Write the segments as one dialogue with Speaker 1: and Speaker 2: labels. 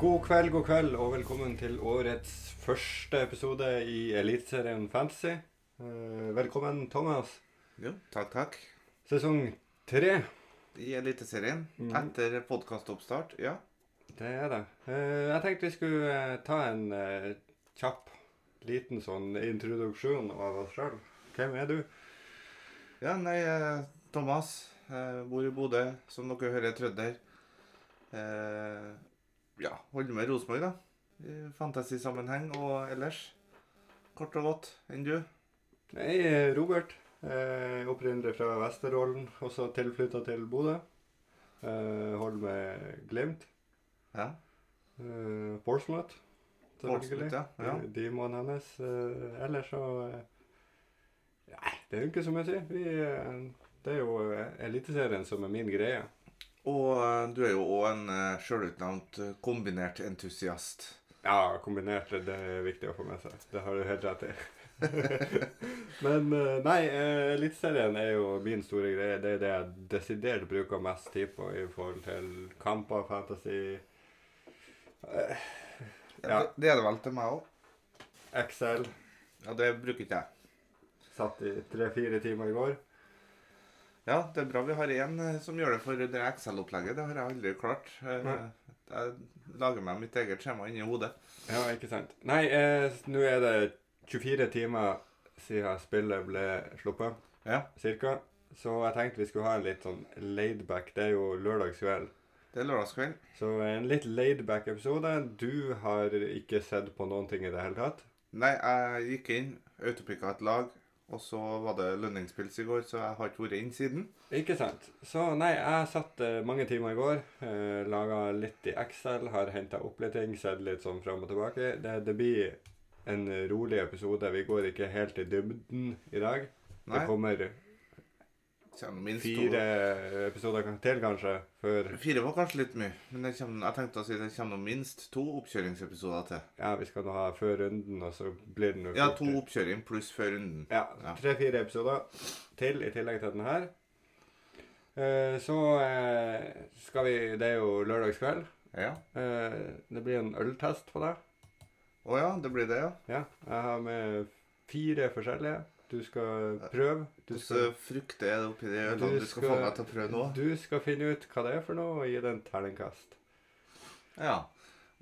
Speaker 1: God kveld, god kveld, og velkommen til årets første episode i Eliteserien Fantasy. Eh, Velkommen, Thomas.
Speaker 2: Jo, takk, takk.
Speaker 1: Sesong tre,
Speaker 2: I Eliteserien.
Speaker 1: Mhm.
Speaker 2: Etter podkastoppstart, ja.
Speaker 1: det er det. Eh, Jeg tenkte vi skulle eh, ta en eh, kjapp, liten sånn introduksjon av oss sjøl. Hvem er du?
Speaker 2: Ja, nei, eh, Thomas. eh, Bor i Bodø. Som dere hører, trønder. Eh, Ja, holder med Rosenborg, da. I fantasy-sammenheng og ellers. Kort og godt. Enn du?
Speaker 1: Jeg er Robert. eh, Opprinnelig fra Vesterålen, også tilflytta til Bodø. Eh, Holder med Glimt.
Speaker 2: Ja.
Speaker 1: eh, Portsmouth, selvfølgelig.
Speaker 2: Portsmouth, ja. ja.
Speaker 1: Demoen hennes. eh, ellers så eh, Nei, det er jo ikke så mye å si. Vi, eh, det er jo eh, Eliteserien som er min greie.
Speaker 2: Og eh, du er jo òg en eh, sjølutnevnt eh, kombinert entusiast.
Speaker 1: Ja, kombinert. Det er viktig å få med seg. Det har du helt rett i. Men eh, nei, eh, Eliteserien er jo min store greie. Det er det jeg desidert bruker mest tid på i forhold til kamper, fantasy, eh, Ja.
Speaker 2: Det, det er det vel til meg òg.
Speaker 1: Excel.
Speaker 2: Ja, det bruker ikke jeg.
Speaker 1: Satt i tre-fire timer i går.
Speaker 2: Ja, det er bra vi har en eh, som gjør det for det Excel-opplegget. Det har jeg aldri klart. Eh,
Speaker 1: Nei.
Speaker 2: Jeg lager meg mitt eget skjema inni hodet.
Speaker 1: Ja, ikke sant. Nei, eh, s- nå er det 24 timer siden spillet ble sluppet,
Speaker 2: Ja,
Speaker 1: cirka. Så jeg tenkte vi skulle ha en litt sånn laidback. Det er jo lørdagskveld.
Speaker 2: det er lørdagskveld.
Speaker 1: Så en litt laidback episode. Du har ikke sett på noen ting i det hele tatt.
Speaker 2: Nei, jeg gikk inn, autopicka et lag, og så var det lønningspils i går, så jeg har ikke vært inn siden.
Speaker 1: Ikke sant. Så nei, jeg satt eh, mange timer i går. Eh, Laga litt i Excel, har henta opp litt ting, sett litt sånn fram og tilbake. Det, det blir en rolig episode. Vi går ikke helt i dybden i dag.
Speaker 2: Nei,
Speaker 1: Det kommer
Speaker 2: kommer minst
Speaker 1: fire episoder kan- til, kanskje, før
Speaker 2: to. Fire var kanskje litt mye, men det kommer, jeg tenkte å si det kommer minst to oppkjøringsepisoder til.
Speaker 1: Ja, vi skal nå ha før runden, og så blir det noe
Speaker 2: Ja, to oppkjøring pluss før runden.
Speaker 1: Ja,
Speaker 2: Ja.
Speaker 1: tre-fire episoder til i tillegg til den her. Eh, Så eh, skal vi Det er jo lørdagskveld.
Speaker 2: Ja.
Speaker 1: Eh, Det blir en øltest på det.
Speaker 2: Å ja, det blir det, ja.
Speaker 1: Ja, jeg har med fire forskjellige. Du skal prøve. Du skal,
Speaker 2: Hvordan frukter eh, er det oppi de ølene
Speaker 1: Du
Speaker 2: du skal få
Speaker 1: skal-
Speaker 2: meg til å prøve nå?
Speaker 1: du skal finne ut hva det er for noe, og gi det en terningkast.
Speaker 2: Ja.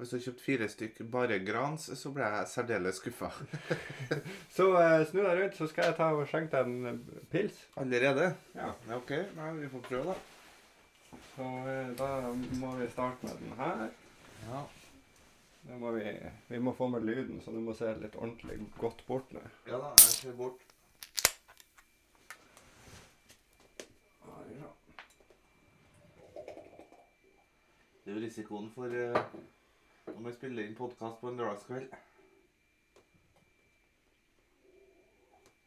Speaker 2: Hvis du har kjøpt fire stykk bare grans, så ble jeg særdeles skuffa.
Speaker 1: Så eh, snu deg rundt, så skal jeg ta og skjenke deg en pils.
Speaker 2: Allerede?
Speaker 1: Ja.
Speaker 2: Ja, OK. Nei, vi får prøve, da.
Speaker 1: Så eh, da må vi starte med den her.
Speaker 2: Ja.
Speaker 1: Da må vi, vi må få med lyden, så du må se litt ordentlig godt bort nå.
Speaker 2: ja da, jeg ser bort. Det er jo risikoen for eh, om jeg spiller inn podkast på en lørdagskveld.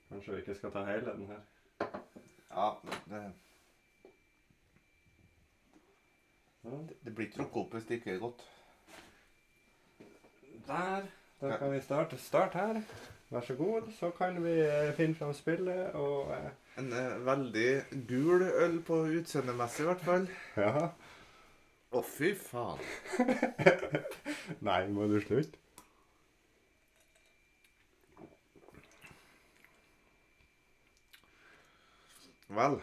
Speaker 1: Kanskje vi ikke skal ta hele den her.
Speaker 2: Ja, det,
Speaker 1: Sånn.
Speaker 2: det blir ikke drukket opp hvis det ikke er godt.
Speaker 1: Der. Da kan vi starte. Start her. Vær så god. Så kan vi eh, finne fram spillet og eh,
Speaker 2: En eh, veldig gul øl på utseendemessig, i hvert fall.
Speaker 1: Ja.
Speaker 2: Å, fy faen.
Speaker 1: Nei, må du slutte?
Speaker 2: Vel.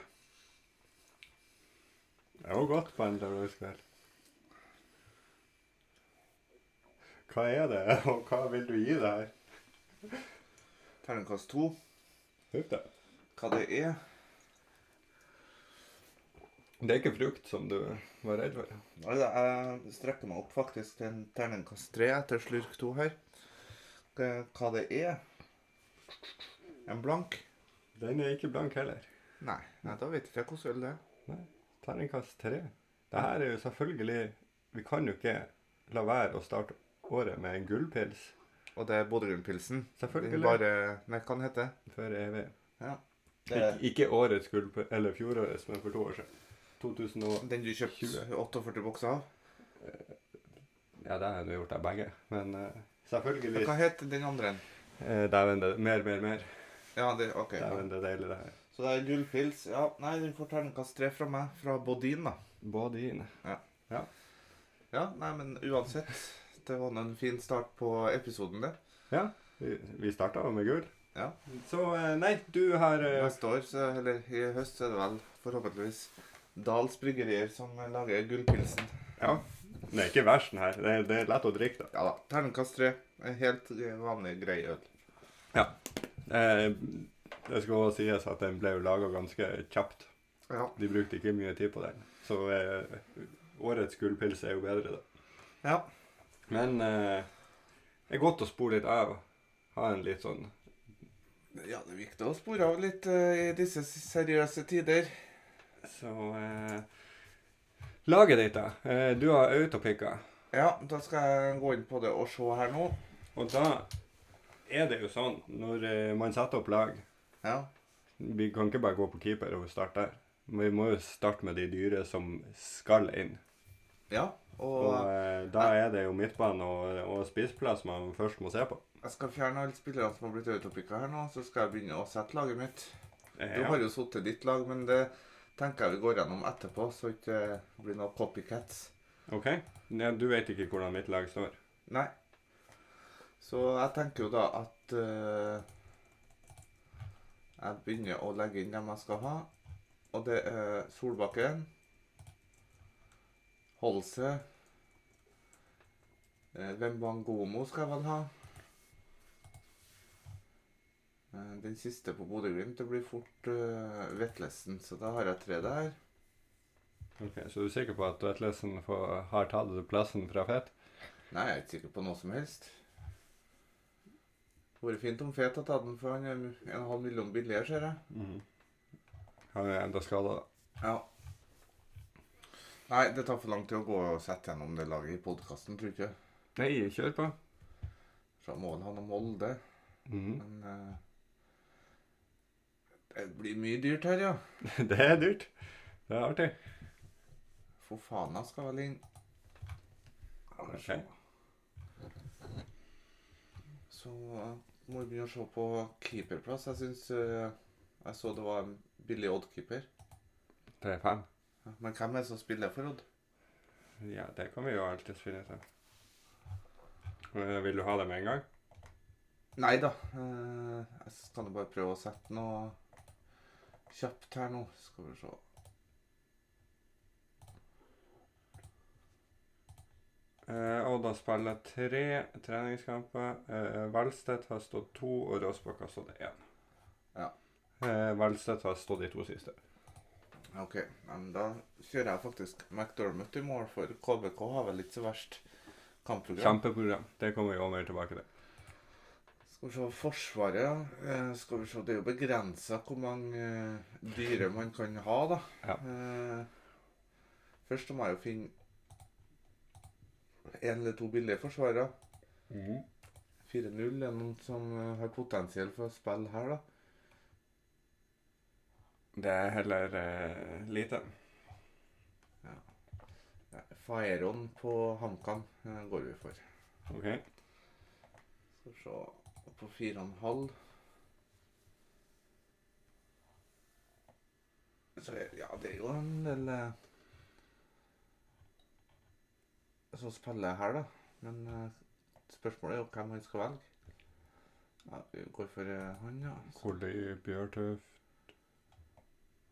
Speaker 1: Det var godt på en lørdagskveld. Hva er det, og hva vil du gi det her?
Speaker 2: Terningkast to.
Speaker 1: Huff da.
Speaker 2: Hva det er?
Speaker 1: Det er ikke frukt som du var redd for?
Speaker 2: Nei, da, Altså, Jeg strekker meg opp faktisk til en terningkast tre etter slurk to her. Eh, Hva det er? En blank?
Speaker 1: Den er ikke blank heller.
Speaker 2: Nei, nei da vet ikke jeg hvordan øl det er.
Speaker 1: Terningkast tre. Det her er jo selvfølgelig Vi kan jo ikke la være å starte året med en gullpils
Speaker 2: Og det er Bodø-Glimt-pilsen. Den
Speaker 1: Selvfølgelig.
Speaker 2: bare Nei, hva den heter
Speaker 1: før evig.
Speaker 2: det?
Speaker 1: Ikke, ikke årets gullpils, eller fjorårets, men for to år siden. 2000 og
Speaker 2: Den du kjøpte 48 bokser av?
Speaker 1: Ja, det har jeg nå gjort av begge, men eh,
Speaker 2: Men
Speaker 1: selvfølgelig
Speaker 2: Hva het den andre? en?
Speaker 1: eh, Dæven, det Mer, mer, mer.
Speaker 2: Ja, det, OK.
Speaker 1: Dæven, det er deilig, det her.
Speaker 2: Så det er gullpils. Ja, nei, den får terningkast tre fra meg. Fra Bodin, da.
Speaker 1: Både inn.
Speaker 2: Ja.
Speaker 1: ja.
Speaker 2: Ja, nei, men uansett. Det var nå en fin start på episoden, det.
Speaker 1: Vi, vi starta med gull.
Speaker 2: Ja.
Speaker 1: Så eh, nei, du har eh,
Speaker 2: Neste år, så, eller i høst, så er det vel forhåpentligvis Dals Bryggerier som lager gullpilsen.
Speaker 1: Ja. Det er ikke verst, den her. Det er, det er lett å drikke, da.
Speaker 2: Ja da. Terningkast tre. En helt eh, vanlig, grei øl.
Speaker 1: Eh, det skal også sies at den ble jo laga ganske kjapt.
Speaker 2: Ja.
Speaker 1: De brukte ikke mye tid på den. Så eh, årets gullpils er jo bedre, da.
Speaker 2: ja.
Speaker 1: Men eh, det er godt å spole litt av. Ha en litt sånn
Speaker 2: Ja, det er viktig å spore av litt eh, i disse seriøse tider.
Speaker 1: Så eh, Laget ditt, da. Eh, du har autopicka.
Speaker 2: Ja, da skal jeg gå inn på det og se her nå.
Speaker 1: Og da er det jo sånn, når eh, man setter opp lag
Speaker 2: Ja.
Speaker 1: Vi kan ikke bare gå på keeper og starte der. Vi må jo starte med de dyre som skal inn.
Speaker 2: ja. Og
Speaker 1: Og eh, da er det jo midtbane og, og spissplass man først må se på.
Speaker 2: jeg skal fjerne alle spillerne som har blitt autopicka her nå, så skal jeg begynne å sette laget mitt.
Speaker 1: Eh,
Speaker 2: Du
Speaker 1: ja.
Speaker 2: har jo sittet ditt lag, men det tenker jeg vi går gjennom etterpå, så ikke det blir noe copycats.
Speaker 1: OK? Ja, du vet ikke hvordan mitt lag står.
Speaker 2: Nei. Så jeg tenker jo da at eh, jeg begynner å legge inn dem jeg skal ha. Og det er Solbakken, Holse eh, Wembangomo skal jeg vel ha. Eh, Den siste på Bodø-Glimt, det blir fort eh, Vetlesen, så da har jeg tre der.
Speaker 1: Ok, Så du er sikker på at Vetlesen får- har tatt plassen fra Fett?
Speaker 2: Nei, jeg er ikke sikker på noe som helst. Det vært fint om Fet hadde tatt den for han er en halv million billigere, ser jeg.
Speaker 1: Mhm. Han er enda skada, da.
Speaker 2: Ja. Nei, det tar for lang tid å gå og sette gjennom det laget i podkasten, tror ikke.
Speaker 1: Nei, kjør på.
Speaker 2: Så må han ha noe Molde,
Speaker 1: Mhm.
Speaker 2: men eh, Det blir mye dyrt her, ja.
Speaker 1: Det er dyrt. Det er artig.
Speaker 2: Fofana skal vel inn. Skal vi se. Så eh, må vi begynne å se på keeperplass. Jeg syns Jeg så det var en billig oddkeeper.
Speaker 1: 3-5.
Speaker 2: Men hvem er det som spiller for Odd?
Speaker 1: Ja, det kan vi jo alltids finne ut av. Eh, Vil du ha det med en gang?
Speaker 2: Nei da. eh, Jeg skal nå bare prøve å sette noe kjapt her nå. Skal vi se.
Speaker 1: Eh, Odd har spillet tre treningskamper. Eh, Valstedt har stått to, og Råsbakk har stått én.
Speaker 2: Ja.
Speaker 1: Eh, Valstedt har stått de to siste.
Speaker 2: OK. ja, Men da kjører jeg faktisk McDermott i mål, for KBK har vel ikke så verst kampprogram.
Speaker 1: Kjempeprogram. Det kommer vi også mer tilbake til.
Speaker 2: Skal vi se Forsvaret, ja. Eh, Skal vi se, Det er jo begrensa hvor mange eh, dyre man kan ha, da.
Speaker 1: Ja.
Speaker 2: Eh, Først må jeg jo finne én eller to billige forsvarere.
Speaker 1: Mhm.
Speaker 2: 4-0 er noen som eh, har potensial for å spille her, da.
Speaker 1: Det er heller eh, lite.
Speaker 2: Nei, Faeron på HamKam eh, går vi for.
Speaker 1: OK.
Speaker 2: Skal vi se og På 4,5 Så er- ja, det er jo en del eh, som spiller her, da. Men eh, spørsmålet er jo hvem han skal velge. Ja, vi går for eh, han, ja. Så
Speaker 1: Kolli Bjørtøff.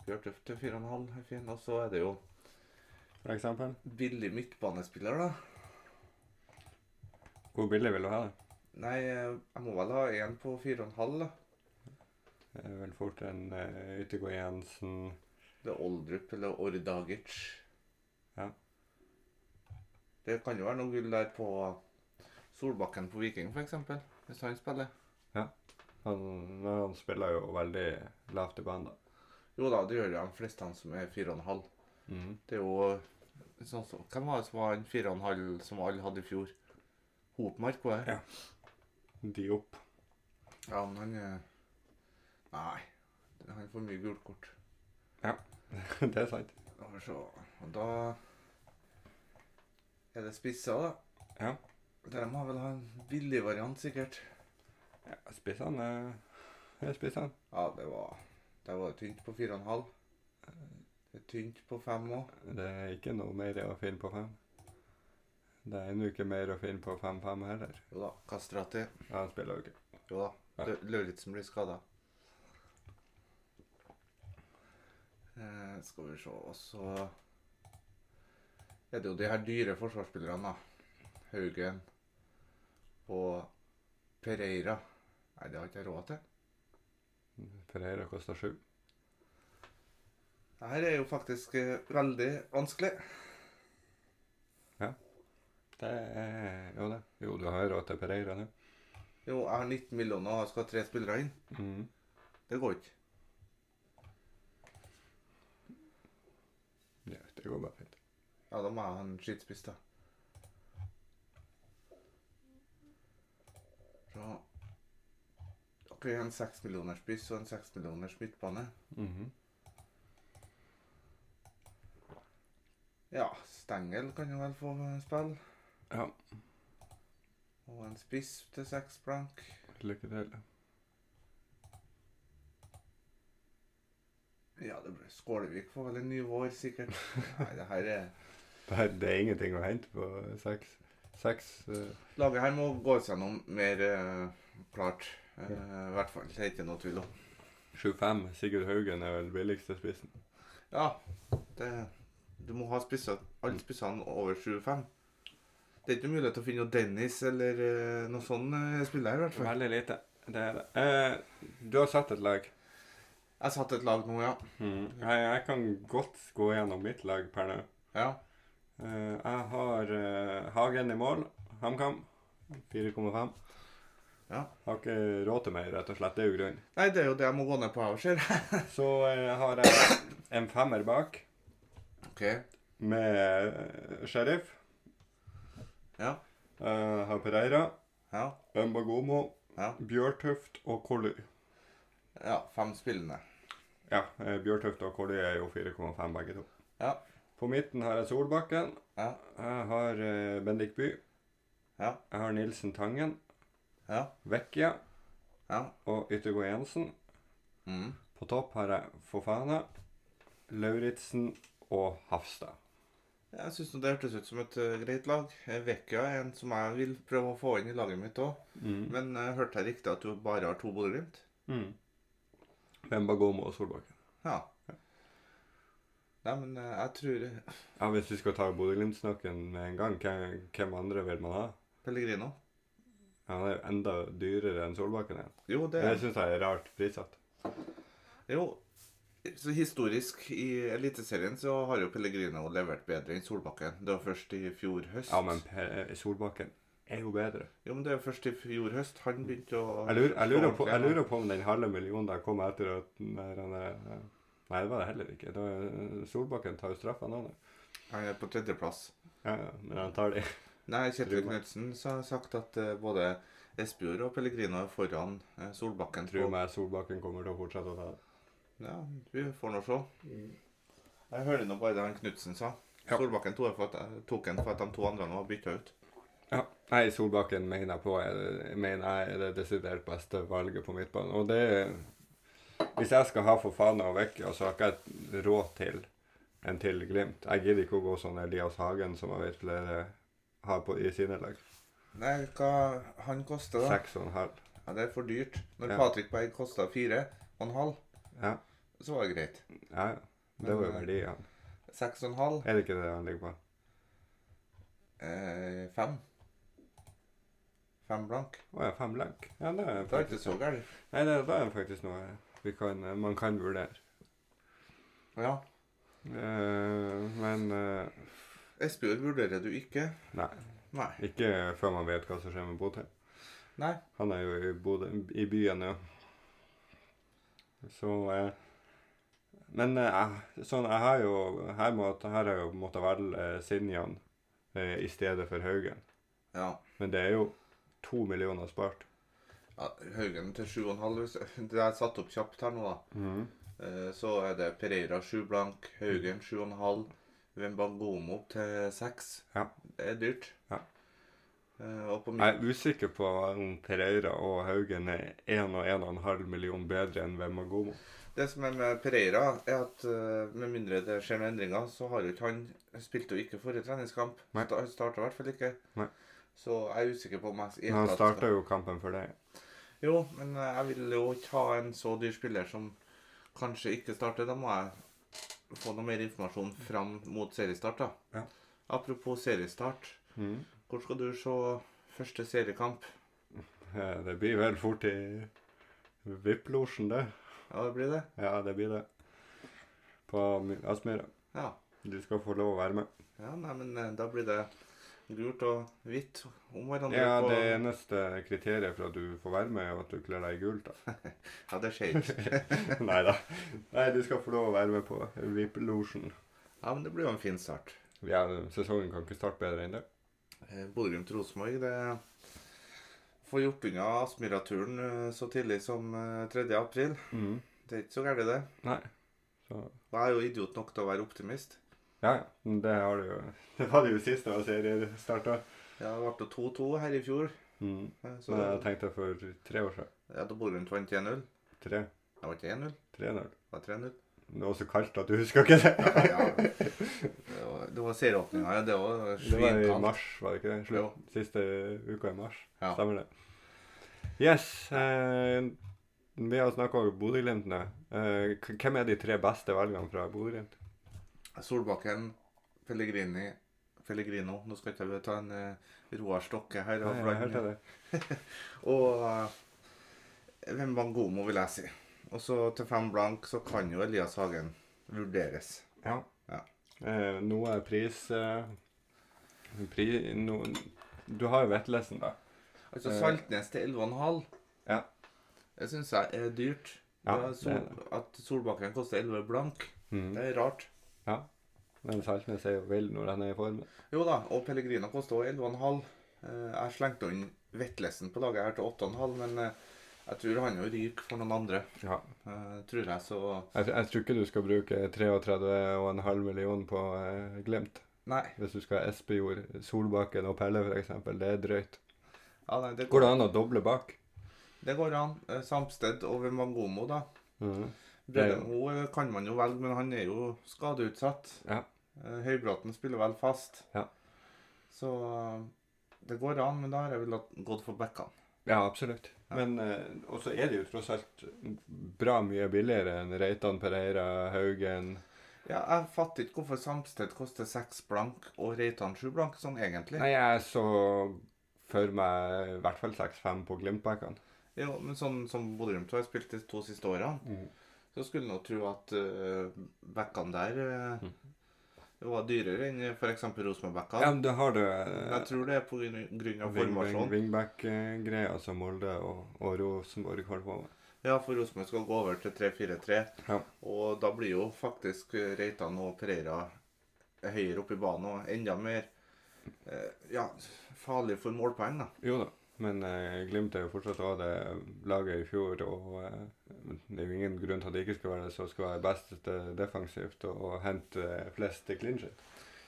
Speaker 2: Bjørn Tøft til 4,5 er fin. Og så er det jo
Speaker 1: For eksempel.
Speaker 2: billig midtbanespiller, da.
Speaker 1: Hvor billig vil du ha det?
Speaker 2: Nei, eh, jeg må vel ha en på 4,5. da.
Speaker 1: Det er vel fort en eh, Yttergård Jensen
Speaker 2: Det er Oldrup eller Ordagic.
Speaker 1: Ja.
Speaker 2: Det kan jo være noe gull der på Solbakken på Viking, f.eks. Hvis han spiller.
Speaker 1: han, han spiller jo veldig lavt i banen, da.
Speaker 2: Jo da, det gjør jo de fleste han som er 4,5.
Speaker 1: Mhm.
Speaker 2: Det er jo sånn som Hvem var det som var han 4,5 som alle hadde i fjor? Hopmark, var det?
Speaker 1: Ja. De opp.
Speaker 2: Ja, men han er Nei. Han får mye gult kort.
Speaker 1: det er sant.
Speaker 2: Skal vi se. Og da er det spisser, da.
Speaker 1: Ja.
Speaker 2: De må vel ha en billig variant, sikkert.
Speaker 1: Ja, Spissene er spissene.
Speaker 2: Ja, det var Det var tynt på 4,5. Det er tynt på 5 òg.
Speaker 1: Det er ikke noe mer å finne på fem. Det er ennå ikke mer å finne på 5-5 heller.
Speaker 2: Jo da. Kastrati.
Speaker 1: Ja, han spiller jo ikke.
Speaker 2: Jo da.
Speaker 1: Ja.
Speaker 2: Lø- Lauritzen blir skada. Eh, skal vi se Og så er det jo de her dyre forsvarsspillerne, da. Haugen og Pereira. Nei, det har ikke jeg råd til.
Speaker 1: Ferreira koster 7.
Speaker 2: Det her er jo faktisk eh, veldig vanskelig.
Speaker 1: Det er jo det. Jo, du har råd til Pereira nå.
Speaker 2: Jo, jeg har 19 millioner og jeg skal ha tre spillere inn.
Speaker 1: Mhm.
Speaker 2: Det går ikke.
Speaker 1: Ja, det går bare fint.
Speaker 2: Ja, da må jeg ha en skittspiss, da. Så Ok, en seks millioners spiss og en seks millioners midtbane.
Speaker 1: Mhm.
Speaker 2: Ja, Stengel kan jo vel få spille.
Speaker 1: Ja,
Speaker 2: Og en spiss til seks blank.
Speaker 1: lykke til.
Speaker 2: Ja, det blir Skålevik får vel en ny vår, sikkert. Nei, det her er
Speaker 1: Det er, det er ingenting å hente på seks. Seks eh,
Speaker 2: Laget her må gås gjennom mer eh, klart. Eh, I hvert fall. Det er ikke noe tvil om.
Speaker 1: 7-5. Sigurd Haugen er vel billigste spissen.
Speaker 2: Ja, det, du må ha spissa, alle spissene over 7-5. Det er ikke mulighet til å finne noe Dennis eller eh, noe sånn eh, spiller her, i hvert fall.
Speaker 1: Veldig lite. Det er det. Eh, du har satt et lag.
Speaker 2: Jeg satt et lag nå, ja.
Speaker 1: Jeg, jeg kan godt gå gjennom mitt lag per nå.
Speaker 2: ja.
Speaker 1: Eh, jeg har eh, Hagen i mål. HamKam. 4,5.
Speaker 2: Ja.
Speaker 1: Har ikke råd til mer, rett og slett. Det er jo grunnen.
Speaker 2: Nei, det er jo det jeg må gå ned på her, ser jeg.
Speaker 1: Så eh, har jeg en femmer bak
Speaker 2: OK.
Speaker 1: med eh, Sheriff.
Speaker 2: Ja.
Speaker 1: Eh, har Pereira,
Speaker 2: Ja.
Speaker 1: Bembagomo,
Speaker 2: Ja.
Speaker 1: Bjørtuft og Kolly.
Speaker 2: ja fem spillende.
Speaker 1: Ja, eh, Bjørtuft og Kolly er jo 4,5 begge to.
Speaker 2: Ja.
Speaker 1: På midten har jeg Solbakken.
Speaker 2: Ja.
Speaker 1: Jeg har eh, Bendik By.
Speaker 2: Ja.
Speaker 1: Jeg har Nilsen Tangen.
Speaker 2: Ja.
Speaker 1: Vekkia
Speaker 2: Ja.
Speaker 1: og Yttergård Jensen.
Speaker 2: Mm.
Speaker 1: På topp har jeg Fofana, Lauritzen og Hafstad.
Speaker 2: Jeg syns det hørtes ut som et eh, greit lag. Eh, Vecchia er en som jeg vil prøve å få inn i laget mitt òg.
Speaker 1: Mm.
Speaker 2: Men eh, hørte jeg riktig at du bare har to Bodø-Glimt?
Speaker 1: Mm. Bembagomo og Solbakken.
Speaker 2: Ja. Nei, men eh, jeg tror
Speaker 1: Ja, Hvis vi skal ta Bodø-Glimt-snakken med en gang, hvem, hvem andre vil man ha?
Speaker 2: Pellegrino.
Speaker 1: Han er jo enda dyrere enn Solbakken igjen.
Speaker 2: Jo, det
Speaker 1: Det syns jeg er rart prissatt.
Speaker 2: Jo, så historisk i Eliteserien så har jo Pellegrino levert bedre enn Solbakken. Det var først i fjor høst.
Speaker 1: Ja, men Pe- Solbakken er jo bedre.
Speaker 2: Jo, men det er først i fjor høst han begynte å
Speaker 1: Jeg lurer, jeg lurer, på, jeg lurer på om den halve millionen der kom etter at den der, han der- Nei, det var det heller ikke. Det var, Solbakken tar jo straffa nå. da.
Speaker 2: Han er på tredjeplass.
Speaker 1: Ja, ja, men han tar de.
Speaker 2: Nei,
Speaker 1: Tror
Speaker 2: Kjetil
Speaker 1: meg.
Speaker 2: Knutsen har sagt at eh, både Espejord og Pellegrino er foran eh, Solbakken.
Speaker 1: Tror
Speaker 2: på-
Speaker 1: meg Solbakken kommer til å fortsette å ta det.
Speaker 2: Ja, vi får nå se. Jeg hører nå bare det han Knutsen sa.
Speaker 1: Ja.
Speaker 2: Solbakken tok han for at, tok han for at de to andre var bytta ut.
Speaker 1: Ja. Nei, Solbakken mener jeg på er- mener jeg er det desidert beste valget på midtbanen. Og det Hvis jeg skal ha Fofana og Vecchia, så har ikke jeg råd til en til Glimt. Jeg gidder ikke å gå sånn Elias Hagen, som jeg vet flere har på, i sine lag.
Speaker 2: Nei, hva han koster, da?
Speaker 1: Seks og en halv.
Speaker 2: Ja, det er for dyrt. Når
Speaker 1: Ja.
Speaker 2: Patrick Berg kosta fire og en halv,
Speaker 1: Ja,
Speaker 2: så var det greit.
Speaker 1: ja. ja. Det var jo verdien.
Speaker 2: Seks og en halv,
Speaker 1: Er det ikke det han ligger på?
Speaker 2: eh, fem. Fem blank.
Speaker 1: Å ja, fem blank. Ja, det er
Speaker 2: Det er ikke
Speaker 1: faktisk
Speaker 2: så gærent.
Speaker 1: Nei, det, det er faktisk noe vi kan, man kan vurdere.
Speaker 2: Ja.
Speaker 1: Eh, men eh,
Speaker 2: Espejord vurderer du ikke?
Speaker 1: Nei.
Speaker 2: Nei.
Speaker 1: Ikke før man vet hva som skjer med Botheim.
Speaker 2: Nei.
Speaker 1: Han er jo i, Bodø, i byen nå. Så eh, Men eh, jeg- sånn, jeg har jo Her, må, her har jeg jo måttet velge eh, Sinjan eh, i stedet for Haugen.
Speaker 2: Ja.
Speaker 1: Men det er jo to millioner spart.
Speaker 2: ja Haugen til sju og en halv. hvis- Det er satt opp kjapt her nå, da. Eh, så er det Pereira sju blank, Haugen sju og en halv, Wembangomo til seks.
Speaker 1: Ja.
Speaker 2: Det er dyrt.
Speaker 1: Ja.
Speaker 2: Eh, og på midten
Speaker 1: Jeg er usikker på om Pereira og Haugen er 1 og 1,5 million bedre enn Vemagomo.
Speaker 2: Det som er med Pereira, er at eh, med mindre det skjer noen endringer, så har jo ikke han spilte jo ikke forrige treningskamp.
Speaker 1: Nei.
Speaker 2: Sta- Han starta i hvert fall ikke.
Speaker 1: Nei.
Speaker 2: Så jeg er usikker på om jeg i
Speaker 1: Men han
Speaker 2: hele tatt-
Speaker 1: starta jo kampen for deg.
Speaker 2: Jo, men eh, jeg vil jo ikke ha en så dyr spiller som kanskje ikke starter. Da må jeg få noe mer informasjon fram mot seriestart, da.
Speaker 1: Ja.
Speaker 2: Apropos seriestart.
Speaker 1: Mm.
Speaker 2: Hvor skal du se første seriekamp?
Speaker 1: Eh, Det blir vel fort i VIP-losjen, det.
Speaker 2: Ja, det blir det.
Speaker 1: Ja, det blir det. På My- Aspmyra.
Speaker 2: Ja.
Speaker 1: Du skal få lov å være med.
Speaker 2: ja nei, men eh, da blir det gult og hvitt om hverandre.
Speaker 1: Ja,
Speaker 2: på...
Speaker 1: Det eneste kriteriet for at du får være med, er jo at du kler deg i gult. da.
Speaker 2: ja, det skjer ikke.
Speaker 1: Nei da. Nei, du skal få lov å være med på VIP-losjen.
Speaker 2: Ja, men det blir jo en fin start.
Speaker 1: Ja, sesongen kan ikke starte bedre enn det.
Speaker 2: Eh, Bodø-Glimt-Rosenborg, det får gjort unna Aspmyra-turen eh, så tidlig som eh, 3. april.
Speaker 1: Mhm.
Speaker 2: Det er ikke så gærent, det.
Speaker 1: Nei. Så
Speaker 2: Og jeg er jo idiot nok til å være optimist.
Speaker 1: Ja, ja. Men Det har du jo. Det var det jo sist da serien starta.
Speaker 2: Ja, det ble jo 2-2 her i fjor.
Speaker 1: Mm.
Speaker 2: eh, Så
Speaker 1: Men jeg tenkte for tre år siden.
Speaker 2: ja, da Bodø-Glimt vant 1-0.
Speaker 1: Tre.
Speaker 2: Det var ikke 1-0,
Speaker 1: 3-0.
Speaker 2: det var 3-0.
Speaker 1: Det var så kaldt at du husker ikke det.
Speaker 2: Ja, ja. Det var, det var serieåpninga, ja. Det var
Speaker 1: Det var i
Speaker 2: svinkaldt.
Speaker 1: mars, var det ikke det? Slutt.
Speaker 2: Jo.
Speaker 1: Siste uka i mars.
Speaker 2: Ja.
Speaker 1: Stemmer det. Yes. Eh, vi har snakka om Bodø-Glimt nå. Eh, k- hvem er de tre beste valgene fra Bodø-Glimt?
Speaker 2: Solbakken, Pellegrini Pellegrino. Nå skal ikke jeg ta en eh, Roar Stokke her.
Speaker 1: Nei,
Speaker 2: Og,
Speaker 1: jeg
Speaker 2: blande-
Speaker 1: hørte det.
Speaker 2: Og eh, hvem var god må, vil jeg si. Og så til fem blank så kan jo Elias Hagen vurderes.
Speaker 1: Ja.
Speaker 2: Ja.
Speaker 1: Eh, noe pris, eh, pri, no, Du har jo Vetlesen, da.
Speaker 2: Altså
Speaker 1: Eh.
Speaker 2: Saltnes til 11,5
Speaker 1: Ja.
Speaker 2: Det syns jeg er dyrt.
Speaker 1: Ja,
Speaker 2: Det er sol,
Speaker 1: det er
Speaker 2: At Solbakken koster 11 blank,
Speaker 1: Mhm.
Speaker 2: det er rart.
Speaker 1: Men Saltnes er jo vill når han er i form.
Speaker 2: Jo da, og Pellegrino koster også 11,5. Eh, Jeg slengte inn Vetlesen på laget her til 8,5, men eh, jeg tror han jo ryker for noen andre.
Speaker 1: Ja.
Speaker 2: Eh, Tror jeg, så
Speaker 1: Jeg, jeg tror ikke du skal bruke 33,5 millioner på eh, Glimt.
Speaker 2: Nei.
Speaker 1: Hvis du skal ha Espejord, Solbakken og Pelle f.eks. Det er drøyt.
Speaker 2: Ja, nei det,
Speaker 1: Går det an å doble bak?
Speaker 2: det går an. Eh, Samsted over Mangomo, da.
Speaker 1: Mhm.
Speaker 2: Brødremo kan man jo velge, men han er jo skadeutsatt.
Speaker 1: Ja.
Speaker 2: Eh, Høybråten spiller vel fast.
Speaker 1: Ja.
Speaker 2: Så eh, det går an, men da har jeg vel hatt- gått for bekkene.
Speaker 1: Ja, absolutt.
Speaker 2: Ja.
Speaker 1: Men eh, Og så er det jo tross alt bra mye billigere enn Reitan, Pereira, Haugen
Speaker 2: Ja, jeg fatter ikke hvorfor Samsted koster seks blank og Reitan sju blank, sånn egentlig.
Speaker 1: Nei, jeg så for meg i hvert fall 6-5 på Glimt-backene.
Speaker 2: Jo, men sånn som Bodø-Glimt har spilt de to siste årene,
Speaker 1: Mhm.
Speaker 2: så skulle en jo tro at eh, bekkene der eh,
Speaker 1: Mm.
Speaker 2: var dyrere enn eh, f.eks.
Speaker 1: Ja,
Speaker 2: Rosenborg-bekkene.
Speaker 1: men da har du
Speaker 2: Men jeg tror det er på grunn grunn av formasjonen.
Speaker 1: wingback-greia som Molde og, og Rosenborg holder på med.
Speaker 2: Ja, for Rosenborg skal gå over til 3-4-3.
Speaker 1: Ja.
Speaker 2: Og da blir jo faktisk eh, Reitan og Pereira høyere opp i banen og enda mer eh, ja, farlig for målpoeng, da.
Speaker 1: Jo da, men eh, Glimt er jo fortsatt også det laget i fjor, og eh, det er jo ingen grunn til at det ikke skal være det som skal være best eh, defensivt og, og hente eh, flest til clinchen.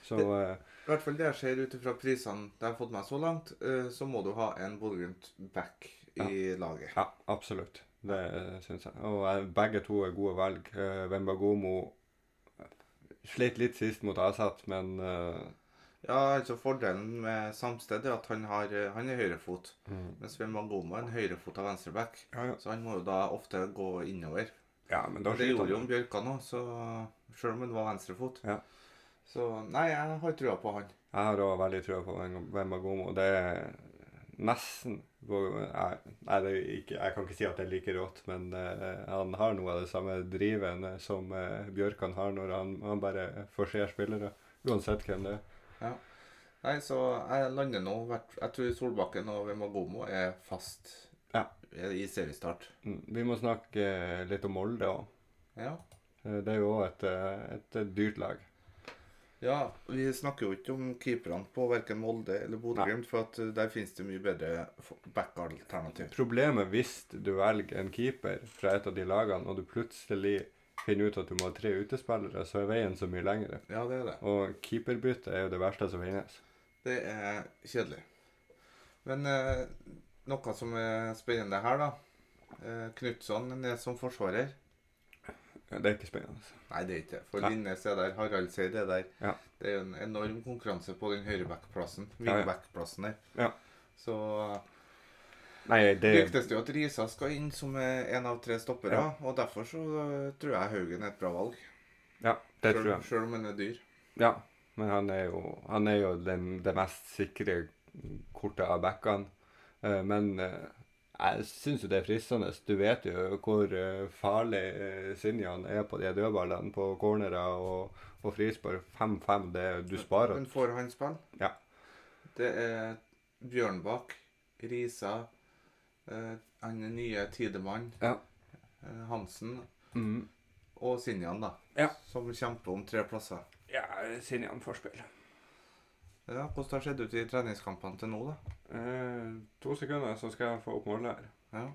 Speaker 1: Så eh,
Speaker 2: I hvert fall det jeg ser ut ifra prisene det jeg har fått meg så langt, eh, så må du ha en Bodø-Glimt back i laget.
Speaker 1: ja, absolutt. Det eh, syns jeg. Og eh, begge to er gode valg. Eh, Wembagomo slet litt sist mot Asat, men eh,
Speaker 2: Ja, altså Fordelen med Samsted er at han, har, eh, han er høyrefot,
Speaker 1: Mm.
Speaker 2: mens Wembangoma er en høyrefot av venstreback.
Speaker 1: ja, ja.
Speaker 2: Så han må jo da ofte gå innover.
Speaker 1: ja, men da
Speaker 2: Det gjorde
Speaker 1: sliter
Speaker 2: jo
Speaker 1: han.
Speaker 2: Bjørkan òg, så selv om han var venstrefot.
Speaker 1: Ja.
Speaker 2: Så nei, jeg har trua på han.
Speaker 1: Jeg har òg veldig trua på Wem- Wembagomo. Det er nesten jeg, Nei, det er ikke, jeg kan ikke si at det er like rått, men eh, han har noe av det samme driven eh, som eh, Bjørkan har når han, han bare forser spillere. Uansett hvem det er.
Speaker 2: Nei, så jeg lander nå hvert- Jeg tror Solbakken og Wemagomo er fast
Speaker 1: Ja.
Speaker 2: i seriestart.
Speaker 1: Mm, Vi må snakke eh, litt om Molde òg.
Speaker 2: Ja.
Speaker 1: Det er jo òg et, eh, et dyrt lag.
Speaker 2: ja. Vi snakker jo ikke om keeperne på verken Molde eller Bodø-Glimt, for at eh, der finnes det mye bedre f- back-alternativ.
Speaker 1: Problemet hvis du velger en keeper fra et av de lagene, og du plutselig finner ut at du må ha tre utespillere, så er veien så mye lengre.
Speaker 2: Ja, det er det.
Speaker 1: Og keeperbytte er jo det verste som finnes.
Speaker 2: Det er kjedelig. Men eh, noe som er spennende her, da. Eh, Knutson er ned som forsvarer.
Speaker 1: Ja, det er ikke spennende. altså.
Speaker 2: Nei, det er ikke det. For
Speaker 1: Nei.
Speaker 2: Linnes er der, Haraldseid er der.
Speaker 1: Ja.
Speaker 2: Det er jo en enorm konkurranse på den høyrebackplassen.
Speaker 1: Ja, ja.
Speaker 2: Wingbackplassen der.
Speaker 1: Ja.
Speaker 2: Så
Speaker 1: Nei, det
Speaker 2: ryktes det jo at Risa skal inn som eh, en av tre stoppere.
Speaker 1: Ja.
Speaker 2: Og derfor så eh, tror jeg Haugen er et bra valg.
Speaker 1: Ja, det tror jeg.
Speaker 2: Sjøl om han er dyr.
Speaker 1: Ja, men han er jo, han er jo den, det mest sikre kortet av backene. Eh, Men eh, jeg syns jo det er fristende. Du vet jo hvor eh, farlig eh, Sinjan er på de dødballene på cornerer og, og frispark. 5-5, det er- du sparer.
Speaker 2: Men får han spill?
Speaker 1: Ja.
Speaker 2: Det er Bjørnbakk, Risa, eh, han nye Tidemann,
Speaker 1: Ja.
Speaker 2: eh, Hansen
Speaker 1: Mm.
Speaker 2: og Sinjan, da.
Speaker 1: Ja.
Speaker 2: Som kjemper om tre plasser.
Speaker 1: Ja, Sinjan får spille.
Speaker 2: Ja, Hvordan har det sett ut i treningskampene til nå, da?
Speaker 1: Eh, to sekunder, så skal jeg få opp målet her.
Speaker 2: Ja.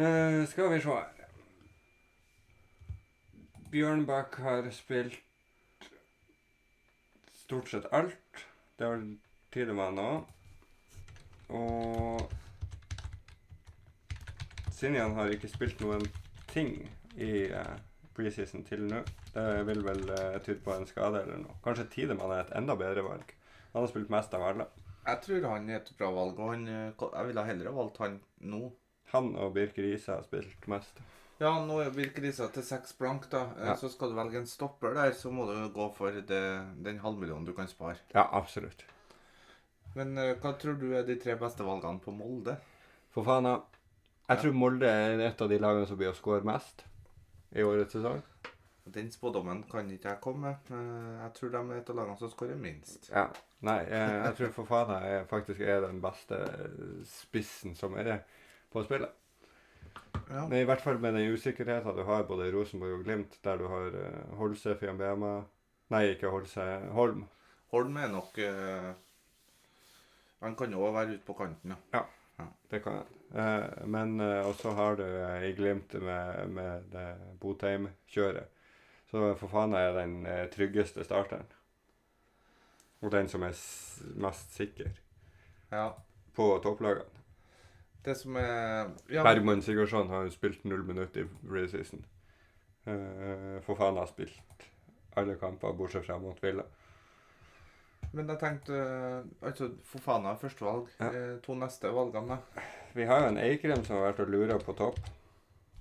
Speaker 1: Eh, skal vi se her. Bjørnbakk har spilt stort sett alt. Det har Tidemann òg. Og Sinjan har ikke spilt noen ting i eh, preseason til nå. Det vil vel eh, tyde på en skade eller noe. Kanskje Tidemann er et enda bedre valg. Han har spilt mest av alle.
Speaker 2: Jeg tror han er et bra valg, og han, eh, ka- jeg ville heller ha valgt han nå.
Speaker 1: Han og Birk Riise har spilt mest.
Speaker 2: Ja, nå er Birk Risa til seks blank, da. Eh,
Speaker 1: Ja.
Speaker 2: Så skal du velge en stopper der, så må du gå for det, den halvmillionen du kan spare.
Speaker 1: Ja, absolutt.
Speaker 2: Men eh, hva tror du er de tre beste valgene på Molde?
Speaker 1: For faen, da. Jeg
Speaker 2: Ja.
Speaker 1: tror Molde er et av de lagene som blir å score mest i årets sesong.
Speaker 2: Den spådommen kan ikke jeg komme med. Eh, Jeg tror de er et av lagene som skårer minst.
Speaker 1: Ja. Nei, jeg, jeg tror for faen jeg faktisk er den beste spissen som er på spillet.
Speaker 2: Ja.
Speaker 1: Men I hvert fall med den usikkerheten du har både i Rosenborg og Glimt, der du har eh, Holse, Fiambema Nei, ikke Holse. Holm.
Speaker 2: Holm er nok eh, Han kan jo også være ute på kanten, ja.
Speaker 1: Det kan jeg. Eh, men eh, også har du eh, i Glimt med, med det Botheim-kjøret. Så for faen er jeg den eh, tryggeste starteren. Og den som er s mest sikker
Speaker 2: ja.
Speaker 1: på topplagene.
Speaker 2: Det som er ja,
Speaker 1: Bergman Sigurdsson har jo spilt null minutt i preseason. Eh, for faen har spilt alle kamper bortsett fra mot Villa.
Speaker 2: Men jeg tenkte eh, altså, For faen er førstevalg.
Speaker 1: Ja.
Speaker 2: Eh, To neste valgene, da.
Speaker 1: Vi har jo en Eikrem som har vært og lura på topp.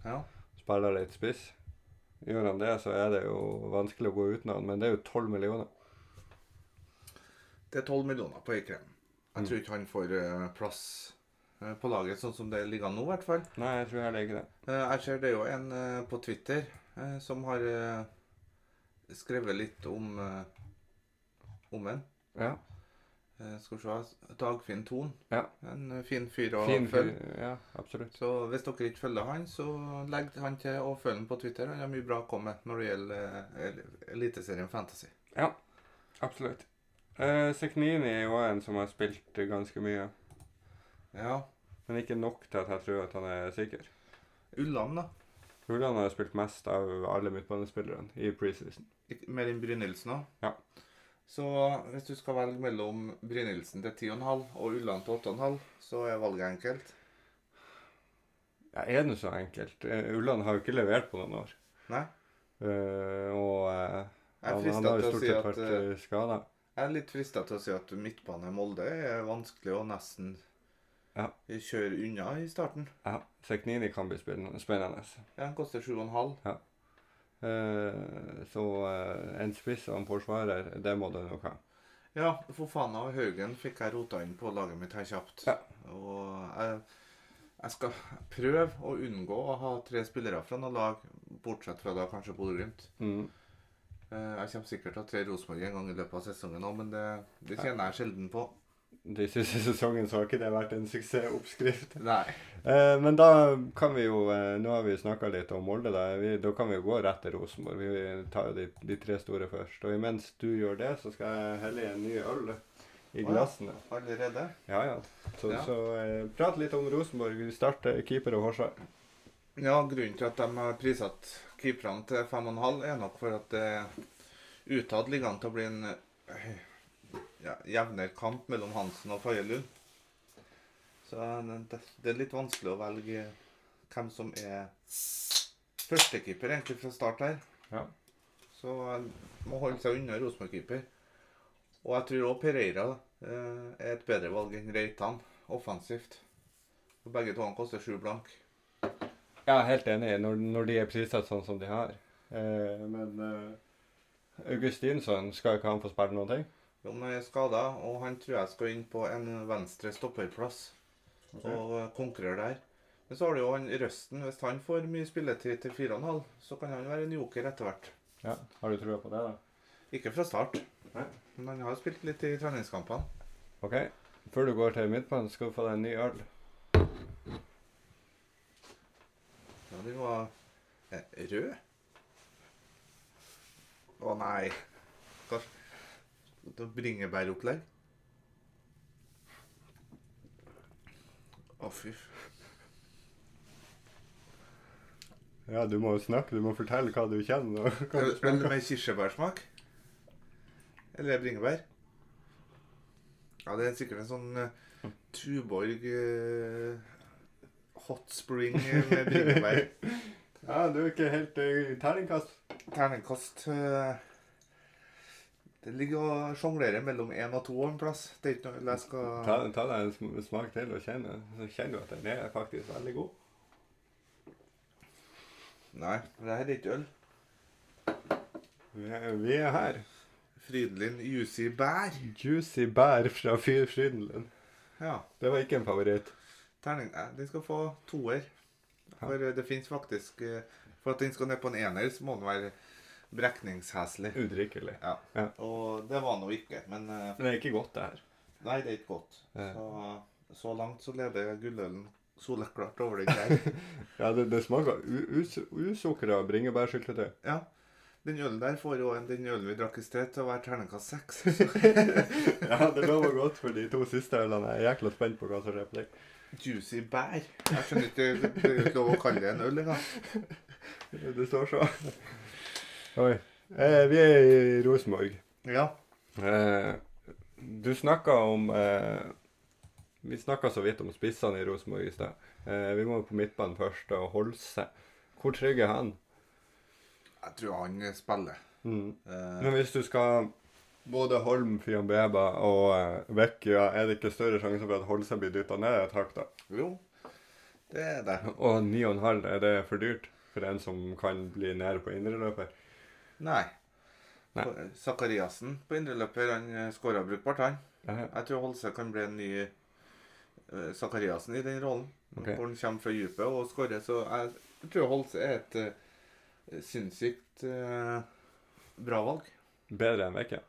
Speaker 2: Ja.
Speaker 1: Spiller litt spiss. Gjør han det, så er det jo vanskelig å gå uten han, men det er jo 12 millioner.
Speaker 2: Det er tolv millioner på Eikrem. Jeg
Speaker 1: Mm.
Speaker 2: tror ikke han får eh, plass eh, på laget sånn som det ligger an nå, i hvert fall.
Speaker 1: Nei, jeg tror heller ikke det.
Speaker 2: Eh, Jeg ser det er jo en eh, på Twitter eh, som har eh, skrevet litt om eh, om en.
Speaker 1: Ja.
Speaker 2: Eh, Skal vi se Dagfinn Thon.
Speaker 1: Ja.
Speaker 2: En eh, fin fyr å
Speaker 1: Fin fyr.
Speaker 2: følge.
Speaker 1: Ja, absolutt.
Speaker 2: Så hvis dere ikke følger han, så legg han til å følge han på Twitter. Han har mye bra å komme med når det gjelder eh, el- Eliteserien Fantasy.
Speaker 1: Absolutt. Eh, Sekhnini er jo en som har spilt ganske mye,
Speaker 2: Ja.
Speaker 1: men ikke nok til at jeg tror at han er sikker.
Speaker 2: Ulland, da.
Speaker 1: Ulland har spilt mest av alle midtbanespillerne i preseason.
Speaker 2: Ikke- Mer enn Brynildsen òg.
Speaker 1: Ja.
Speaker 2: Så hvis du skal velge mellom Brynildsen til 10,5 og Ulland til 8,5, så er valget enkelt.
Speaker 1: Ja, er det så enkelt? Eh, Ulland har jo ikke levert på noen år.
Speaker 2: Nei.
Speaker 1: Eh, og eh,
Speaker 2: Jeg er
Speaker 1: han, han har jo
Speaker 2: fristet til å
Speaker 1: stort
Speaker 2: si
Speaker 1: sett
Speaker 2: at
Speaker 1: vært
Speaker 2: eh,
Speaker 1: eh, skada.
Speaker 2: Jeg er litt frista til å si at midtbane Molde er vanskelig å nesten
Speaker 1: Ja.
Speaker 2: kjøre unna i starten.
Speaker 1: Ja. Sekhnini kan bli spennende. spennende.
Speaker 2: Ja, Den koster 7,5.
Speaker 1: Eh, så eh, en spiss og en forsvarer, det må du nok ha.
Speaker 2: Ja, for faen av Haugen fikk jeg rota inn på laget mitt her kjapt.
Speaker 1: Ja.
Speaker 2: Og jeg, jeg skal prøve å unngå å ha tre spillere fra noe lag, bortsett fra da kanskje Bodø-Glimt.
Speaker 1: Mm.
Speaker 2: Eh, Jeg kommer sikkert til å ha tre Rosenborg en gang i løpet av sesongen òg, men det, det kjenner jeg sjelden på.
Speaker 1: De siste sesongene så har ikke det vært en suksessoppskrift.
Speaker 2: Nei.
Speaker 1: Eh, men da kan vi jo eh, Nå har vi snakka litt om Molde. Da, vi, da kan vi jo gå rett til Rosenborg. Vi tar jo de, de tre store først. Og imens du gjør det, så skal jeg helle i en ny øl
Speaker 2: Å
Speaker 1: i
Speaker 2: ja.
Speaker 1: glassene.
Speaker 2: Allerede?
Speaker 1: Ja, ja. Så,
Speaker 2: Ja.
Speaker 1: så eh, prat litt om Rosenborg. Vi starter keeper og forsvar.
Speaker 2: Ja, grunnen til at de har prissatt keeperne til 5,5, er nok for at det utad ligger an til å bli en eh, ja, jevnere kamp mellom Hansen og Faye Lund. Så eh, det, det er litt vanskelig å velge hvem som er førstekeeper egentlig fra start her.
Speaker 1: Ja.
Speaker 2: Så han må holde seg unna Rosenborg-keeper. Og jeg tror også Pereira eh, er et bedre valg enn Reitan offensivt. For begge to han koster sju blank.
Speaker 1: Jeg er helt enig når, når de er priset sånn som de har. Eh, men eh, Augustinsson skal ikke han få spille noen ting?
Speaker 2: Jo, men han er skada, og han tror jeg skal inn på en venstre stopperplass og eh, konkurrere der. Men så har du jo han Røsten. Hvis han får mye spilletid til 4,5, så kan han være en joker etter hvert.
Speaker 1: Ja. Har du trua på det, da?
Speaker 2: Ikke fra start,
Speaker 1: Nei.
Speaker 2: men han har spilt litt i treningskampene.
Speaker 1: OK. Før du går til midtbanen, skal du få deg en ny øl.
Speaker 2: Ja, den var eh, rød. Å nei. Hva? Det var Bringebæropplegg. Å, fy. f-
Speaker 1: Ja, du må jo snakke. Du må fortelle hva du kjenner. og hva du
Speaker 2: Er det- er det med kirsebærsmak? Eller er det bringebær? Ja, det er sikkert en sånn eh, Tuborg eh, hot spring eh, med bringebær.
Speaker 1: Ja, du er ikke helt uh, terningkast.
Speaker 2: Terningkast eh, Det ligger og sjonglerer mellom én og to en plass. Det er ikke noe jeg
Speaker 1: Ta,
Speaker 2: skal
Speaker 1: ta deg en sm- smak til og kjenn den. Så kjenner du at den er faktisk veldig god.
Speaker 2: Nei, det her er ikke øl.
Speaker 1: Vi er, vi er her.
Speaker 2: Frydenlund Juicy Bær.
Speaker 1: Juicy bær fra Fyr Frydenlund.
Speaker 2: Ja.
Speaker 1: Det var ikke en favoritt.
Speaker 2: Terning, nei, den skal få toer. For eh, det fins faktisk eh, For at den skal ned på en ener, så må den være brekningsheslig.
Speaker 1: Udrikkelig.
Speaker 2: Ja.
Speaker 1: Ja.
Speaker 2: Og det var den jo ikke. Men eh,
Speaker 1: Men det er ikke godt, det her.
Speaker 2: nei, det er ikke godt.
Speaker 1: Ja.
Speaker 2: Så, så langt så leder gullølen soleklart over den der.
Speaker 1: Ja, det, det smaker u- us- usukra bringebærsyltetøy.
Speaker 2: Ja. Den ølen der får jo en- den ølen vi drakk i sted, til å være terningkast seks.
Speaker 1: Ja, det lover godt for de to siste ølene. Jeg er jækla spent på hva som skjer på dem.
Speaker 2: Juicy bær. Jeg skjønner ikke Det er jo ikke lov å kalle det en øl engang.
Speaker 1: Det står så. Oi. Eh, vi er i Rosenborg.
Speaker 2: Ja.
Speaker 1: Eh, du snakka om eh, Vi snakka så vidt om spissene i Rosenborg i stad. Eh, vi må på midtbanen først, og Holse. Hvor trygg er han?
Speaker 2: Jeg tror han spiller.
Speaker 1: Mm.
Speaker 2: Eh,
Speaker 1: Men hvis du skal både Holm, Fiambeba og eh, Vecchia, er det ikke større sjanse for at Holse blir dytta ned et hakk, da?
Speaker 2: jo, det er det.
Speaker 1: Og 9,5, er det for dyrt for en som kan bli nær på indreløper?
Speaker 2: Nei.
Speaker 1: Nei.
Speaker 2: For- Sakariassen på indreløper han skåra brukbart, han.
Speaker 1: Ja,
Speaker 2: Jeg tror Holse kan bli en ny eh, Sakariassen i den rollen.
Speaker 1: Ok.
Speaker 2: Hvor han kommer fra dypet og skårer. Så jeg tror Holse er et eh, sinnssykt eh, bra valg.
Speaker 1: bedre enn Vecchia.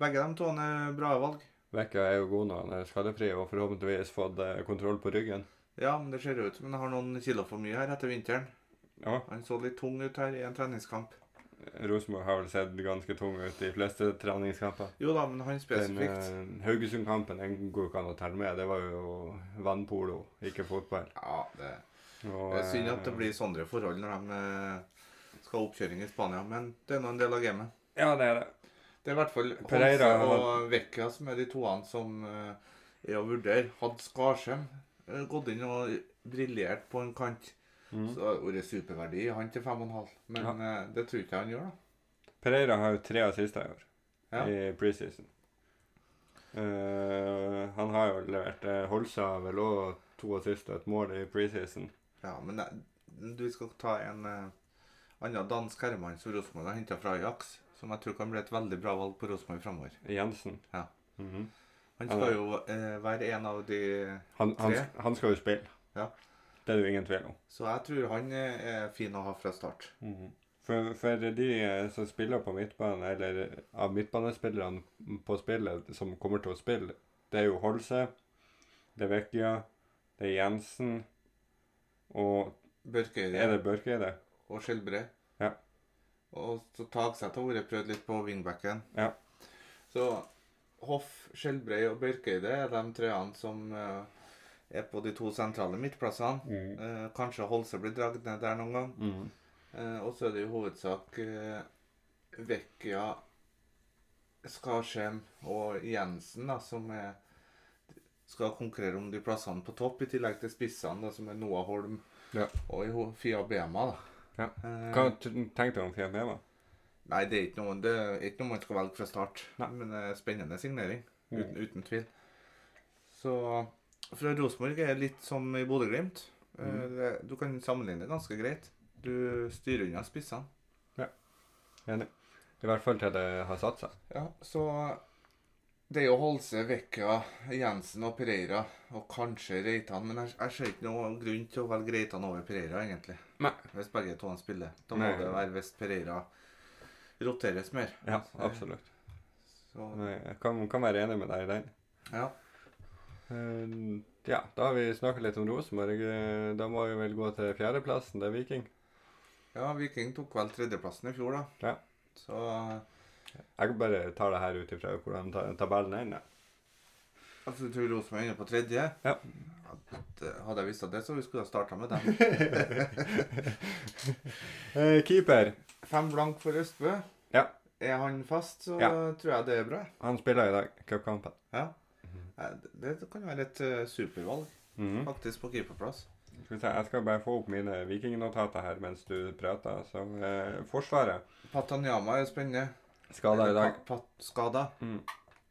Speaker 2: Begge de to han er bra valg.
Speaker 1: Vecchia er jo god når han er skadefri og forhåpentligvis fått eh, kontroll på ryggen.
Speaker 2: Ja, men det ser ut som han har noen kilo for mye her etter vinteren.
Speaker 1: Ja,
Speaker 2: Han så litt tung ut her i en treningskamp.
Speaker 1: Rosenborg har vel sett ganske tung ut de fleste treningskamper.
Speaker 2: Jo da, men han
Speaker 1: Den
Speaker 2: spesifikt.
Speaker 1: eh, Haugesund-kampen den går jo ikke an å telle med. Det var jo vannpolo, ikke fotball.
Speaker 2: Ja, det,
Speaker 1: Og,
Speaker 2: det er synd at det
Speaker 1: eh,
Speaker 2: blir sånne forhold når de eh, skal ha oppkjøring i Spania, men det er nå en del av gamet.
Speaker 1: Ja, det er det.
Speaker 2: Det er i hvert fall Holse
Speaker 1: Pereira
Speaker 2: og Vecchia som er de toene som eh, er å vurdere. Hadde Skarsheim eh, gått inn og briljert på en kant,
Speaker 1: Mhm.
Speaker 2: så hadde det vært superverdi i han til 5,5. Men eh, det tror ikke jeg han gjør, da.
Speaker 1: Pereira har jo tre assister i år,
Speaker 2: Ja.
Speaker 1: i preseason. Eh, han har jo levert uh, Holsa har vel òg to assister og et mål i preseason.
Speaker 2: Ja, men det, du skal ta en eh, annen dansk herremann som Rosenborg har henta fra Ajax, som jeg tror kan bli et veldig bra valg på Rosenborg framover.
Speaker 1: Jensen.
Speaker 2: Ja.
Speaker 1: Mhm.
Speaker 2: Han
Speaker 1: Ja,
Speaker 2: skal
Speaker 1: det-
Speaker 2: jo eh, være en av de
Speaker 1: han, han,
Speaker 2: Tre?
Speaker 1: han skal jo spille.
Speaker 2: Ja.
Speaker 1: Det er det jo ingen tvil om.
Speaker 2: Så jeg tror han eh, er fin å ha fra start.
Speaker 1: For, for de eh, som spiller på midtbanen, eller eh, av midtbanespillerne på spillet som kommer til å spille, det er jo Holse, det er Vecchia, det er Jensen, og er
Speaker 2: Børkeide
Speaker 1: det Børkeide?
Speaker 2: og Skjelbre.
Speaker 1: Ja.
Speaker 2: Og så Tagseth har vært prøvd litt på wingbacken.
Speaker 1: Ja.
Speaker 2: Så Hoff, Skjelbrei og Børkeide er de treene som eh, er på de to sentrale midtplassene.
Speaker 1: Mm.
Speaker 2: Eh, kanskje Holse blir dratt ned der noen gang.
Speaker 1: Mhm.
Speaker 2: Eh, og så er det i hovedsak eh, Vecchia, Skarsheim og Jensen da, som er, skal konkurrere om de plassene på topp, i tillegg til spissene, da, som er Noah Holm,
Speaker 1: Ja.
Speaker 2: Og i ho- Fia Bema, da.
Speaker 1: Ja.
Speaker 2: Eh,
Speaker 1: Hva t- tenkte du om Fia Bema?
Speaker 2: Nei, det er ikke noe, det er ikke noe man skal velge fra start.
Speaker 1: Nei.
Speaker 2: Men det er spennende signering.
Speaker 1: Mm.
Speaker 2: Uten, uten tvil. Så fra Rosenborg er det litt som i Bodø-Glimt. Eh,
Speaker 1: Mm.
Speaker 2: det- Du kan sammenligne ganske greit. Du styrer unna spissene.
Speaker 1: Enig. I hvert fall til det har satt seg.
Speaker 2: Ja, så det er jo Holse, Vekka, Jensen og Pereira, og kanskje Reitan. Men jeg, jeg ser ikke noen grunn til å velge Reitan over Pereira, egentlig.
Speaker 1: Nei.
Speaker 2: Hvis begge to spiller. Da må
Speaker 1: Nei.
Speaker 2: det være hvis Pereira roteres mer. Eh,
Speaker 1: Ja, absolutt.
Speaker 2: Så,
Speaker 1: Nei, Jeg kan, kan være enig med deg i den.
Speaker 2: ja.
Speaker 1: Eh, Ja, da har vi snakket litt om Rosenborg. Eh, Da må vi vel gå til fjerdeplassen, det er Viking.
Speaker 2: Ja, Viking tok vel tredjeplassen i fjor, da.
Speaker 1: Ja.
Speaker 2: Så
Speaker 1: Jeg bare tar det her ut ifra hvordan ta- tabellen ender.
Speaker 2: altså, du tror Rosenborg ender på tredje?
Speaker 1: Ja.
Speaker 2: At, eh, hadde jeg visst at det, så vi skulle ha starta med dem.
Speaker 1: Eh, keeper.
Speaker 2: Fem blank for Østbø.
Speaker 1: Ja.
Speaker 2: Er han fast, så
Speaker 1: Ja.
Speaker 2: tror jeg det er bra.
Speaker 1: Han spiller i dag, cupkampen.
Speaker 2: Ja. Eh, Det det kan være et eh, supervalg,
Speaker 1: Mhm.
Speaker 2: faktisk, på keeperplass.
Speaker 1: Skal vi se, Jeg skal bare få opp mine vikingnotater her mens du prater. Så, eh, forsvaret
Speaker 2: Patanyama er spennende.
Speaker 1: skada i dag.
Speaker 2: Pat, pat, skada.
Speaker 1: Mm.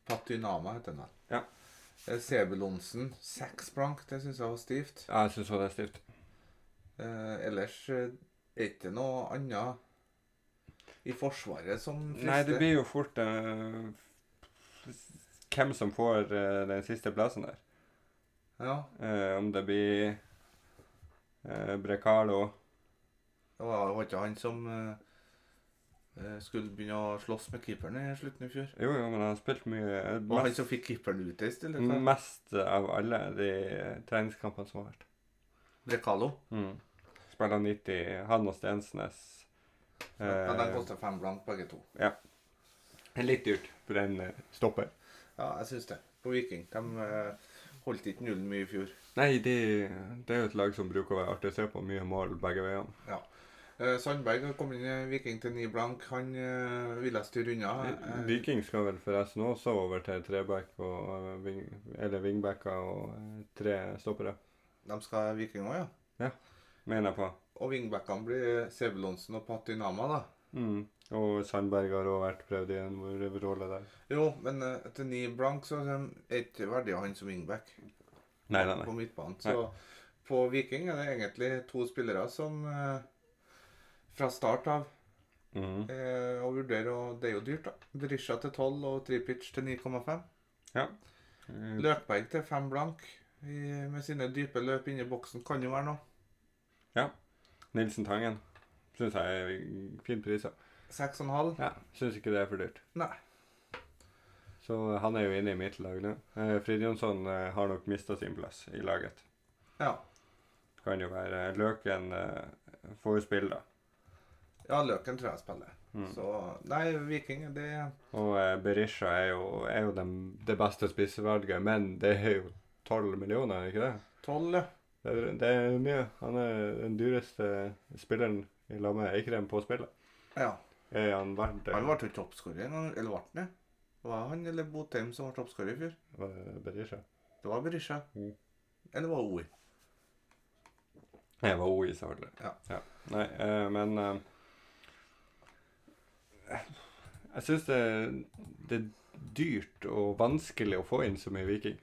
Speaker 2: Patynama heter den.
Speaker 1: Ja.
Speaker 2: Sebulonsen, seks blank. Det syns jeg var stivt.
Speaker 1: Ja, Jeg syns det er stivt.
Speaker 2: Eh, ellers eh, er ikke noe annet i Forsvaret som
Speaker 1: Nei, det blir jo fort eh, hvem som får eh, den siste plassen der.
Speaker 2: Ja,
Speaker 1: Eh, om det blir eh, Brekalo
Speaker 2: det var var ikke han som eh, eh, skulle begynne å slåss med keeperen i slutten i fjor.
Speaker 1: Jo, jo, men han har spilt mye. eh,
Speaker 2: Og han
Speaker 1: Mest,
Speaker 2: som fikk keeperen utreist, eller
Speaker 1: Mm.
Speaker 2: hva?
Speaker 1: mest av alle de eh, treningskampene som har vært.
Speaker 2: Brekalo.
Speaker 1: Mm. Spiller 90. Han og Stensnes.
Speaker 2: Ja, de
Speaker 1: Eh,
Speaker 2: kosta fem blank, begge to.
Speaker 1: litt dyrt for en eh, stopper.
Speaker 2: Ja, jeg syns det. På Viking. De eh, holdt ikke nullen mye i fjor.
Speaker 1: Nei, det, det er jo et lag som bruker å være artig å se på. Mye mål begge veiene.
Speaker 2: Eh, Sandberg har kommet inn i Viking til ni blank. Han eh, ville styre unna. Eh,
Speaker 1: Viking skal vel forresten også over til treback og eh, ving, eller wingbacker og eh, tre stoppere,
Speaker 2: de skal Viking òg, ja.
Speaker 1: mener jeg på.
Speaker 2: Og wingbackene blir Sebulonsen og Patynama, da.
Speaker 1: Mm. Og Sandberg har også vært prøvd i en ro- rolle der.
Speaker 2: Jo, men eh, etter ni blank så er det ikke verdig av han som wingback
Speaker 1: Nei, nei, nei.
Speaker 2: på midtbanen. Så på Viking er det egentlig to spillere som eh, fra start av
Speaker 1: Mhm.
Speaker 2: eh, å vurdere, og det er jo dyrt, da. Berisha til 12 og Tripic til 9,5.
Speaker 1: Eh,
Speaker 2: Løkberg til 5 blank i, med sine dype løp inni boksen kan jo være noe.
Speaker 1: Nilsen Tangen syns jeg er fin pris. ja.
Speaker 2: 6,5.
Speaker 1: Ja, syns ikke det er for dyrt.
Speaker 2: Nei.
Speaker 1: Så han er jo inne i mitt lag nå. Eh, Frid Jonsson eh, har nok mista sin plass i laget.
Speaker 2: Ja.
Speaker 1: Kan jo være eh, Løken eh, får jo spille, da.
Speaker 2: ja, Løken tror jeg spiller.
Speaker 1: Mm.
Speaker 2: Så nei, Viking, det
Speaker 1: Og eh, Berisha er jo, er jo dem, det beste spissevalget, men det er jo 12 millioner, er det ikke det?
Speaker 2: 12, ja.
Speaker 1: Det er, det er mye. Han er den dyreste spilleren i lag med Eikrem på spillet.
Speaker 2: ja.
Speaker 1: Er han verdt det?
Speaker 2: Han ble jo toppskårer en gang, eller ble han det? Var han eller Botheim som var toppskårer i fjor?
Speaker 1: Eh, Berisha.
Speaker 2: Det var Berisha.
Speaker 1: Mm.
Speaker 2: Eller var det Oi?
Speaker 1: Jeg var O i Sardler.
Speaker 2: Ja.
Speaker 1: Nei, eh, men eh, Jeg syns det, det er dyrt og vanskelig å få inn så mye viking.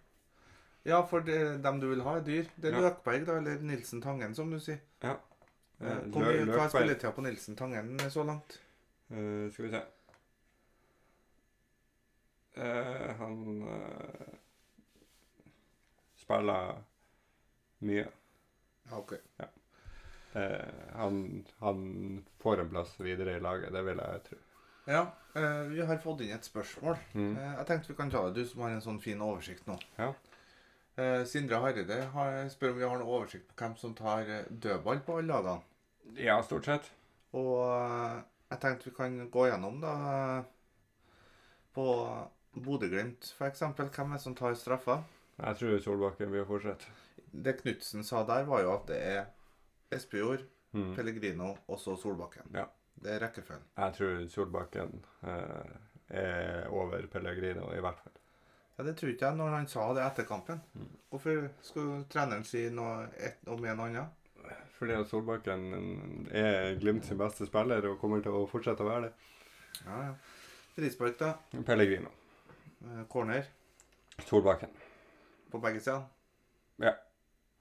Speaker 2: Ja, for det, dem du vil ha, er dyr. Det er
Speaker 1: Ja.
Speaker 2: Løkberg, da, eller Nilsen Tangen, som du sier.
Speaker 1: Eh,
Speaker 2: Eh, Hvor
Speaker 1: Lø-
Speaker 2: mye hva er
Speaker 1: Løkberg-
Speaker 2: spilletida på Nilsen Tangen så langt?
Speaker 1: Eh, skal vi se Eh, Han eh, spiller mye.
Speaker 2: Ja, ok.
Speaker 1: Eh, han, han får en plass videre i laget, det vil jeg tro.
Speaker 2: Ja, eh, vi har fått inn et spørsmål.
Speaker 1: Mm.
Speaker 2: Eh, jeg tenkte vi kan ta det, du som har en sånn fin oversikt nå.
Speaker 1: Ja.
Speaker 2: Eh, Sindre Hareide har, spør om vi har noen oversikt på hvem som tar eh, dødball på alle lagene.
Speaker 1: Ja, stort sett.
Speaker 2: Og eh, jeg tenkte vi kan gå gjennom da eh, på Bodø-Glimt f.eks. Hvem er det som tar straffa?
Speaker 1: Jeg tror Solbakken vil fortsette.
Speaker 2: Det Knutsen sa der, var jo at det er Espejord,
Speaker 1: Mm.
Speaker 2: Pellegrino og så Solbakken.
Speaker 1: Ja.
Speaker 2: Det er rekkefølgen.
Speaker 1: Jeg tror Solbakken eh, er over Pellegrino, i hvert fall.
Speaker 2: Ja, Det tror ikke jeg når han sa det etter kampen.
Speaker 1: Mm.
Speaker 2: Hvorfor skulle treneren si noe et, om en annen?
Speaker 1: Fordi at Solbakken er Glimt sin beste spiller og kommer til å fortsette å være det.
Speaker 2: Ja, ja. Frispark, da.
Speaker 1: Pellegrino.
Speaker 2: Eh, Corner
Speaker 1: Solbakken.
Speaker 2: på begge sider.
Speaker 1: Ja.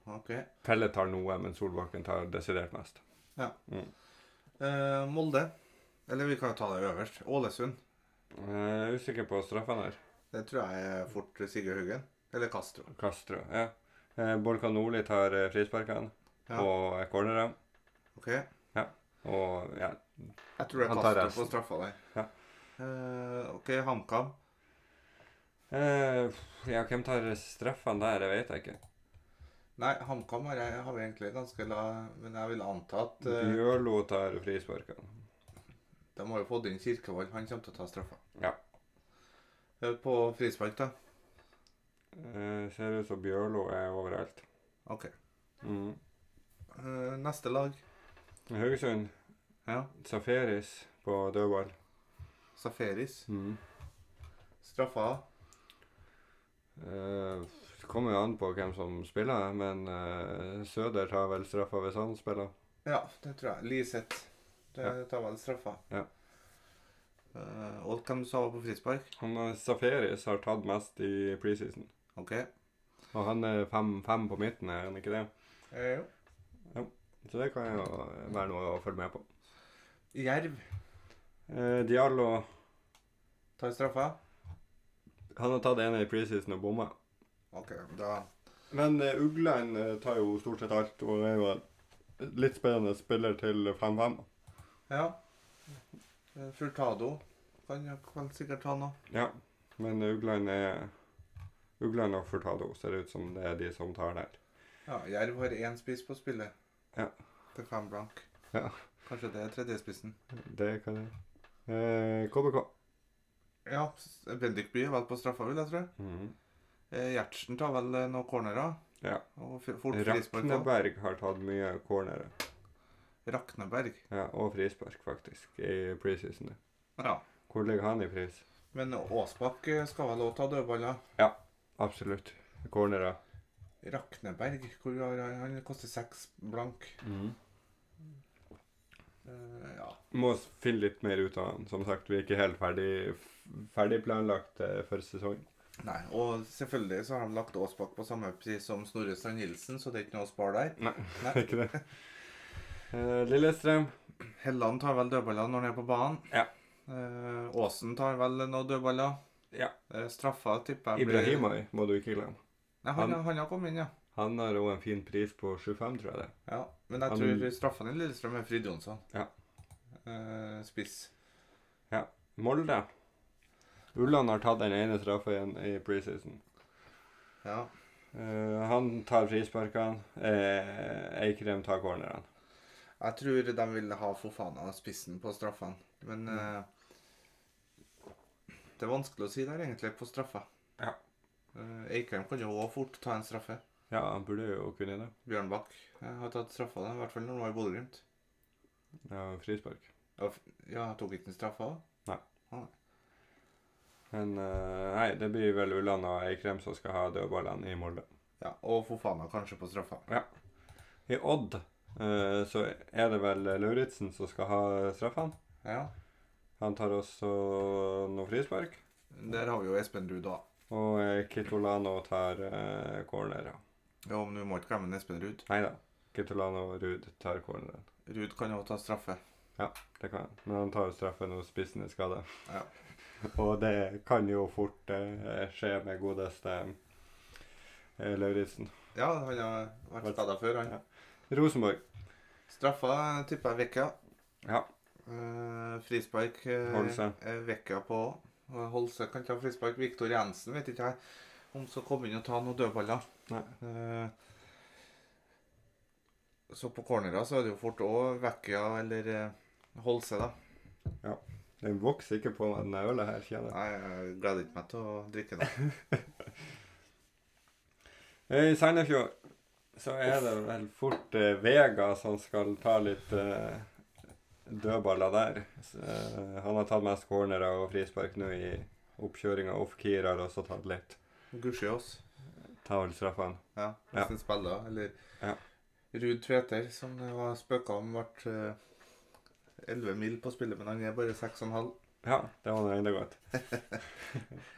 Speaker 2: Ok. Eh,
Speaker 1: Pelle tar noe, men Solbakken tar desidert mest.
Speaker 2: Eh, Molde. Eller vi kan jo ta det øverst. Ålesund.
Speaker 1: Jeg er usikker på straffen her.
Speaker 2: Det tror jeg er fort Sigurd Huggen. Eller Castro.
Speaker 1: Castro. Ja. Eh, Borka Nordli tar eh, frisparkene
Speaker 2: Ja.
Speaker 1: og cornere.
Speaker 2: Ok. Jeg
Speaker 1: Og ja,
Speaker 2: tror det er
Speaker 1: Han tar
Speaker 2: Castro
Speaker 1: resten.
Speaker 2: på straffa der.
Speaker 1: Ja.
Speaker 2: Eh, ok, HamKam.
Speaker 1: eh, ja hvem tar straffene der? Det vet jeg ikke.
Speaker 2: Nei, HamKam har, jeg- har vi egentlig ganske la... Men jeg vil anta at eh,
Speaker 1: Bjørlo tar frisparkene.
Speaker 2: de har jo fått inn Kirkevold. Han kommer til å ta straffa.
Speaker 1: Ja.
Speaker 2: Eh, på frispark, da.
Speaker 1: Eh, ser ut som Bjørlo er overalt.
Speaker 2: Ok.
Speaker 1: Mm.
Speaker 2: Eh, neste lag.
Speaker 1: Haugesund.
Speaker 2: Ja.
Speaker 1: Safaris på dødball.
Speaker 2: Safaris. Straffa.
Speaker 1: Eh, det kommer jo an på hvem som spiller, men eh, Søder tar vel straffa hvis han spiller.
Speaker 2: Ja, det tror jeg. Liseth. Det
Speaker 1: Ja.
Speaker 2: tar vel straffa.
Speaker 1: Ja.
Speaker 2: Eh, og hvem sa var på frispark?
Speaker 1: Han eh, Safaris har tatt mest i preseason.
Speaker 2: OK.
Speaker 1: Og han er fem, fem på midten, er han ikke det?
Speaker 2: Eh, jo.
Speaker 1: Så det kan jo være noe å følge med på.
Speaker 2: Jerv
Speaker 1: Eh, Diallo
Speaker 2: tar straffa.
Speaker 1: han har tatt en i preseason og bomma.
Speaker 2: OK, da
Speaker 1: Men eh, Ugland eh, tar jo stort sett alt og er jo en litt spennende spiller til 5-5.
Speaker 2: Ja. Eh, Furtado kan jo vel sikkert ta noe.
Speaker 1: Ja, men Ugland er Ugland og Furtado ser ut som det er de som tar der.
Speaker 2: Ja, Jerv har én spiss på spillet.
Speaker 1: Ja.
Speaker 2: Til fem blank.
Speaker 1: Ja.
Speaker 2: Kanskje det er tredjespissen.
Speaker 1: Det kan jeg. Eh, KBK.
Speaker 2: Ja, s- Bendikby er vel på straffa, vil jeg tro.
Speaker 1: Mm.
Speaker 2: Eh, Gjertsen tar vel eh, noen cornerer.
Speaker 1: Ja.
Speaker 2: Og f- fort frispark. også.
Speaker 1: Rakneberg har tatt mye cornere.
Speaker 2: Rakneberg.
Speaker 1: Ja, og frispark, faktisk, i preseason.
Speaker 2: Ja.
Speaker 1: Hvor ligger han i pris?
Speaker 2: Men Aasbakk eh, skal vel også ta dødballer.
Speaker 1: Absolutt. Cornere.
Speaker 2: Rakneberg, hvor har han, han koster seks blank.
Speaker 1: Mm.
Speaker 2: Eh, ja.
Speaker 1: Må s- finne litt mer ut av han. Som sagt, vi er ikke helt ferdig, f- ferdig planlagt eh, for sesongen.
Speaker 2: Nei, og selvfølgelig så har de lagt Aasbakk på samme pris som Snorre Strand Nilsen, så det er ikke noe å spare der.
Speaker 1: Nei,
Speaker 2: Nei.
Speaker 1: det er ikke det. Eh, Lillestrøm.
Speaker 2: Helland tar vel dødballer når han er på banen.
Speaker 1: Ja.
Speaker 2: Eh, Aasen tar vel noen dødballer.
Speaker 1: Ja.
Speaker 2: Eh, straffa tipper jeg blir-
Speaker 1: Ibrahimai må du ikke glemme.
Speaker 2: Nei, han,
Speaker 1: Han-
Speaker 2: han har kommet inn, ja.
Speaker 1: Han har òg en fin pris på 25, tror jeg det.
Speaker 2: ja. Men jeg
Speaker 1: Han-
Speaker 2: tror straffen i Lillestrøm er Frid Jonsson.
Speaker 1: Ja.
Speaker 2: Eh, spiss.
Speaker 1: Molde. Ulland har tatt den ene straffa igjen i preseason.
Speaker 2: Ja.
Speaker 1: Eh, han tar frisparkene. Eh, Eikrem tar cornerne.
Speaker 2: Jeg tror de vil ha Fofana spissen på straffene. Men eh, det er vanskelig å si der, egentlig, på straffa.
Speaker 1: Ja.
Speaker 2: Eh, Eikrem kan jo òg fort ta en straffe.
Speaker 1: Ja, han burde jo kunne det.
Speaker 2: Bjørnbakk eh, har tatt straffa, da, i hvert fall når han var i Bodø-Glimt.
Speaker 1: Ja, frispark.
Speaker 2: Ja, f- Ja, han tok ikke en straffe òg?
Speaker 1: Men eh, nei, det blir vel Ulland og Eikrem som skal ha dødballene i Molde.
Speaker 2: Ja, og Fofana kanskje på straffa.
Speaker 1: I Odd eh, så er det vel Lauritzen som skal ha straffene.
Speaker 2: Ja.
Speaker 1: Han tar også noe frispark.
Speaker 2: Der har vi jo Espen Ruud, da.
Speaker 1: Og eh, Kitolano tar eh, cornere.
Speaker 2: Ja, men vi må ikke glemme Espen Ruud.
Speaker 1: Nei da. Kitolano og Ruud tar cornere.
Speaker 2: Ruud kan jo ta straffe.
Speaker 1: Det kan han. Men han tar jo straffen når spissen er skada.
Speaker 2: Ja.
Speaker 1: og det kan jo fort eh, skje med godeste eh, Lauritzen.
Speaker 2: Ja, han har vært skada før, han.
Speaker 1: Ja. Rosenborg.
Speaker 2: Straffa tipper jeg Vekka.
Speaker 1: Ja.
Speaker 2: Eh, frispark eh,
Speaker 1: Holse.
Speaker 2: er vekka på. Og Holse kan ta frispark. Viktor Jensen vet ikke jeg om skal komme inn og ta noen dødballer.
Speaker 1: Nei.
Speaker 2: Eh, så på cornera så er det jo fort òg Vekka eller eh, Holse, da.
Speaker 1: Den vokser ikke på meg, den ølet her, kjenner jeg.
Speaker 2: Nei, jeg gleder ikke meg til å drikke den.
Speaker 1: Eh, I Sandefjord så er det vel fort eh, Vega som skal ta litt eh, dødballer der. Så, eh, han har tatt mest cornere og frispark nå i oppkjøringa. Off-keer har også tatt litt.
Speaker 2: Gudskjelov.
Speaker 1: Tar vel straffene.
Speaker 2: Ja, hvis
Speaker 1: Ja.
Speaker 2: den spiller, eller
Speaker 1: Ja.
Speaker 2: Ruud Tveter, som det var spøka om ble eh, 11 mil på spillet, men han er bare 6,5.
Speaker 1: Ja, det var nå enda godt.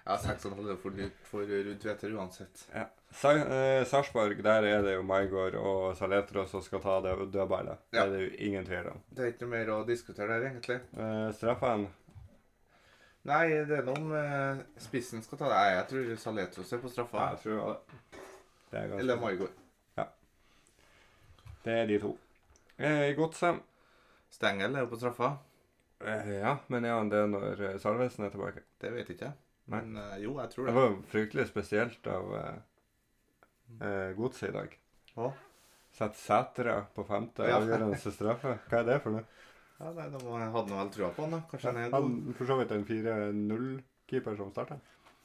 Speaker 2: Ja, 6,5 er for dyrt for Ruud Tveter uansett.
Speaker 1: Ja. Sa eh, Sarpsborg, der er det jo Maigård og Saletros som skal ta det dødballet. Det
Speaker 2: Ja.
Speaker 1: er det jo ingen tvil om.
Speaker 2: Det er ikke noe mer å diskutere der, egentlig.
Speaker 1: Eh, straffen
Speaker 2: Nei, det er noe om eh, spissen skal ta det. Nei, jeg tror Saletros er på straffa.
Speaker 1: Ja, jeg tror det var det. Det er,
Speaker 2: Eller
Speaker 1: ganske,
Speaker 2: Maigard.
Speaker 1: det er de to. Eh, Godset
Speaker 2: Stengel er jo på straffa.
Speaker 1: eh, Ja, men er han det når eh, Salvesen er tilbake?
Speaker 2: Det vet ikke jeg.
Speaker 1: Nei.
Speaker 2: Men eh, jo, jeg tror
Speaker 1: Det
Speaker 2: det.
Speaker 1: var jo fryktelig spesielt av eh, eh, Godset i dag.
Speaker 2: Hva?
Speaker 1: Sette Sætra på femte
Speaker 2: Ja.
Speaker 1: avgjørende straffe. Hva er det for noe?
Speaker 2: Ja, nei, da må- hadde han vel trua på han, da. Kanskje han er
Speaker 1: Han
Speaker 2: god.
Speaker 1: for så vidt en 4-0-keeper som starta.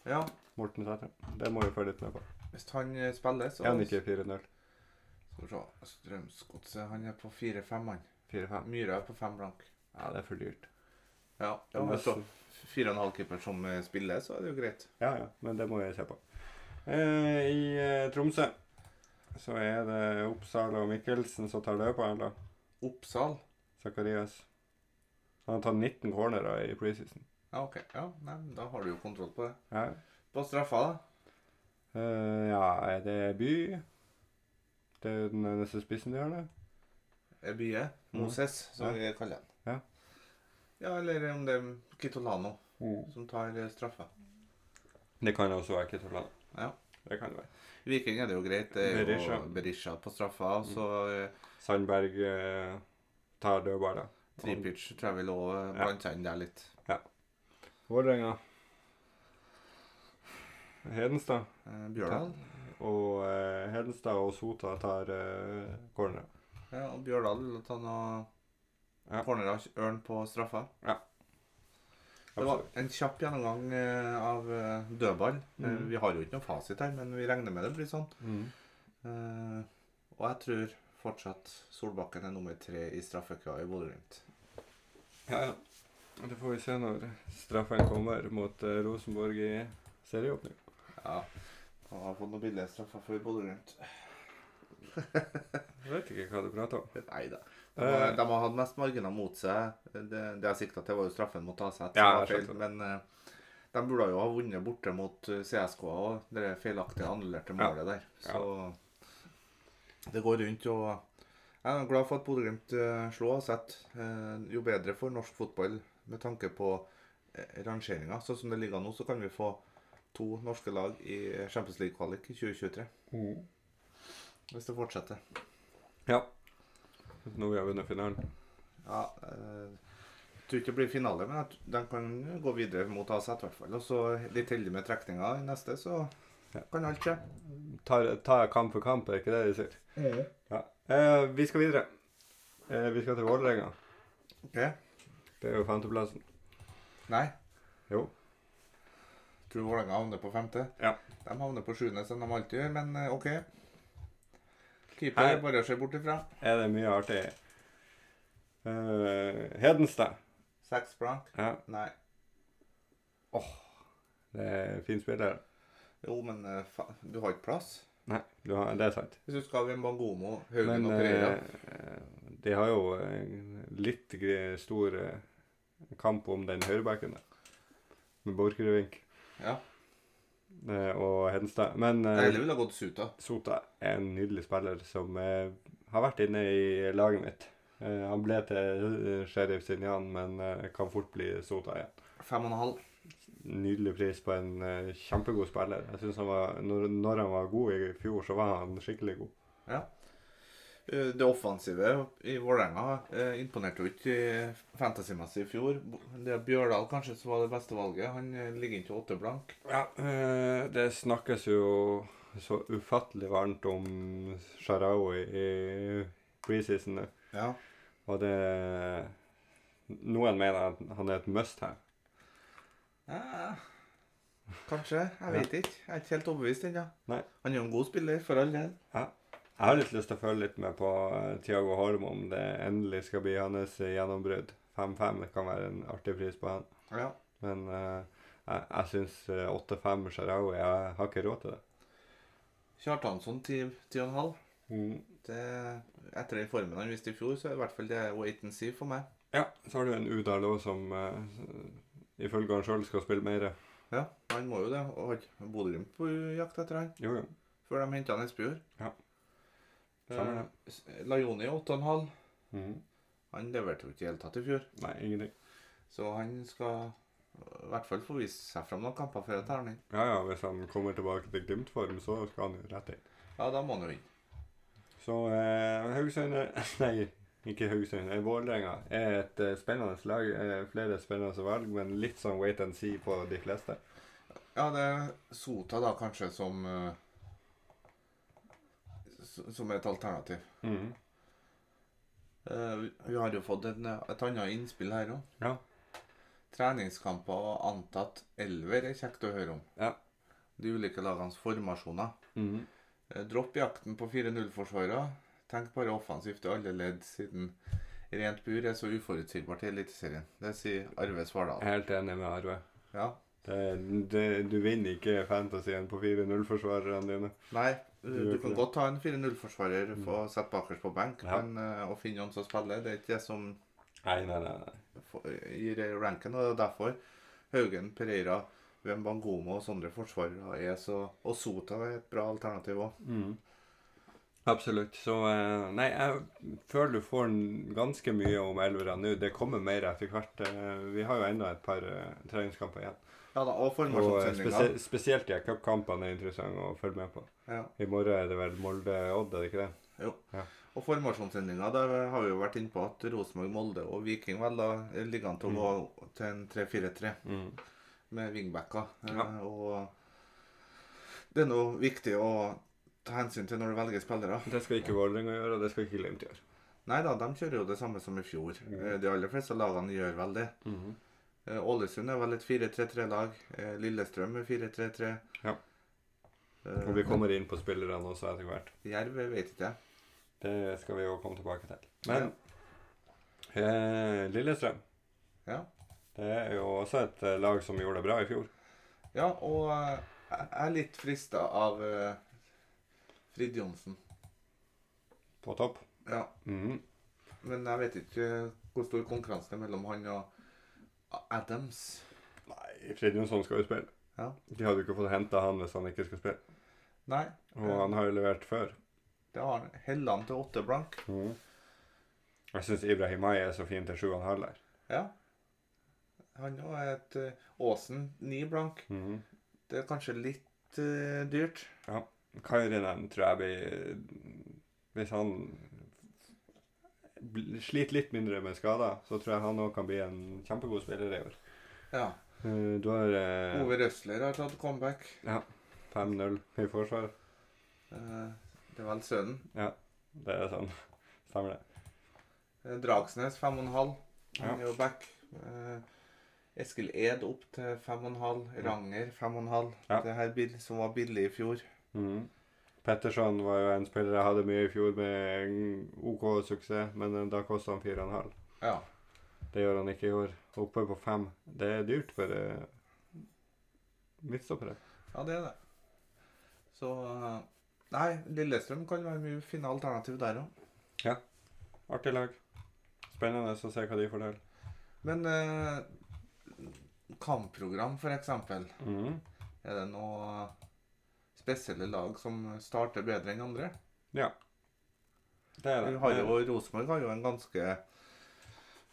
Speaker 2: Ja,
Speaker 1: Morten Sætra. Det må vi følge litt med på.
Speaker 2: hvis han eh, spiller, så
Speaker 1: Er han ikke 4-0?
Speaker 2: Skal vi se. Strømsgodset, han er på fire-fem, han.
Speaker 1: 4-5?
Speaker 2: Myhra er på fem blank.
Speaker 1: Ja, det er for dyrt.
Speaker 2: Ja,
Speaker 1: Det
Speaker 2: ja altså.
Speaker 1: er
Speaker 2: hvis
Speaker 1: nesten-
Speaker 2: det er fire og en halv keeper som eh, spiller, så er det jo greit.
Speaker 1: Ja, ja, men det må jeg se på. Eh, I eh, Tromsø så er det Oppsal og Mikkelsen som tar løpet. eller
Speaker 2: Oppsal.
Speaker 1: Zakarias. Han har tatt 19 cornerer i preseason.
Speaker 2: Ja, OK. Ja, nei, men da har du jo kontroll på det.
Speaker 1: Ja.
Speaker 2: På straffa, da?
Speaker 1: Eh, ja, er det By? Det er jo den neste spissen de har, det.
Speaker 2: Er Bye. Moses, som vi kaller han.
Speaker 1: Mm. Ja.
Speaker 2: Ja, eller om det er Kitolano som tar eh, straffa.
Speaker 1: Det kan også være Ketolan.
Speaker 2: Ja.
Speaker 1: Det kan det være.
Speaker 2: Viking er det jo greit. Det er
Speaker 1: Berisha. Mm.
Speaker 2: jo Berisha på straffa. Og så eh,
Speaker 1: Sandberg eh, tar dødballer.
Speaker 2: Tripic tror jeg vil også eh,
Speaker 1: Ja.
Speaker 2: blande seg inn der litt.
Speaker 1: Vålerenga. Hedenstad.
Speaker 2: Eh, Bjørdal.
Speaker 1: Og eh, Hedenstad og Sota tar eh, cornerer.
Speaker 2: Ja, og Bjørdal vil ta noe
Speaker 1: Ja.
Speaker 2: Corner av Ørn på straffa. Det var
Speaker 1: Absolutt.
Speaker 2: en kjapp gjennomgang eh, av eh, dødball. Eh,
Speaker 1: Mhm.
Speaker 2: Vi har jo ikke noe fasit her, men vi regner med det blir sånn.
Speaker 1: Mm.
Speaker 2: Eh, Og jeg tror fortsatt Solbakken er nummer tre i straffekøa i Bodø-Glimt.
Speaker 1: Ja, ja. Det får vi se når straffen kommer mot eh, Rosenborg i serieåpning.
Speaker 2: Ja. Han har fått noen billige straffer for Bodø-Glimt.
Speaker 1: Jeg vet ikke hva du prater om.
Speaker 2: Nei da. De har,
Speaker 1: Eh,
Speaker 2: de har hatt mest marginer mot seg. Det, det jeg sikta til, var jo straffen mot AZ. som
Speaker 1: Ja,
Speaker 2: var
Speaker 1: jeg
Speaker 2: feil,
Speaker 1: skjønte
Speaker 2: men eh, de burde jo ha vunnet borte mot eh, CSK og det feilaktige annullerte
Speaker 1: Ja.
Speaker 2: målet der. Så det går rundt. og Jeg er glad for at Bodø-Glimt eh, slo AZ. Eh, Jo bedre for norsk fotball med tanke på eh, rangeringa. Sånn som det ligger an nå, så kan vi få to norske lag i Champions League-kvalik i 2023.
Speaker 1: mm.
Speaker 2: Hvis det fortsetter.
Speaker 1: ja. Nå har vi vunnet finalen.
Speaker 2: Ja, eh, jeg tror ikke det blir finale, men jeg tr- de kan gå videre mot AZ i hvert fall. Og så litt heldig med trekninga i neste, så
Speaker 1: Ja.
Speaker 2: kan alt skje.
Speaker 1: Ta, ta kamp for kamp, er ikke det de sier? Ja. Eh, vi skal videre. Eh, vi skal til Vålerenga.
Speaker 2: Ok.
Speaker 1: Det er jo femteplassen.
Speaker 2: Nei,
Speaker 1: Jo.
Speaker 2: tror Vålerenga havner på femte.
Speaker 1: Ja.
Speaker 2: De havner på sjuende, som de alltid gjør, men eh, OK. Keeper
Speaker 1: Her-
Speaker 2: er bare å se bort ifra.
Speaker 1: Er det mye artig? Eh, Hedenstad.
Speaker 2: Seks blank.
Speaker 1: Ja.
Speaker 2: Nei.
Speaker 1: Det er en fin spiller.
Speaker 2: Jo, men eh, fa du har ikke plass.
Speaker 1: Nei, du har, det er sant.
Speaker 2: Hvis du skal ha Bangomo, Haugen
Speaker 1: Men
Speaker 2: og Pereira
Speaker 1: eh, de har jo en litt gre- stor eh, kamp om den høyrebacken der. Med Borchgrevink
Speaker 2: Ja.
Speaker 1: eh, og Hedenstad. Men
Speaker 2: Jeg heller
Speaker 1: eh,
Speaker 2: ville ha gått Suta.
Speaker 1: Sota er en nydelig spiller som eh, har vært inne i laget mitt. Eh, han ble til eh, Sheriff Sinjan, men eh, kan fort bli Sota igjen.
Speaker 2: Fem og en halv.
Speaker 1: Nydelig pris på en eh, kjempegod spiller. Jeg synes han var, når, når han var god i fjor, så var han skikkelig god.
Speaker 2: Eh, Det offensive i Vålerenga eh, imponerte jo ikke eh, fantasymessig i fjor. Bo- Det er Bjørdal kanskje som var det beste valget. Han eh, ligger ikke åtte blank.
Speaker 1: Ja, eh, det snakkes jo så ufattelig varmt om Sharawi i preseason. nå.
Speaker 2: Ja.
Speaker 1: Og det Noen mener at han er et must her.
Speaker 2: Eh, kanskje. Jeg vet ikke. Jeg er ikke helt overbevist ennå.
Speaker 1: Nei.
Speaker 2: Han er jo en god spiller for all del.
Speaker 1: Jeg har litt lyst til å følge litt med på eh, Thiago Holm om det endelig skal bli hans eh, gjennombrudd. 5-5 kan være en artig pris på han.
Speaker 2: Ja.
Speaker 1: Men eh, jeg, jeg eh, syns 8-5 Sharawi Jeg har ikke råd til det.
Speaker 2: Kjartansson 10,5.
Speaker 1: Mm.
Speaker 2: Det, etter den formen han viste i fjor, så er i hvert fall det wait and see for meg.
Speaker 1: Ja, så har du en Udal òg som eh, ifølge han sjøl skal spille mer.
Speaker 2: Ja, han må jo det. Og har ikke Bodø-Glimt på jakt etter han,
Speaker 1: Jo, jo.
Speaker 2: før de henta Espejord.
Speaker 1: Ja. Stemmer det.
Speaker 2: Eh, Lajoni 8,5.
Speaker 1: Mm.
Speaker 2: Han leverte jo ikke i det hele tatt i fjor.
Speaker 1: Nei, ingenting.
Speaker 2: Så han skal i hvert fall få vise seg fram noen kamper før jeg tar han inn.
Speaker 1: Ja ja, hvis han kommer tilbake til Glimt-form, så skal han jo rett inn.
Speaker 2: Ja, da må han jo inn.
Speaker 1: Så eh, Haugesund er- Nei, ikke Haugesund. eh, Vålerenga er et eh, spennende lag. eh, flere spennende valg, men litt sånn wait and see på de fleste.
Speaker 2: Ja, det er Sota da kanskje som eh, s- Som et alternativ.
Speaker 1: Mm.
Speaker 2: Eh, vi- Vi har jo fått en, eh, et annet innspill her òg.
Speaker 1: Ja.
Speaker 2: Treningskamper og antatt elver er kjekt å høre om.
Speaker 1: Ja.
Speaker 2: De ulike lagenes formasjoner.
Speaker 1: Mm.
Speaker 2: Eh, Dropp jakten på 4-0-forsvarere. Tenk bare offensivt i alle ledd, siden rent bur er så uforutsigbart i Eliteserien. Det sier Arve Svardal.
Speaker 1: Helt enig med Arve.
Speaker 2: Ja.
Speaker 1: Det, det, du vinner ikke fantasyen på 4-0-forsvarerne dine.
Speaker 2: Nei,
Speaker 1: gjør
Speaker 2: du
Speaker 1: ikke
Speaker 2: kan
Speaker 1: det. Mm.
Speaker 2: godt ta en 4-0-forsvarer og sette bakerst på benk,
Speaker 1: Ja.
Speaker 2: men eh, å finne noen som spiller, det er ikke det som
Speaker 1: Nei, nei, nei. nei.
Speaker 2: får- gir ranken, og det er derfor Haugen, Pereira, Wembangomo og sånne forsvarere er så Og Sota er et bra alternativ òg.
Speaker 1: Mm. Absolutt. Så eh, Nei, jeg føler du får n- ganske mye om elvera nå. Det kommer mer etter hvert. Eh, Vi har jo ennå et par eh, treningskamper igjen.
Speaker 2: Ja da,
Speaker 1: Og
Speaker 2: og
Speaker 1: eh,
Speaker 2: formasjonssendinga.
Speaker 1: spesie- spesielt de her cupkampene er interessante å følge med på.
Speaker 2: Ja.
Speaker 1: I morgen er det vel Molde-Odd, er det ikke det?
Speaker 2: Og formasjonssendinga, der har vi jo vært inne på at Rosenborg, Molde og Viking vel da ligger an til å gå til en 3-4-3
Speaker 1: Mm.
Speaker 2: med wingbacker. eh,
Speaker 1: Ja.
Speaker 2: Og det er nå viktig å ta hensyn til når du velger spillere.
Speaker 1: Det skal ikke Vålerenga gjøre, og det skal ikke Glimt gjøre.
Speaker 2: Nei da, de kjører jo det samme som i fjor.
Speaker 1: Mm.
Speaker 2: Eh, De aller fleste lagene gjør vel det.
Speaker 1: Mhm.
Speaker 2: Eh, Ålesund er vel et 4-3-3-lag. Eh, Lillestrøm er 4-3-3.
Speaker 1: Ja.
Speaker 2: Eh,
Speaker 1: Og vi kommer inn på spillerne også etter hvert.
Speaker 2: Jerv jeg vet ikke jeg.
Speaker 1: Det skal vi jo komme tilbake til. Men eh, Lillestrøm
Speaker 2: Ja.
Speaker 1: det er jo også et eh, lag som gjorde det bra i fjor.
Speaker 2: ja, og eh, jeg er litt frista av eh, Frid Johnsen.
Speaker 1: På topp.
Speaker 2: Ja,
Speaker 1: Mhm.
Speaker 2: men jeg vet ikke hvor stor konkurransen er mellom han og Adams.
Speaker 1: Nei, Fridjonsson skal jo spille.
Speaker 2: Ja.
Speaker 1: De hadde jo ikke fått henta han hvis han ikke skulle spille.
Speaker 2: Nei,
Speaker 1: Og han har jo levert før.
Speaker 2: det har han. Helland til åtte blank.
Speaker 1: Jeg syns Ibrahimai er så fin til sju og en halv der.
Speaker 2: Ja. Han òg er et eh, Åsen ni blank. Det er kanskje litt eh, dyrt.
Speaker 1: Kairinen tror jeg blir Hvis han bl- sliter litt mindre med skader, så tror jeg han òg kan bli en kjempegod spiller i år.
Speaker 2: Ja.
Speaker 1: Eh, Du har eh,
Speaker 2: Ove Røsler har tatt comeback.
Speaker 1: 5-0 i forsvar.
Speaker 2: Eh, det er vel sønnen.
Speaker 1: Det er sånn. Stemmer det.
Speaker 2: Eh, Dragsnes 5,5. Han
Speaker 1: Ja.
Speaker 2: er jo back. Eh, Eskil Ed opp til 5,5. Ranger 5,5.
Speaker 1: Ja.
Speaker 2: Det her bil, som var billig i fjor.
Speaker 1: Mhm. Petterson var jo en spiller jeg hadde mye i fjor med en OK suksess, men eh, da kosta han 4,5.
Speaker 2: Ja.
Speaker 1: Det gjør han ikke i år. Oppe på 5. Det er dyrt for eh, midtstoppere.
Speaker 2: ja, det er det. Så eh, Nei, Lillestrøm kan være mye fine alternativ der òg.
Speaker 1: Artig lag. Spennende å se hva de får til.
Speaker 2: Men eh, kampprogram, for eksempel.
Speaker 1: Mhm.
Speaker 2: Er det noe spesielle lag som starter bedre enn andre?
Speaker 1: Det er
Speaker 2: Vi
Speaker 1: det.
Speaker 2: har jo, Rosenborg har jo en ganske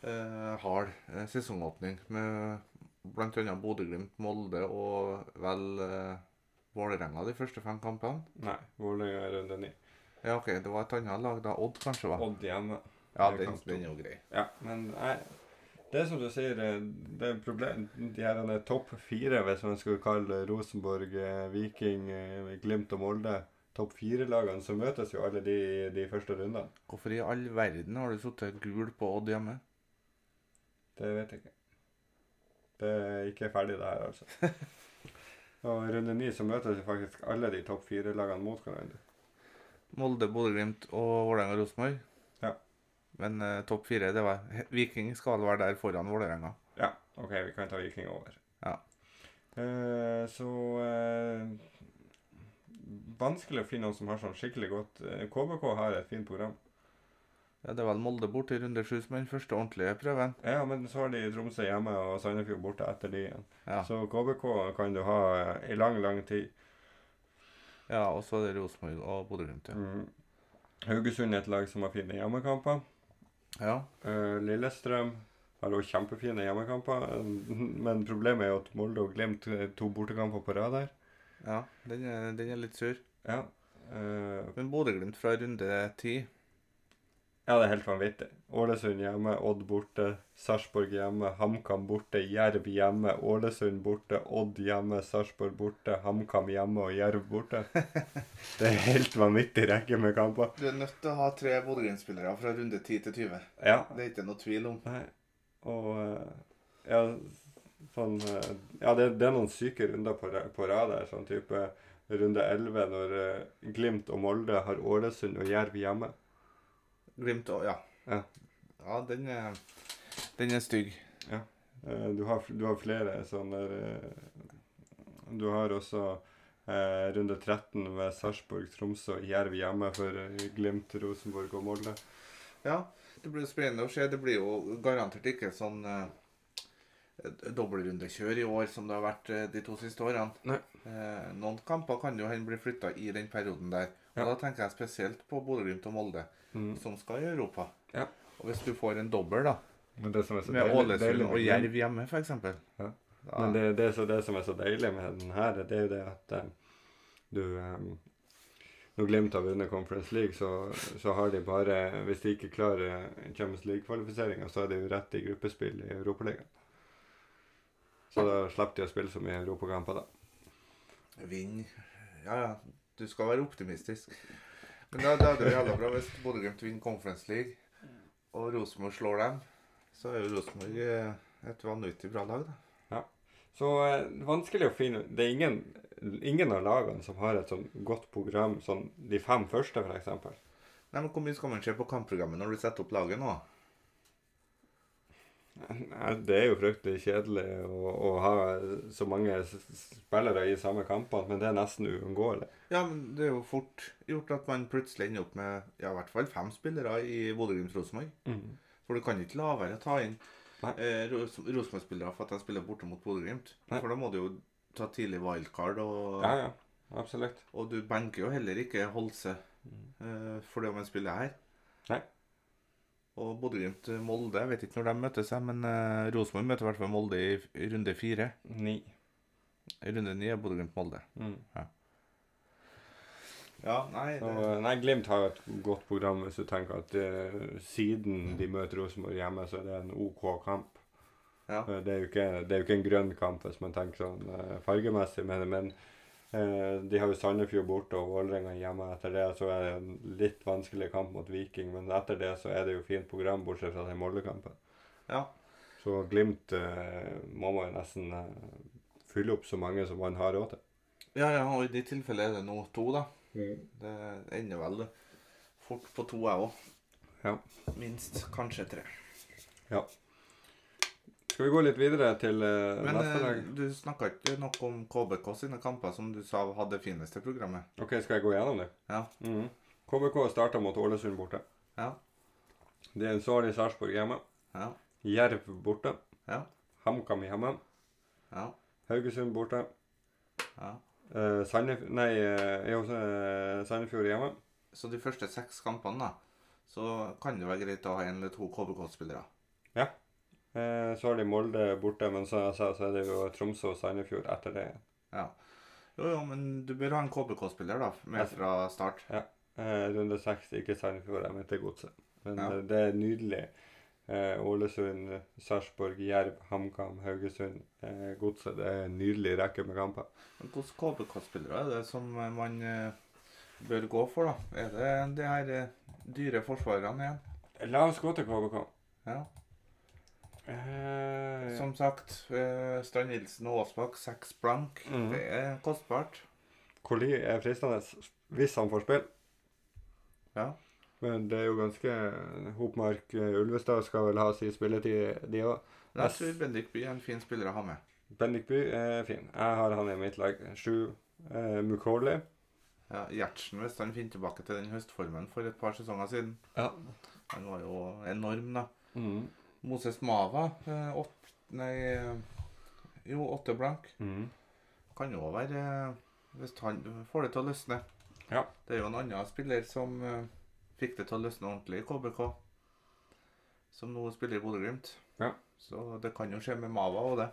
Speaker 2: eh, hard eh, sesongåpning med bl.a. Bodø-Glimt, Molde og vel eh, Vålerenga de første fem kampene.
Speaker 1: Nei, Vålerenga er runde 9.
Speaker 2: Ja, OK, det var et annet lag da. Odd, kanskje, var
Speaker 1: Odd hjemme.
Speaker 2: Ja,
Speaker 1: det er
Speaker 2: den,
Speaker 1: kamp to.
Speaker 2: den er jo grei.
Speaker 1: Ja, men nei. Det er som du sier, eh, det er problem. De her er topp fire, hvis man skulle kalle Rosenborg, eh, Viking, eh, Glimt og Molde topp fire-lagene, så møtes jo alle de i de første rundene.
Speaker 2: Hvorfor i all verden har du sittet gul på Odd hjemme?
Speaker 1: Det vet jeg ikke. Det er ikke ferdig, det her, altså. Og i runde ni så møtes jo faktisk alle de topp fire-lagene mot hverandre.
Speaker 2: Molde, Bodø-Glimt og Vålerenga og Rosenborg.
Speaker 1: Ja.
Speaker 2: Men eh, topp fire, det var Viking skal være der foran Vålerenga.
Speaker 1: Ja, OK, vi kan ta Viking over.
Speaker 2: Ja.
Speaker 1: Eh, så eh, vanskelig å finne noen som har sånn skikkelig godt eh, KBK har et fint program.
Speaker 2: Ja, det er vel Molde bort i runde sju som er den første ordentlige prøven.
Speaker 1: Ja, men så har de Tromsø hjemme og Sandefjord borte etter de igjen.
Speaker 2: Ja,
Speaker 1: Så KBK kan du ha eh, i lang, lang tid.
Speaker 2: ja og så er det Rosenborg og Bodø-Glimt. Ja.
Speaker 1: Mm. Haugesund er et lag som har fine hjemmekamper.
Speaker 2: ja.
Speaker 1: Eh, Lillestrøm har også kjempefine hjemmekamper, eh, men problemet er jo at Molde og Glimt eh, to bortekamper på rad her.
Speaker 2: Ja, den er, den er litt sur.
Speaker 1: Ja. eh,
Speaker 2: Men Bodø-Glimt fra runde ti
Speaker 1: Ja, det er helt vanvittig. Ålesund hjemme, Odd borte, Sarpsborg hjemme, HamKam borte, Jerv hjemme, Ålesund borte, Odd hjemme, Sarpsborg borte, HamKam hjemme og Jerv borte. Det er helt vanvittig rekke med kamper.
Speaker 2: Du er nødt til å ha tre Bodø-Glimt-spillere fra runde 10 til 20.
Speaker 1: Ja.
Speaker 2: Det er ikke noe tvil om.
Speaker 1: Nei. Og eh, ja, sånn eh, Ja, det, det er noen syke runder på, ra- på rad her. Sånn type runde 11 når eh, Glimt og Molde har Ålesund og Jerv hjemme.
Speaker 2: Glimt òg, ja.
Speaker 1: Ja.
Speaker 2: Ja, den er, den er stygg.
Speaker 1: Eh, Du har, fl- du har flere sånne eh, Du har også eh, runde 13 med Sarpsborg, Tromsø og Jerv hjemme for eh, Glimt, Rosenborg og Molde.
Speaker 2: Ja, det blir jo spennende å se. Det blir jo garantert ikke sånn eh, dobbeltrundekjør i år som det har vært eh, de to siste årene.
Speaker 1: Nei.
Speaker 2: Eh, noen kamper kan jo hende bli flytta i den perioden der. Og
Speaker 1: Ja.
Speaker 2: Da tenker jeg spesielt på Bodø-Glimt og Molde,
Speaker 1: Mm.
Speaker 2: som skal i Europa.
Speaker 1: Ja.
Speaker 2: Og hvis du får en dobbel, da,
Speaker 1: Men det som er så
Speaker 2: med
Speaker 1: deilig,
Speaker 2: Ålesund
Speaker 1: deilig
Speaker 2: og
Speaker 1: med Glimt-
Speaker 2: Jerv hjemme, f.eks.
Speaker 1: Ja. Men det, det, er så, det som er så deilig med den her, det er jo det at eh, du eh, Når Glimt har vunnet Conference League, så, så har de bare Hvis de ikke klarer eh, Champions League-kvalifiseringa, så er de jo rett i gruppespill i Europaligaen. Så da slapp de å spille så mye europakamper, da.
Speaker 2: Vinn Ja, ja. Du skal være optimistisk. Men da, da er det jo jævla bra hvis Bodø-Glimt vinner Conference League, og Rosenborg slår dem. Så er jo Rosenborg eh, et vanvittig bra lag, da.
Speaker 1: Så eh, vanskelig å finne Det er ingen, ingen av lagene som har et sånn godt program, sånn de fem første, f.eks.
Speaker 2: Nei, men Hvor mye skal man se på kampprogrammet når du setter opp laget nå?
Speaker 1: Det er jo fryktelig kjedelig å, å ha så mange s- s- spillere i samme kampene, men det er nesten uunngåelig.
Speaker 2: Ja, men Det er jo fort gjort at man plutselig ender opp med ja, i hvert fall fem spillere i Bodø-Glimt-Rosenborg. For du kan ikke la være å ta inn
Speaker 1: Nei.
Speaker 2: eh, Ros- Rosenborg-spillere for at de spiller borte mot Bodø-Glimt.
Speaker 1: Nei.
Speaker 2: For da må du jo ta tidlig wildcard, og,
Speaker 1: Ja, ja. Absolutt.
Speaker 2: og du benker jo heller ikke Holse eh, fordi om han spiller her.
Speaker 1: Mm. Nei.
Speaker 2: Og Bodø-Glimt-Molde, jeg vet ikke når de møtes, jeg, men eh, Rosenborg møter i hvert fall Molde i f- i runde fire.
Speaker 1: Ni.
Speaker 2: I runde ni er Bodø-Glimt-Molde.
Speaker 1: Mm.
Speaker 2: Ja, nei,
Speaker 1: Så, eh, nei, Glimt har jo et godt program hvis du tenker at eh, siden de møter Rosenborg hjemme, så er det en OK kamp.
Speaker 2: Ja.
Speaker 1: Eh, Det er jo ikke, det er jo ikke en grønn kamp hvis man tenker sånn eh, fargemessig, men, men eh, de har jo Sandefjord borte og Vålerenga hjemme. Etter det så er det en litt vanskelig kamp mot Viking, men etter det så er det jo fint program, bortsett fra den Molde-kampen.
Speaker 2: Ja.
Speaker 1: Så Glimt eh, må man jo nesten eh, fylle opp så mange som man har råd til.
Speaker 2: Ja, ja, og i de tilfellene er det nå to, da. Det ender vel fort på to, jeg òg.
Speaker 1: Ja.
Speaker 2: Minst kanskje tre.
Speaker 1: Skal vi gå litt videre til eh,
Speaker 2: Men
Speaker 1: neste
Speaker 2: eh,
Speaker 1: lag?
Speaker 2: du snakka ikke noe om KBK sine kamper, som du sa hadde det fineste programmet.
Speaker 1: Ok, skal jeg gå gjennom det?
Speaker 2: Ja.
Speaker 1: Mhm. KBK starta mot Ålesund borte.
Speaker 2: Ja.
Speaker 1: Det er en sår i Sarpsborg hjemme.
Speaker 2: Ja.
Speaker 1: Jerv borte.
Speaker 2: Ja.
Speaker 1: HamKam hjemme.
Speaker 2: Ja.
Speaker 1: Haugesund borte.
Speaker 2: ja.
Speaker 1: Eh, Sandef nei, eh, jo, eh, Sandefjord hjemme.
Speaker 2: Så de første seks kampene, da, så kan det være greit å ha en eller to KBK-spillere.
Speaker 1: Eh, så har de Molde borte, men så, så, så er det jo Tromsø og Sandefjord etter det.
Speaker 2: Jo, jo, men du bør ha en KBK-spiller, da,
Speaker 1: Ja.
Speaker 2: med fra start.
Speaker 1: Eh, runde seks, ikke Sandefjord, jeg mente Godset. Men
Speaker 2: Ja.
Speaker 1: eh, det er nydelig. Eh, Ålesund, Sarpsborg, Jerv, HamKam, Haugesund, eh, Godset. Det er en nydelig rekke med kamper.
Speaker 2: Men Hvilke KBK-spillere er det som man eh, bør gå for, da? Er det de her eh, dyre forsvarerne igjen?
Speaker 1: La oss gå til KBK.
Speaker 2: Ja.
Speaker 1: Eh,
Speaker 2: Som sagt, eh, Strand Nilsen og Aasbakk, seks blank.
Speaker 1: Mhm.
Speaker 2: Det er kostbart.
Speaker 1: Koli er fristende hvis han får spill.
Speaker 2: Ja.
Speaker 1: Men det er jo ganske Hopmark eh, Ulvestad skal vel ha sin spilletid, de òg.
Speaker 2: Men jeg
Speaker 1: Yes.
Speaker 2: tror Bendik Bye er en fin spiller å ha med.
Speaker 1: Bendik By er fin. Jeg har han i mitt lag. Sju. Eh, Mukoli.
Speaker 2: Ja, Gjertsen, hvis han finner tilbake til den høstformen for et par sesonger siden
Speaker 1: Ja.
Speaker 2: Han var jo enorm, da.
Speaker 1: Mm.
Speaker 2: Moses Mava, eh, åt, nei eh, Jo, åtte blank.
Speaker 1: Mm.
Speaker 2: Kan jo være eh, Hvis han får det til å løsne.
Speaker 1: Ja.
Speaker 2: Det er jo en annen spiller som eh, fikk det til å løsne ordentlig i KBK. Som nå spiller i Bodø-Glimt.
Speaker 1: Ja.
Speaker 2: Så det kan jo skje med Mava og det.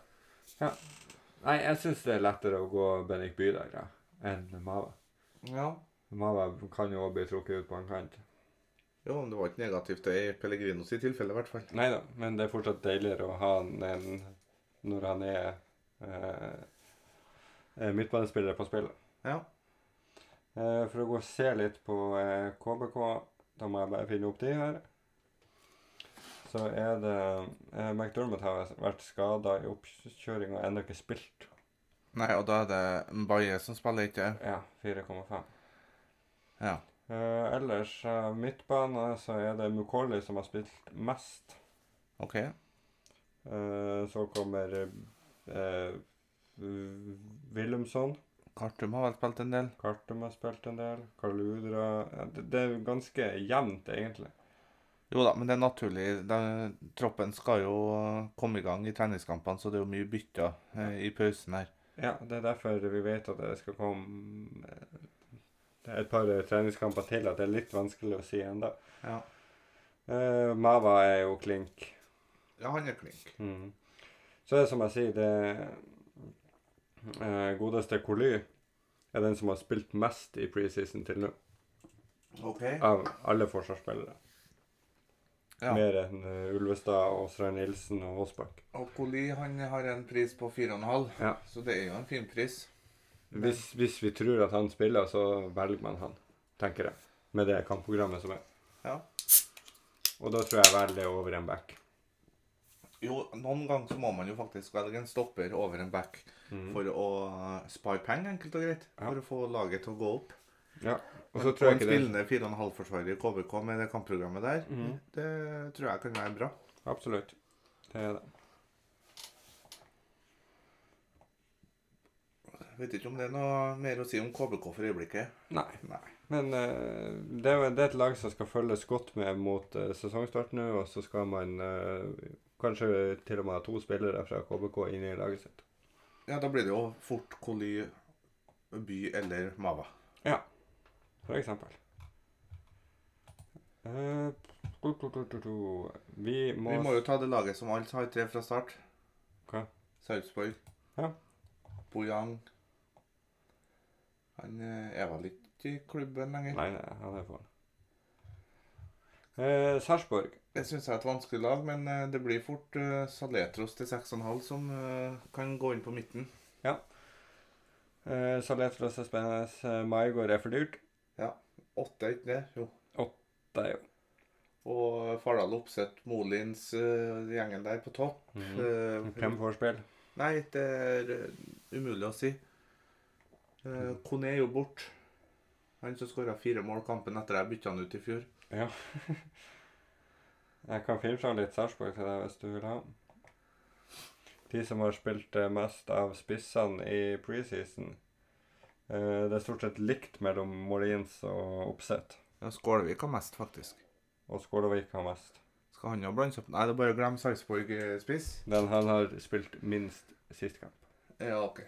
Speaker 1: Nei, jeg syns det er lettere å gå Bennik Bydag da, enn Mava.
Speaker 2: Ja.
Speaker 1: Mava kan jo også bli trukket ut på en kant.
Speaker 2: Jo, men det var ikke negativt det i Pellegrinos i tilfelle, i hvert fall.
Speaker 1: Nei da, men det er fortsatt deiligere å ha han enn når han er eh, eh, midtbanespiller på spillet.
Speaker 2: Ja.
Speaker 1: Eh, for å gå og se litt på eh, KBK, da må jeg bare finne opp de her. Så er det eh, McDermott har vært skada i oppkjøringa og ennå ikke spilt.
Speaker 2: Nei, og da er det Mbaye som spiller, ikke
Speaker 1: Ja, 4,5.
Speaker 2: Ja.
Speaker 1: Eh, ellers, eh, midtbane, så er det Mukolli som har spilt mest.
Speaker 2: OK.
Speaker 1: Eh, så kommer eh, V- Willumson.
Speaker 2: Kartum har vel spilt en del.
Speaker 1: Kartum har spilt en del. Kaludra ja, det, det er ganske jevnt, egentlig.
Speaker 2: Jo da, men det er naturlig. Da- troppen skal jo komme i gang i treningskampene, så det er jo mye bytter eh, i pausen her.
Speaker 1: Ja, Det er derfor vi vet at det skal komme eh, Det er et par eh, treningskamper til at det er litt vanskelig å si ennå.
Speaker 2: Ja.
Speaker 1: Eh, Mava er jo klink.
Speaker 2: ja, han er klink.
Speaker 1: Mm. Så er det som jeg sier, det eh, godeste Koly er den som har spilt mest i preseason til nå.
Speaker 2: OK.
Speaker 1: Av alle forsvarsspillere.
Speaker 2: Ja.
Speaker 1: Mer enn eh, Ulvestad, Åsra Nilsen og Aasbakk.
Speaker 2: Og Koli han har en pris på 4,5,
Speaker 1: Ja.
Speaker 2: så det er jo en fin pris.
Speaker 1: Hvis, hvis vi tror at han spiller, så velger man han, tenker jeg. Med det kampprogrammet som er.
Speaker 2: Ja.
Speaker 1: Og da tror jeg jeg velger det over en back.
Speaker 2: Jo, noen ganger så må man jo faktisk velge en stopper over en back
Speaker 1: Mm.
Speaker 2: for å eh, spare penger, enkelt og greit.
Speaker 1: Ja.
Speaker 2: For å få laget til å gå opp.
Speaker 1: Ja. Og så
Speaker 2: Men
Speaker 1: tror
Speaker 2: på
Speaker 1: jeg
Speaker 2: en
Speaker 1: ikke det
Speaker 2: spillende 4,5-forsvarer i KBK med det kampprogrammet der, det tror jeg kan være bra.
Speaker 1: Absolutt. Det er det.
Speaker 2: Jeg vet ikke om det er noe mer å si om KBK for øyeblikket.
Speaker 1: Nei.
Speaker 2: Nei.
Speaker 1: Men eh, det, er, jo- det er et lag som skal følges godt med mot eh, sesongstart nå, og så skal man eh, kanskje til og med ha to spillere fra KBK inn i laget sitt.
Speaker 2: Ja, da blir det jo fort Koli, By eller Mava.
Speaker 1: For eksempel. Eh, tu, tu, tu, tu, tu. Vi må,
Speaker 2: Vi må jo ta det laget som alt har tre fra start.
Speaker 1: Ok.
Speaker 2: Sarpsborg.
Speaker 1: Ja.
Speaker 2: Bojang. Han eh, er vel ikke i klubben lenger.
Speaker 1: Nei, nei, han er foran. Eh, Sarpsborg.
Speaker 2: Det syns jeg er et vanskelig lag, men eh, det blir fort eh, Saletros til 6,5 som eh, kan gå inn på midten.
Speaker 1: Eh, Saletros er spennende. Eh, Maigård er for dyrt.
Speaker 2: 8, ikke det? Jo.
Speaker 1: Det er jo.
Speaker 2: Og Fardal Opseth, Molins, eh, gjengen der på topp. Eh,
Speaker 1: Mhm. Hvem får spill?
Speaker 2: Nei, det er eh, umulig å si. Eh, Kone er jo bort. Han som skåra fire mål kampen etter jeg bytta han ut i fjor.
Speaker 1: Jeg kan finne fram litt Sarpsborg til deg hvis du vil ha. De som har spilt eh, mest av spissene i preseason. Eh, det er stort sett likt mellom Molins og Oppsett.
Speaker 2: Ja, Skålevik har mest, faktisk.
Speaker 1: Og Skålevik har mest.
Speaker 2: Skal han jo blandes opp? Nei, det er bare å glemme Sarpsborg eh, spiss.
Speaker 1: Den han har spilt minst sist kamp.
Speaker 2: Ja, OK.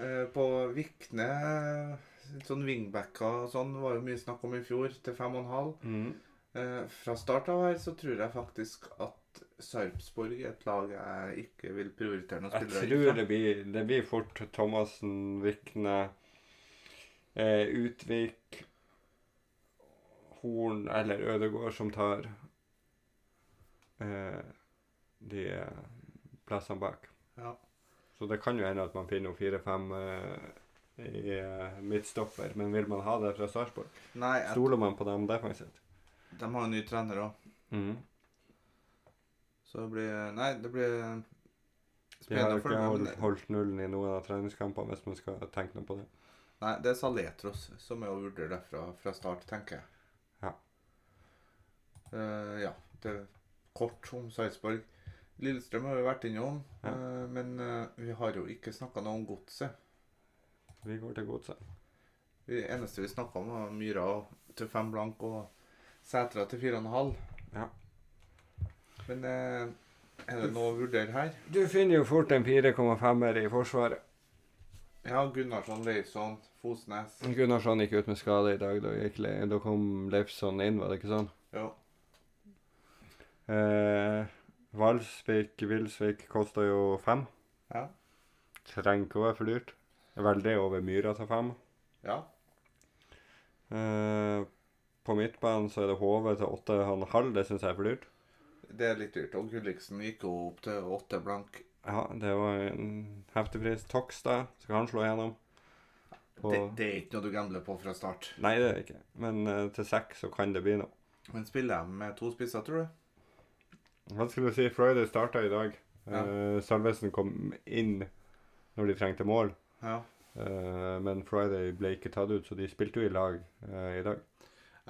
Speaker 2: Eh, På Vikne eh, litt sånn wingbacker og sånn var jo mye snakk om i fjor, til fem og en halv. Eh, Fra start av her så tror jeg faktisk at Sarpsborg er et lag jeg ikke vil prioritere noen
Speaker 1: Jeg
Speaker 2: spillere
Speaker 1: tror
Speaker 2: ifra.
Speaker 1: det blir, det blir fort Thomassen, Vikne, eh, Utvik, Horn eller Ødegård som tar eh, de eh, plassene bak.
Speaker 2: Ja.
Speaker 1: Så det kan jo hende at man finner fire-fem eh, i eh, midtstopper, men vil man ha det fra Sarpsborg?
Speaker 2: Nei, jeg,
Speaker 1: Stoler man på dem defensivt?
Speaker 2: de har jo ny trener òg. Så det blir Nei, det blir
Speaker 1: De har
Speaker 2: spennende
Speaker 1: jo
Speaker 2: for
Speaker 1: ikke
Speaker 2: dem.
Speaker 1: holdt,
Speaker 2: men-
Speaker 1: holdt nullen i noen av treningskampene, hvis man skal tenke noe på det.
Speaker 2: Nei, det er Saletros som er å vurdere derfra fra start, tenker jeg.
Speaker 1: Ja.
Speaker 2: Eh, ja. Det er kort om Sarpsborg. Lillestrøm har vi vært innom,
Speaker 1: Ja.
Speaker 2: eh, men eh, vi har jo ikke snakka noe om godset.
Speaker 1: Vi går til godset.
Speaker 2: Det eneste vi snakka om, var Myra og- til fem blank og Sætra til fire og en halv.
Speaker 1: Ja.
Speaker 2: Men eh, er det noe å vurdere her?
Speaker 1: Du finner jo fort en 4,5-er i Forsvaret.
Speaker 2: Ja, Gunnarsson, Leifsson, Fosnes.
Speaker 1: Gunnarsson gikk ut med skade i dag. Da, gikk, Le- da kom Leifsson inn, var det ikke sånn?
Speaker 2: Ja.
Speaker 1: Eh, Valsvik, Vilsvik koster jo fem.
Speaker 2: Ja.
Speaker 1: Trenger ikke å være for dyrt. Veldig over Myra til fem.
Speaker 2: ja.
Speaker 1: Eh, på midtbanen så er det HV til åtte og en halv. Det syns jeg er for dyrt.
Speaker 2: Det er litt dyrt. Og Gulliksen gikk jo opp til åtte blank.
Speaker 1: Ja, det var en heftig pris. Tokstad skal han slå igjennom. På...
Speaker 2: Det, det er ikke noe du gambler på fra start.
Speaker 1: Nei, det er det ikke. Men eh, til seks så kan det bli noe.
Speaker 2: Men spiller de med to spisser, tror du?
Speaker 1: Hva skulle du si? Friday starta i dag.
Speaker 2: Ja.
Speaker 1: Eh, Salvesen kom inn når de trengte mål.
Speaker 2: Ja.
Speaker 1: Eh, men Friday ble ikke tatt ut, så de spilte jo i lag eh, i dag.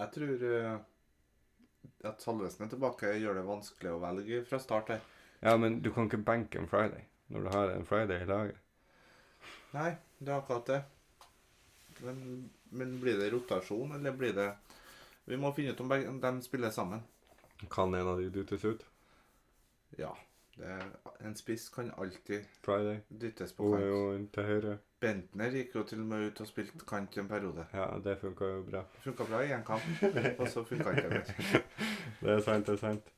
Speaker 2: Jeg tror eh, at Salvesen er tilbake gjør det vanskelig å velge fra start her.
Speaker 1: Ja, men du kan ikke benke en Friday når du har en Friday i laget.
Speaker 2: Nei, det er akkurat det. Men, men blir det rotasjon, eller blir det Vi må finne ut om begge, om de spiller sammen.
Speaker 1: Kan en av de dutes ut?
Speaker 2: Ja. Det, en spiss kan alltid
Speaker 1: Friday.
Speaker 2: dyttes på
Speaker 1: Hun er
Speaker 2: kant.
Speaker 1: jo inn til høyre.
Speaker 2: Bentner gikk jo til og med ut og spilte kant i en periode.
Speaker 1: Ja, det funka jo bra.
Speaker 2: Funka bra i én kamp, og så funka ikke mer.
Speaker 1: Det er sant, det er sant.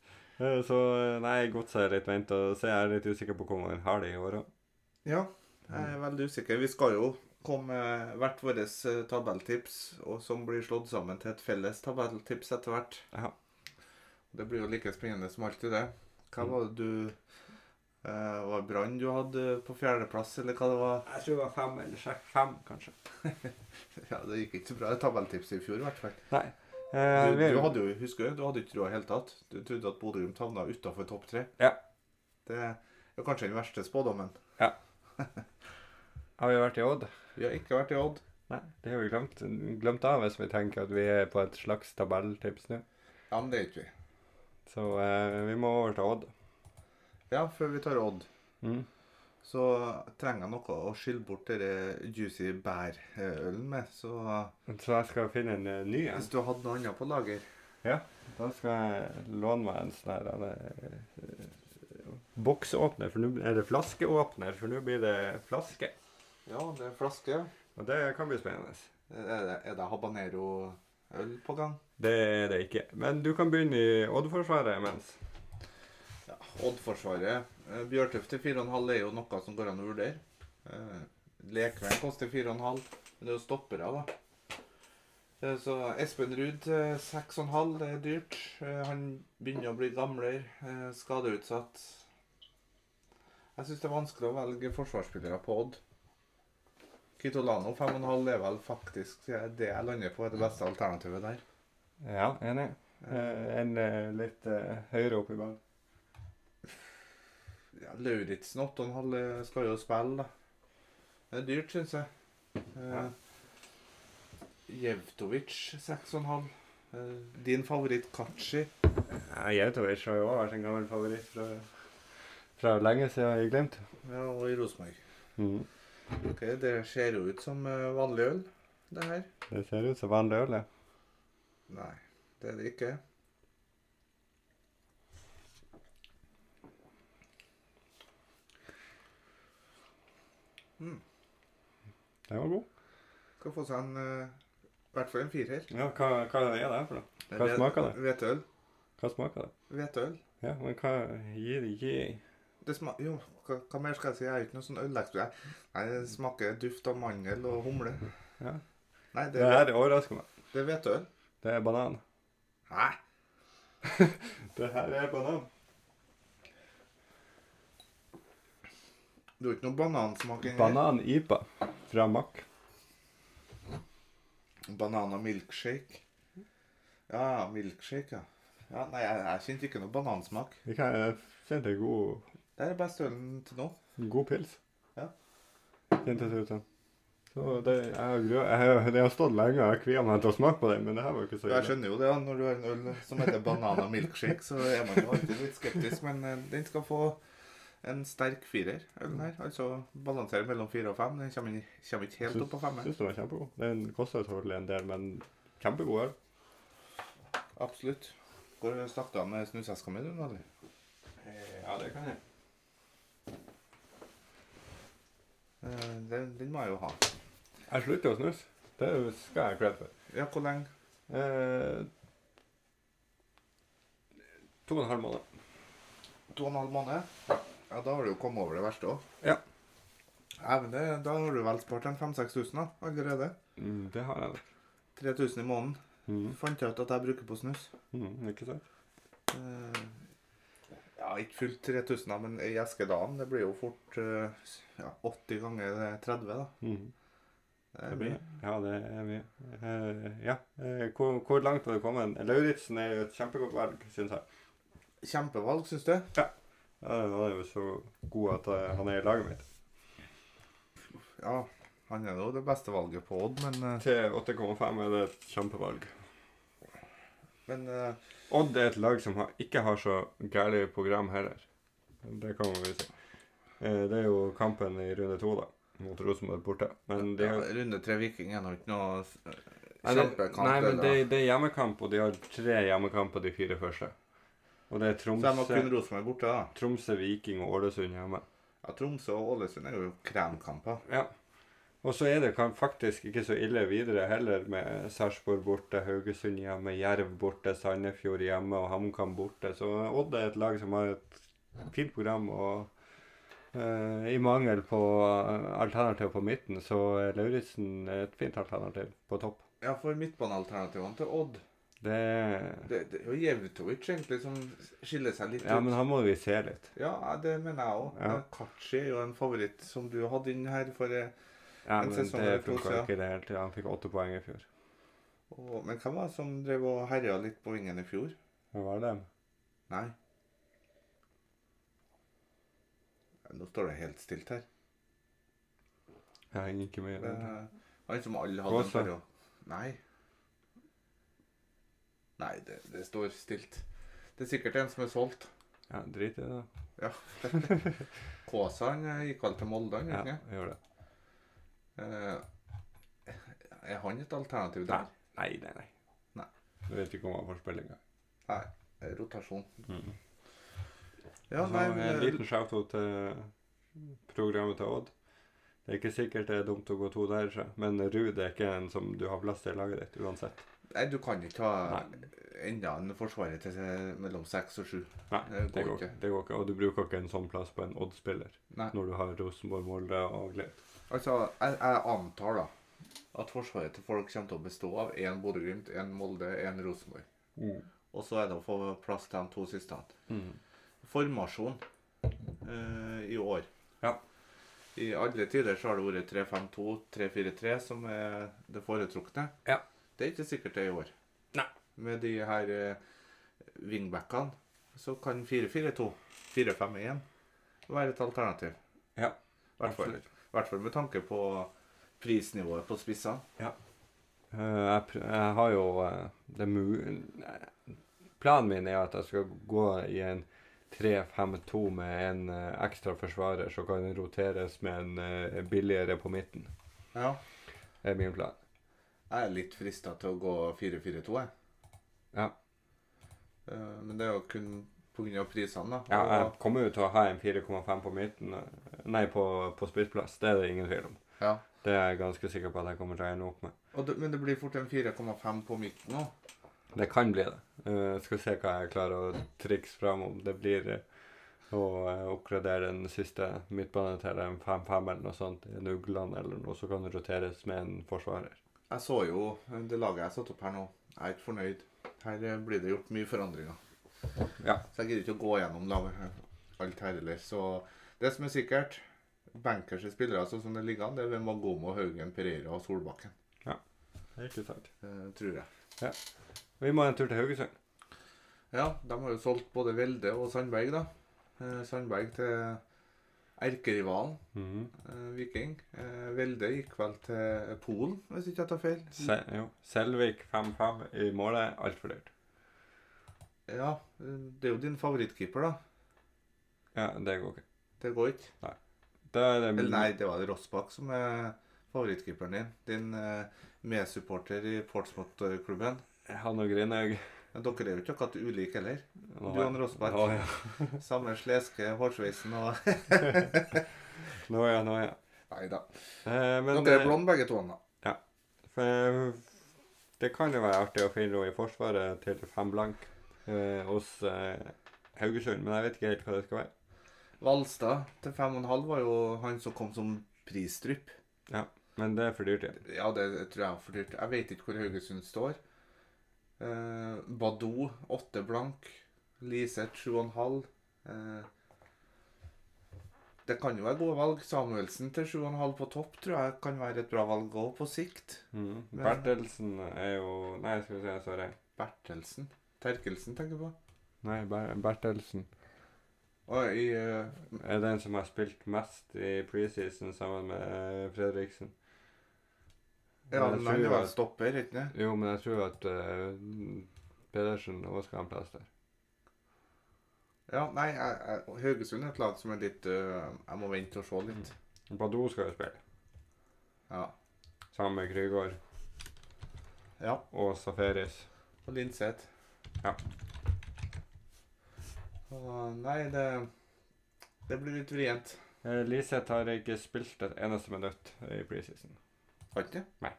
Speaker 1: Eh, Så eh, nei, godset er litt vent og se. Jeg er litt usikker på hvor man har det i år òg.
Speaker 2: Ja, jeg er veldig usikker. Vi skal jo komme med hvert vårt eh, tabelltips, og som blir slått sammen til et felles tabelltips etter hvert.
Speaker 1: Ja.
Speaker 2: Det blir jo like spennende som alltid, det.
Speaker 1: Mm.
Speaker 2: Hva var det du eh, Var det Brann du hadde på fjerdeplass, eller hva det var?
Speaker 1: Jeg tror det var fem eller seks. Fem, kanskje.
Speaker 2: Ja, Det gikk ikke så bra i tabelltipset i fjor, i hvert fall.
Speaker 1: Nei.
Speaker 2: Du,
Speaker 1: Eh, vi,
Speaker 2: du hadde jo, husker du, du hadde ikke trua i det hele tatt. Du trodde at Bodø-Glimt havna utafor topp tre.
Speaker 1: Ja.
Speaker 2: Det er kanskje den verste spådommen.
Speaker 1: Har vi vært i Odd?
Speaker 2: Vi har ikke vært i Odd.
Speaker 1: Nei, det har vi glemt, glemt av hvis vi tenker at vi er på et slags tabelltips nå.
Speaker 2: Ja, men det er ikke vi.
Speaker 1: Så eh, vi må over til Odd.
Speaker 2: Ja, før vi tar Odd.
Speaker 1: Mm.
Speaker 2: Så trenger jeg noe å skylle bort denne juicy bærølen med. Så
Speaker 1: Så jeg skal finne en eh, ny en.
Speaker 2: hvis du hadde noe annet på lager
Speaker 1: Da skal jeg låne meg en sånn her eh, eh, boksåpner, for nå er det flaskeåpner, for nå blir det flaske.
Speaker 2: Ja, det er flaske.
Speaker 1: Og det kan bli spennende.
Speaker 2: Er det, er det habanero-øl på gang?
Speaker 1: Det er det ikke. Men du kan begynne i Odd-forsvaret imens.
Speaker 2: Ja, Odd-forsvaret. eh, Bjørtuft til 4,5 er jo noe som går an å vurdere. Eh, Lekveien koster 4,5, men det er jo stoppere, da. Eh, Så Espen Ruud eh, 6,5, det er dyrt. Eh, Han begynner å bli gamlere, eh, skadeutsatt. Jeg syns det er vanskelig å velge forsvarsspillere på Odd. Kitolano 5,5 er vel faktisk eh, det jeg lander på, er det beste alternativet der.
Speaker 1: Ja, enig. Eh, en eh, litt eh, høyere opp i banen.
Speaker 2: Ja, Lauritzen 8,5 skal jo spille, da. Det er dyrt, syns jeg.
Speaker 1: Ja.
Speaker 2: Eh, Jevtovic 6,5. Eh, din favoritt Kachi.
Speaker 1: Ja, Jautovic har jo også vært en gammel favoritt fra, fra lenge siden i Glimt.
Speaker 2: Ja, og i Rosenborg.
Speaker 1: Mm.
Speaker 2: Ok, Det ser jo ut som eh, vanlig øl, det her.
Speaker 1: Det ser ut som vanlig øl, ja.
Speaker 2: Nei, det er det ikke.
Speaker 1: Den var god.
Speaker 2: Skal få seg en eh, i hvert fall en firer.
Speaker 1: Ja, hva, hva er det for noe? Hva
Speaker 2: Hvet-
Speaker 1: smaker det?
Speaker 2: Hveteøl.
Speaker 1: Hva smaker det?
Speaker 2: Hveteøl.
Speaker 1: Ja, men hva gir det gi?
Speaker 2: Det sma jo, hva, hva mer skal jeg si? Jeg er ikke noe sånn ølekspert. Nei, det smaker duft av mandel og humle.
Speaker 1: Ja.
Speaker 2: Nei, det,
Speaker 1: Det her overrasker meg.
Speaker 2: det er hveteøl.
Speaker 1: Det er banan.
Speaker 2: Hæ?
Speaker 1: Det her er banan.
Speaker 2: Det er jo ikke noe banansmak inni.
Speaker 1: Banan-IPA fra Mack.
Speaker 2: Banan og milkshake. Ja, milkshake, ja. ja nei, jeg, jeg kjente ikke noe banansmak.
Speaker 1: Det kan eh, jeg kjente god,
Speaker 2: Det er best ølen til nå.
Speaker 1: god pils.
Speaker 2: Ja.
Speaker 1: Kjentes ut som. Så det, jeg, har grø- jeg, har- det har stått lenge, og jeg kvier meg til å smake på det, men det her var ikke så
Speaker 2: Jeg
Speaker 1: ille.
Speaker 2: skjønner jo det, ja, når du har en øl som heter banan og milkshake, så er man jo alltid litt skeptisk, men eh, den skal få en sterk firer. ølen her. Altså balanserer mellom fire og fem. Den kommer, inn- kommer ikke helt opp på femmeren.
Speaker 1: Syns den var kjempegod. Den koster selvfølgelig en del, men kjempegod øl.
Speaker 2: Absolutt. Går du snakket av med snuseska mi, du, nå, eller?
Speaker 1: Ja, det kan jeg.
Speaker 2: Eh, Den, den må jeg jo ha.
Speaker 1: Jeg slutter å snuse. Det skal jeg ha kred for.
Speaker 2: Ja, hvor lenge?
Speaker 1: Eh, to og en halv måned.
Speaker 2: To og en halv måned? Ja, da har du jo kommet over det verste òg.
Speaker 1: Ja.
Speaker 2: Ja, men det, da har du vel spart en 5000-6000 da, allerede.
Speaker 1: Mm, det har jeg.
Speaker 2: 3000 i måneden.
Speaker 1: Mm.
Speaker 2: Fant jeg ut at jeg bruker på snus.
Speaker 1: Mm, ikke sant?
Speaker 2: Eh, Ja, ikke fullt 3000 da, men i eskedagen, det blir jo fort eh, ja, 80 ganger 30 da.
Speaker 1: Mm.
Speaker 2: Det
Speaker 1: Det
Speaker 2: er
Speaker 1: blir
Speaker 2: mye.
Speaker 1: det. Ja, det er mye. Eh, ja. Eh, hvor, hvor langt har du kommet? Lauritzen er jo et kjempegodt valg, syns jeg.
Speaker 2: Kjempevalg, synes du?
Speaker 1: Ja, Han er jo så god at eh, han er i laget mitt.
Speaker 2: Ja, han er jo det beste valget på Odd, men, eh,
Speaker 1: Til 8,5 er det et kjempevalg.
Speaker 2: men eh,
Speaker 1: Odd er et lag som har, ikke har så gærlig program heller. Det kan man vel si. Eh, Det er jo kampen i runde to, da. Mot Rosenborg borte. Men de
Speaker 2: ja,
Speaker 1: har,
Speaker 2: runde 3 Viking er nå ikke noe s-
Speaker 1: nei, det,
Speaker 2: kjempekamp.
Speaker 1: nei, men
Speaker 2: eller-
Speaker 1: det, det er hjemmekamp, og de har tre hjemmekamper de fire første. Og det er
Speaker 2: Så jeg må
Speaker 1: Tromsø,
Speaker 2: kun Rosenborg borte da.
Speaker 1: Tromsø Viking og Ålesund hjemme.
Speaker 2: Ja, Tromsø og Ålesund er jo kremkamper.
Speaker 1: Ja. Og så er det kan faktisk ikke så ille videre heller, med Sarpsborg borte, Haugesund hjemme, Jerv borte, Sandefjord hjemme og HamKam borte. Så Odd er et lag som har et fint program. og eh, I mangel på eh, alternativ på midten, så er Lauritzen et fint alternativ på topp.
Speaker 2: Ja, for midtbanealternativene til Odd,
Speaker 1: Det
Speaker 2: det, det er jo Jevtovic egentlig som skiller seg litt
Speaker 1: Ja,
Speaker 2: ut.
Speaker 1: men han må vi se litt.
Speaker 2: Ja, det mener jeg òg.
Speaker 1: Ja.
Speaker 2: Kachi er jo en favoritt som du hadde inn her. For, eh,
Speaker 1: Ja,
Speaker 2: En
Speaker 1: men
Speaker 2: sesong
Speaker 1: det
Speaker 2: eller to
Speaker 1: funka
Speaker 2: siden.
Speaker 1: ikke i det hele tatt. Han fikk åtte poeng i fjor.
Speaker 2: og, men hvem var det som drev og herja litt på vingen i fjor?
Speaker 1: Hva var det?
Speaker 2: Nei. Ja, Nå står det helt stilt her.
Speaker 1: Jeg henger ikke med i det.
Speaker 2: Eh, han som alle hadde en
Speaker 1: Gåsa.
Speaker 2: periode. Nei. Nei, det, det står stilt. Det er sikkert en som er solgt.
Speaker 1: Ja, drit i det, da.
Speaker 2: Kåsa han eh, gikk vel til Molde, han,
Speaker 1: Ja,
Speaker 2: gjorde han ikke?
Speaker 1: gjør det.
Speaker 2: Eh, er han et alternativ der?
Speaker 1: Nei, nei, nei.
Speaker 2: Nei.
Speaker 1: Du vet ikke om han får spille engang.
Speaker 2: Eh, Rotasjon.
Speaker 1: Mm.
Speaker 2: Ja, nei,
Speaker 1: Altså,
Speaker 2: men,
Speaker 1: en
Speaker 2: eh,
Speaker 1: liten shout-out til programmet til Odd. Det er ikke sikkert det er dumt å gå to der, så. men Ruud er ikke en som du har plass til i laget ditt uansett.
Speaker 2: eh, Nei, du kan ikke ha enda en forsvarer til seg mellom seks og sju.
Speaker 1: Nei, det,
Speaker 2: Det går
Speaker 1: går,
Speaker 2: ikke.
Speaker 1: det går ikke. Og du bruker ikke en sånn plass på en Odd-spiller
Speaker 2: Nei.
Speaker 1: når du har Rosenborg, Molde og Glimt.
Speaker 2: Altså, jeg, jeg antar da at forsvaret til folk kommer til å bestå av én Bodø-Glimt, én Molde, én Rosenborg. Og så er det å få plass til de to siste.
Speaker 1: Mm.
Speaker 2: Formasjon eh, i år.
Speaker 1: Ja.
Speaker 2: I alle tider så har det vært 3-5-2, 3-4-3 som er det foretrukne.
Speaker 1: Ja.
Speaker 2: Det er ikke sikkert det er i år.
Speaker 1: Nei.
Speaker 2: Med de her eh, wingbackene så kan 4-4-2, 4-5-1 være et alternativ.
Speaker 1: Ja,
Speaker 2: I hvert fall-
Speaker 1: absolutt.
Speaker 2: i hvert fall med tanke på prisnivået på spissene.
Speaker 1: Eh, jeg, pr jeg har jo eh, det mu... Nei, Planen min er at jeg skal gå i en 3-5-2 med en eh, ekstra forsvarer som kan roteres med en eh, billigere på midten.
Speaker 2: Ja.
Speaker 1: Det er min plan.
Speaker 2: Jeg er litt frista til å gå 4-4-2, jeg.
Speaker 1: Ja.
Speaker 2: Eh, Men det er jo kun pga. prisene, da.
Speaker 1: Ja, jeg
Speaker 2: Og-
Speaker 1: kommer jo til å ha en 4,5 på midten eh, Nei, på, på spissplass. Det er det ingen tvil om.
Speaker 2: ja.
Speaker 1: Det er jeg ganske sikker på at jeg kommer til å ende opp med.
Speaker 2: Og det, men det blir fort en 4,5 på midten òg.
Speaker 1: Det kan bli det. Eh, skal se hva jeg klarer å trikse fram om det blir eh, å eh, oppgradere den siste midtbanen til en 5-5 eller noe sånt. En Ugland eller noe, så kan det roteres med en forsvarer.
Speaker 2: Jeg så jo det laget jeg satte opp her nå. Jeg er ikke fornøyd. Her eh, blir det gjort mye forandringer.
Speaker 1: Ja.
Speaker 2: Så jeg gidder ikke å gå gjennom laget her- alt her heller. Så det som er sikkert, bankers spillere sånn som det ligger an, det er ved Magomo, Haugen, Pereira og Solbakken.
Speaker 1: Ikke sant.
Speaker 2: eh, tror jeg.
Speaker 1: Vi må en tur til Haugesund.
Speaker 2: Ja, de har jo solgt både Velde og Sandberg, da. Eh, Sandberg til erkerivalen
Speaker 1: Mhm.
Speaker 2: eh, Viking. Eh, Velde gikk vel til Polen, hvis ikke jeg tar feil.
Speaker 1: Se, jo. Selvik 5-5 i målet. Altfor dyrt.
Speaker 2: Ja, eh, det er jo din favorittkeeper, da.
Speaker 1: Ja, det går ikke.
Speaker 2: Det går ikke.
Speaker 1: Da er det
Speaker 2: Eller nei, det var det Rossbakk som er favorittkeeperen din. Din eh, medsupporter i Portsmouth-klubben.
Speaker 1: han og Grinaug.
Speaker 2: Ja, Dere er jo ikke akkurat ulike heller.
Speaker 1: Nå
Speaker 2: Du og
Speaker 1: er-
Speaker 2: han Rossbakk.
Speaker 1: Nå, ja.
Speaker 2: Samme sleske hårsveisen og
Speaker 1: Nå, ja, nå, ja.
Speaker 2: Nei da.
Speaker 1: Eh, men
Speaker 2: Dere er
Speaker 1: eh,
Speaker 2: blonde begge to. Da.
Speaker 1: for, eh, det kan jo være artig å finne henne i Forsvaret til fem blank eh, hos eh, Haugesund, men jeg vet ikke helt hva det skal være.
Speaker 2: Valstad til fem og en halv var jo han som kom som prisdrypp.
Speaker 1: Men det er for dyrt, ja.
Speaker 2: Ja, det tror jeg er for dyrt. Jeg vet ikke hvor Haugesund står. Eh, Badou, åtte blank. Liseth, sju og en halv. Eh, det kan jo være gode valg. Samuelsen til sju og en halv på topp tror jeg kan være et bra valg òg, på sikt.
Speaker 1: Mhm.
Speaker 2: Men-
Speaker 1: Bertelsen er jo Nei, skal vi se, jeg svarer.
Speaker 2: Bertelsen. Terkelsen, tenker jeg på.
Speaker 1: Nei, Ber Bertelsen
Speaker 2: Og i eh,
Speaker 1: er den som har spilt mest i preseason sammen med eh, Fredriksen.
Speaker 2: Ja,
Speaker 1: Men jeg
Speaker 2: men han
Speaker 1: tror
Speaker 2: er vel
Speaker 1: at-
Speaker 2: stopper, ikke sant?
Speaker 1: Jo, men jeg tror at eh, Pedersen også skal ha en plass der.
Speaker 2: Ja, nei, jeg, jeg, Haugesund er et lag som er litt øh, Jeg må vente og se litt.
Speaker 1: Badou skal jo spille,
Speaker 2: Ja.
Speaker 1: sammen med Krygård
Speaker 2: ja.
Speaker 1: og Safaris.
Speaker 2: Og Linseth.
Speaker 1: Ja.
Speaker 2: Og, nei, det Det blir litt vrient.
Speaker 1: Eh, Liseth har ikke spilt et eneste minutt i preseason.
Speaker 2: Har ikke det?
Speaker 1: Nei.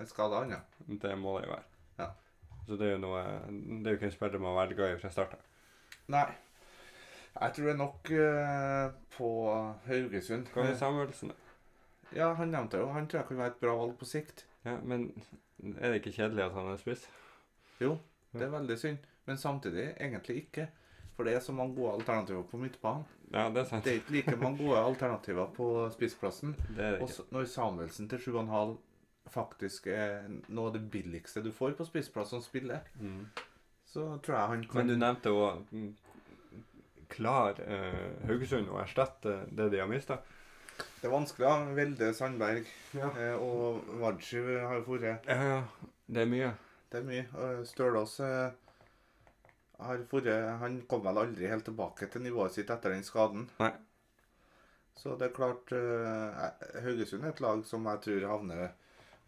Speaker 2: En skada han, ja.
Speaker 1: Det må det jo være.
Speaker 2: Ja.
Speaker 1: Så det er jo noe Det er jo ikke en spiller man velger i fra starten.
Speaker 2: Nei. Jeg tror det er nok øh, på Haugesund. Eh,
Speaker 1: Hva med Samuelsen?
Speaker 2: Ja, han nevnte jo. Han tror jeg kan være et bra valg på sikt.
Speaker 1: Ja, men er det ikke kjedelig at han er spiss?
Speaker 2: Jo,
Speaker 1: Ja.
Speaker 2: det er veldig synd. Men samtidig egentlig ikke. For det er så mange gode alternativer på midtbanen.
Speaker 1: Ja, det er sant.
Speaker 2: Det er ikke like mange gode alternativer på spissplassen.
Speaker 1: Det er det
Speaker 2: Og
Speaker 1: ikke.
Speaker 2: så- når Samuelsen til 7,5 faktisk er noe av det billigste du får på spissplass som spiller,
Speaker 1: Mm.
Speaker 2: så tror jeg han kan
Speaker 1: Men du nevnte jo at, mm, Klar eh, Haugesund å erstatte det de har mista.
Speaker 2: Det er vanskelig. da. Velde Sandberg
Speaker 1: Ja.
Speaker 2: eh, og Wadshiv har jo vært
Speaker 1: ja, ja. Det er mye.
Speaker 2: Det er mye. Og Stølås eh, har vært Han kom vel aldri helt tilbake til nivået sitt etter den skaden.
Speaker 1: Nei.
Speaker 2: Så det er klart eh, Haugesund er et lag som jeg tror havner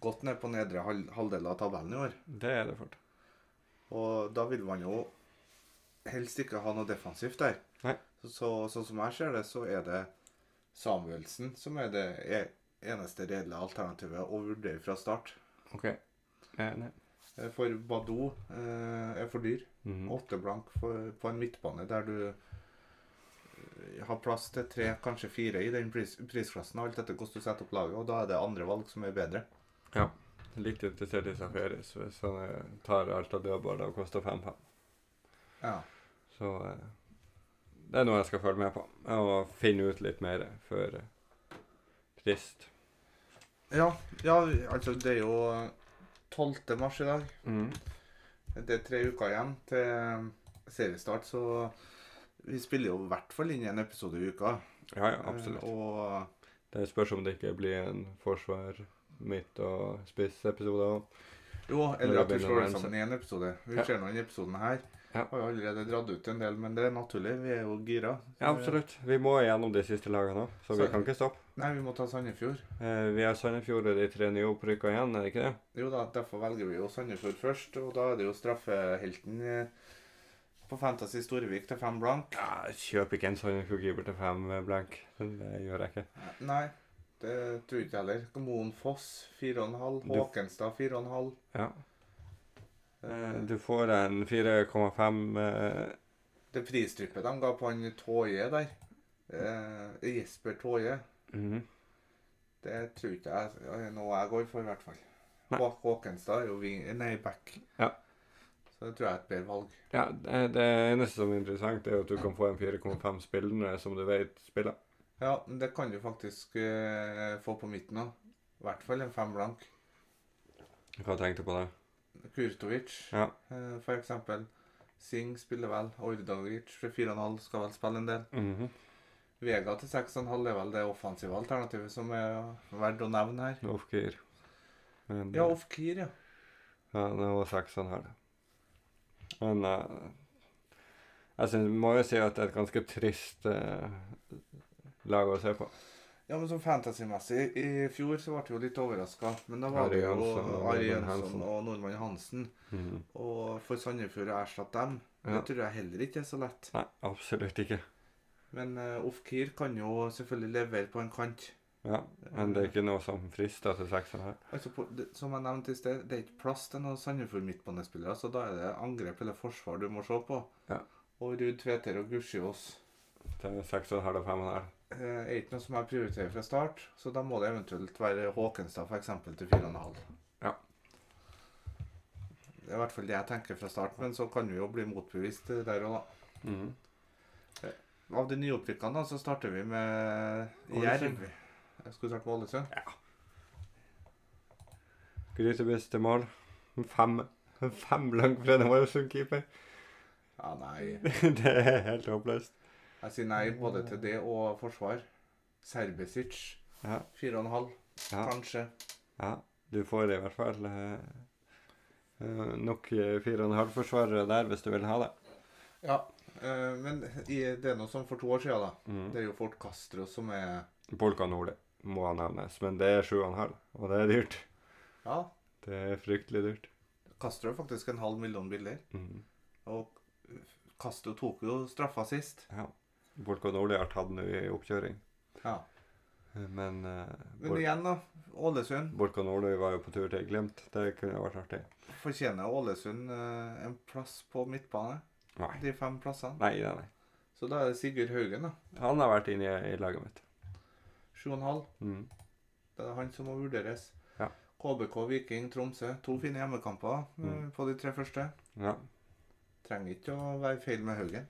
Speaker 2: godt ned på nedre hal halvdel av tabellen i år.
Speaker 1: Det er det fort.
Speaker 2: Og da vil man jo helst ikke ha noe defensivt der.
Speaker 1: Nei.
Speaker 2: Så, så, sånn som jeg ser det, så er det Samuelsen som er det e- eneste reelle alternativet å vurdere fra start.
Speaker 1: OK. Jeg er enig.
Speaker 2: Eh, For Badou eh, er for dyr.
Speaker 1: Mhm.
Speaker 2: Åtte blank for, på en midtbane der du eh, har plass til tre, kanskje fire i den pris, prisklassen. Alt etter hvordan du setter opp laget, og da er det andre valg som er bedre.
Speaker 1: Litt interessert i Safaris hvis han eh, tar alt av dødballer og koster fem fem.
Speaker 2: Ja.
Speaker 1: Så eh, det er noe jeg skal følge med på, og finne ut litt mer før eh, frist.
Speaker 2: Ja, ja, altså det er jo 12. mars i dag.
Speaker 1: Mm.
Speaker 2: Det er tre uker igjen til seriestart, så vi spiller jo i hvert fall inn en episode i uka.
Speaker 1: Ja, ja, absolutt.
Speaker 2: Eh, Og
Speaker 1: Det spørs om det ikke blir en forsvar midt og spiss-episode òg.
Speaker 2: jo, eller at
Speaker 1: begynner
Speaker 2: vi slår
Speaker 1: å
Speaker 2: det sammen i en episode. Vi
Speaker 1: Ja.
Speaker 2: ser nå den episoden her.
Speaker 1: Ja.
Speaker 2: Har jo allerede dratt ut en del, men det er naturlig. Vi er jo gira.
Speaker 1: Ja, absolutt. Vi må gjennom de siste lagene òg, så vi
Speaker 2: Så-
Speaker 1: kan ikke stoppe.
Speaker 2: Eh, Nei, vi må ta Sandefjord.
Speaker 1: Eh, vi har Sandefjord og de tre nyopprykka igjen, er det ikke det?
Speaker 2: Jo da, derfor velger vi jo Sandefjord først, og da er det jo straffehelten eh, på Fantasy Storvik til fem blank.
Speaker 1: Ja, kjøp ikke en Sandefjord-keeper til fem eh, blank. Det gjør jeg ikke.
Speaker 2: Nei, det tror jeg ikke heller. Moen Foss fire og en halv.
Speaker 1: Du-
Speaker 2: Håkenstad fire og en halv.
Speaker 1: Ja.
Speaker 2: Eh,
Speaker 1: Du får en 4,5 eh,
Speaker 2: Det pristrippet de ga på han Tåje der, eh, Jesper Tåje,
Speaker 1: mhm.
Speaker 2: det tror ikke jeg er noe jeg går for, i hvert fall.
Speaker 1: Nei.
Speaker 2: Hå Håkenstad er jo ving, nei, back.
Speaker 1: Ja.
Speaker 2: Så det tror jeg er et bedre valg.
Speaker 1: Ja, det, det eneste som er interessant, er jo at du kan få en 4,5 spillende som du vet spiller.
Speaker 2: Ja, men det kan du faktisk eh, få på midten òg. I hvert fall en fem blank.
Speaker 1: Hva tenkte du på det?
Speaker 2: Kurtovic,
Speaker 1: Ja.
Speaker 2: eh, for eksempel. Singh spiller vel. Ordagic for 4,5 skal vel spille en del.
Speaker 1: Mhm.
Speaker 2: Vega til 6,5 er vel det offensive alternativet som er verdt å nevne her.
Speaker 1: Off-gear. Men,
Speaker 2: Ja, Ofkir, ja.
Speaker 1: Ja, det var saksen her. Men eh, jeg synes, må jo si at det er et ganske trist eh, lag å se på.
Speaker 2: Ja, men sånn fantasymessig I fjor så ble jeg jo litt overraska. Men da var
Speaker 1: Ari
Speaker 2: det jo
Speaker 1: Jansson og
Speaker 2: Ari
Speaker 1: Nordmann Hansen.
Speaker 2: Jønsson og Nordmann Hansen.
Speaker 1: Mhm.
Speaker 2: Og for Sandefjord å erstatte dem,
Speaker 1: Ja.
Speaker 2: det tror jeg heller ikke er så lett.
Speaker 1: Nei, absolutt ikke.
Speaker 2: Men uh, Ofkir kan jo selvfølgelig levere på en kant.
Speaker 1: Ja, Men det er ikke noe som frister til sekser her.
Speaker 2: Altså, på, det, Som jeg nevnte i sted, det er ikke plass til noen Sandefjord midtbanespillere, så da er det angrep eller forsvar du må se på.
Speaker 1: Ja.
Speaker 2: Og Ruud Tveter og Gushiås
Speaker 1: Det er seks og en halv og fem og en halv.
Speaker 2: eh, er ikke noe som jeg prioriterer fra start, så da må det eventuelt være Håkenstad for eksempel til 4,5.
Speaker 1: Ja.
Speaker 2: Det er i hvert fall det jeg tenker fra start, men så kan vi jo bli motbevist eh, der og da.
Speaker 1: Mhm.
Speaker 2: Av de nyopprykkene da, så starter vi med
Speaker 1: Ålesund.
Speaker 2: Jerv. Jeg skulle sagt Ålesund.
Speaker 1: Grytebiss til mål. Fem, fem langt fra en Ålesund-keeper.
Speaker 2: Ja, nei.
Speaker 1: Det er helt håpløst.
Speaker 2: Jeg sier nei både til det og forsvar. Serbesic.
Speaker 1: Ja.
Speaker 2: Fire og en halv,
Speaker 1: Ja.
Speaker 2: kanskje.
Speaker 1: Ja, du får i hvert fall eh, eh, nok eh, fire og en halv forsvarere der hvis du vil ha det.
Speaker 2: Ja. eh, men i, det er noe som for to år siden, da.
Speaker 1: Mm.
Speaker 2: Det er jo Fort Castro som er
Speaker 1: Polka Nordli må nevnes, men det er sju og en halv, og det er dyrt.
Speaker 2: Ja,
Speaker 1: Det er fryktelig dyrt.
Speaker 2: Castro er faktisk en halv million bilder.
Speaker 1: Mhm.
Speaker 2: Og Castro tok jo straffa sist.
Speaker 1: Ja. Polka Nordli har tatt nå i oppkjøring,
Speaker 2: Ja.
Speaker 1: men eh,
Speaker 2: Men igjen, da. Ålesund.
Speaker 1: Polka Nordli var jo på tur til Glimt. Det kunne vært artig.
Speaker 2: Fortjener Ålesund eh, en plass på midtbane?
Speaker 1: Nei.
Speaker 2: De fem plassene.
Speaker 1: Nei, nei, nei.
Speaker 2: Så da er det Sigurd Haugen, da.
Speaker 1: Han har vært inne i, i laget mitt.
Speaker 2: Sju og en halv.
Speaker 1: Mhm.
Speaker 2: Det er han som må vurderes.
Speaker 1: Ja.
Speaker 2: KBK, Viking, Tromsø. To fine hjemmekamper eh,
Speaker 1: Mm.
Speaker 2: på de tre første.
Speaker 1: Ja,
Speaker 2: Trenger ikke å være feil med Haugen.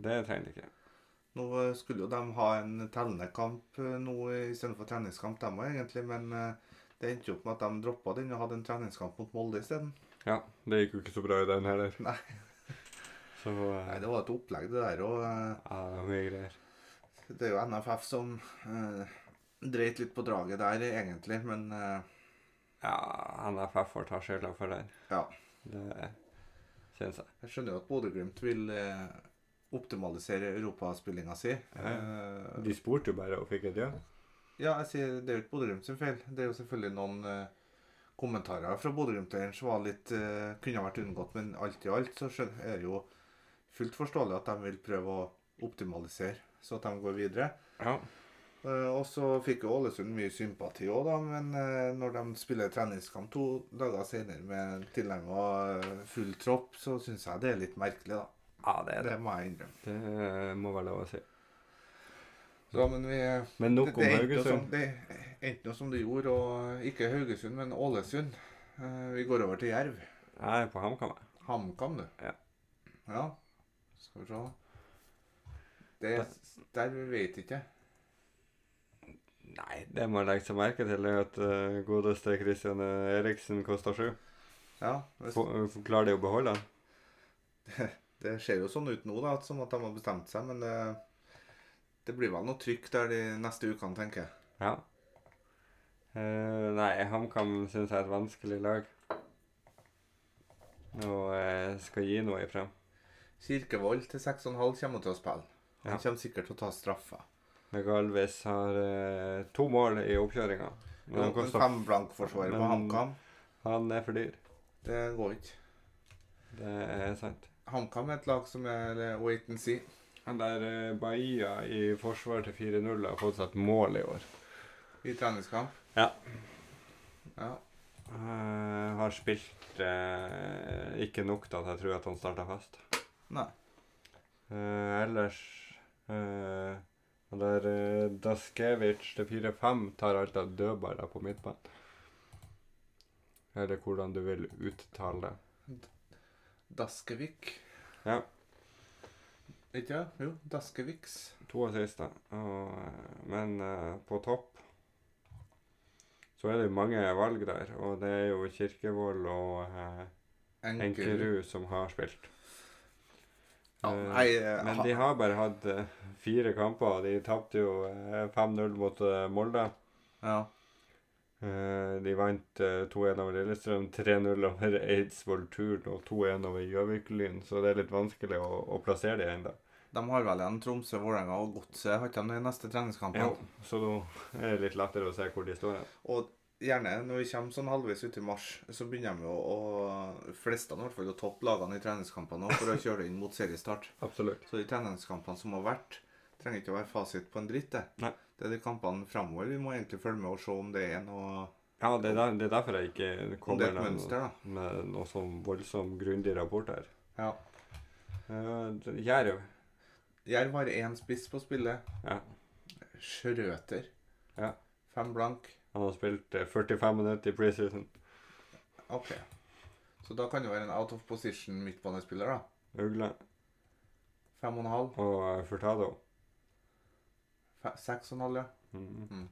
Speaker 1: det trenger jeg ikke.
Speaker 2: Nå eh, skulle jo de ha en tellende kamp eh, nå eh, istedenfor treningskamp, de òg, egentlig. Men eh, det endte jo opp med at de droppa den og hadde en treningskamp mot Molde isteden.
Speaker 1: Ja, det gikk jo ikke så bra i den heller.
Speaker 2: Nei.
Speaker 1: Så eh,
Speaker 2: Nei, det var et opplegg, det der. Og eh,
Speaker 1: ja, det var mye greier.
Speaker 2: det er jo NFF som eh, dreit litt på draget der, eh, egentlig. Men eh,
Speaker 1: Ja, NFF får ta skylda for den.
Speaker 2: Ja.
Speaker 1: Det syns jeg.
Speaker 2: jeg skjønner jo at Bodø-Glimt vil eh, optimalisere europaspillinga si. Eh,
Speaker 1: De spurte jo bare og fikk et ja.
Speaker 2: Ja, jeg sier det er jo ikke Bodø-Glimt sin feil. Det er jo selvfølgelig noen eh, kommentarer fra Bodø-Glimt-eieren som var litt, eh, kunne ha vært unngått, men alt i alt så skjøn- er det jo fullt forståelig at de vil prøve å optimalisere, så at de går videre.
Speaker 1: Ja.
Speaker 2: Eh, og så fikk jo Ålesund mye sympati òg, da, men eh, når de spiller treningskamp to dager senere med tilnærma full tropp, så syns jeg det er litt merkelig, da.
Speaker 1: ja, det er det.
Speaker 2: Det må jeg innrømme.
Speaker 1: Det eh, må være lov å si.
Speaker 2: Så, men vi... eh,
Speaker 1: Men
Speaker 2: Det-
Speaker 1: nok om
Speaker 2: det er sånn. ikke noe som-
Speaker 1: Haugesund.
Speaker 2: Det er ikke noe som det gjorde, og eh, ikke Haugesund, men Ålesund. Eh, Vi går over til Jerv.
Speaker 1: Jeg er på HamKam. jeg.
Speaker 2: HamKam, du.
Speaker 1: Ja.
Speaker 2: Ja. Skal vi se. Det, der vi vet ikke.
Speaker 1: Nei, det man legger seg merke til, er at eh, godeste Christian eh, Eriksen koster sju.
Speaker 2: Ja, hvis,
Speaker 1: Få- eh, Klarer de å beholde han?
Speaker 2: Det ser jo sånn ut nå, da, at- som at de har bestemt seg, men det, det blir vel noe trykk der de neste ukene, tenker jeg.
Speaker 1: Ja. Eh, nei, HamKam syns jeg er et vanskelig lag. Og jeg skal gi noe ifra.
Speaker 2: Kirkevold til 6,5 kommer til å spille. Han
Speaker 1: Ja.
Speaker 2: kommer sikkert til å ta straffa.
Speaker 1: Galvis har eh, to mål i oppkjøringa. Men han, koster,
Speaker 2: Fem blank-forsvarer på
Speaker 1: Men-
Speaker 2: HamKam,
Speaker 1: han er for dyr.
Speaker 2: det går ikke.
Speaker 1: Det er sant.
Speaker 2: HamKam er et lag som er eh, wait and see.
Speaker 1: Han der eh, Bahia i forsvar til 4-0 har fått seg et mål i år.
Speaker 2: I treningskamp?
Speaker 1: Ja.
Speaker 2: Ja.
Speaker 1: Eh, har spilt eh, ikke nok til at jeg tror at han starta fast.
Speaker 2: Nei.
Speaker 1: Eh, ellers eh, han Der eh, Daskevic til 4-5 tar alt av dødballer på midtbanen. Eller hvordan du vil uttale det.
Speaker 2: Daskevik.
Speaker 1: Ja.
Speaker 2: Ikke ja? Jo, Daskeviks.
Speaker 1: To assister. Og, eh, men eh, på topp så er det jo mange valg der. Og det er jo Kirkevold og eh, Enkerud som har spilt.
Speaker 2: Ja,
Speaker 1: Eh,
Speaker 2: nei, eh,
Speaker 1: Men
Speaker 2: ha-
Speaker 1: de har bare hatt eh, fire kamper, og de tapte jo eh, 5-0 mot eh, Molde.
Speaker 2: ja.
Speaker 1: Eh, de vant eh, 2-1 over Lillestrøm, 3-0 over Eidsvoll Turn og 2-1 over Gjøvik-Lyn, så det er litt vanskelig å, å plassere de ennå.
Speaker 2: De har vel igjen Tromsø, Vålerenga og Godset har ikke de de neste treningskampene.
Speaker 1: Jo, så nå er det litt lettere å se hvor de står hen.
Speaker 2: Og gjerne når vi kommer sånn halvveis ut i mars, så begynner de jo å flestene i hvert fall å toppe lagene i treningskampene også for å kjøre det inn mot seriestart.
Speaker 1: Absolutt.
Speaker 2: Så de treningskampene som har vært, trenger ikke å være fasit på en dritt. Det,
Speaker 1: Nei.
Speaker 2: det er de kampene framover vi må egentlig følge med og se om det er noe
Speaker 1: Ja, det er, der, det er derfor jeg ikke
Speaker 2: om det
Speaker 1: kommer
Speaker 2: er et mønster. da.
Speaker 1: med noe sånn voldsom grundig rapport her.
Speaker 2: Ja.
Speaker 1: Eh, det- Jerv.
Speaker 2: Jerv har én spiss på spillet.
Speaker 1: Ja.
Speaker 2: Schrøter.
Speaker 1: Ja.
Speaker 2: Fem blank.
Speaker 1: Han har spilt eh, 45 minutter i preseason.
Speaker 2: OK. Så da kan det være en out of position midtbanespiller, da.
Speaker 1: Ugle
Speaker 2: Fem og en halv.
Speaker 1: og eh, Furtado.
Speaker 2: Fe- Seks og en halv, ja.
Speaker 1: Mhm.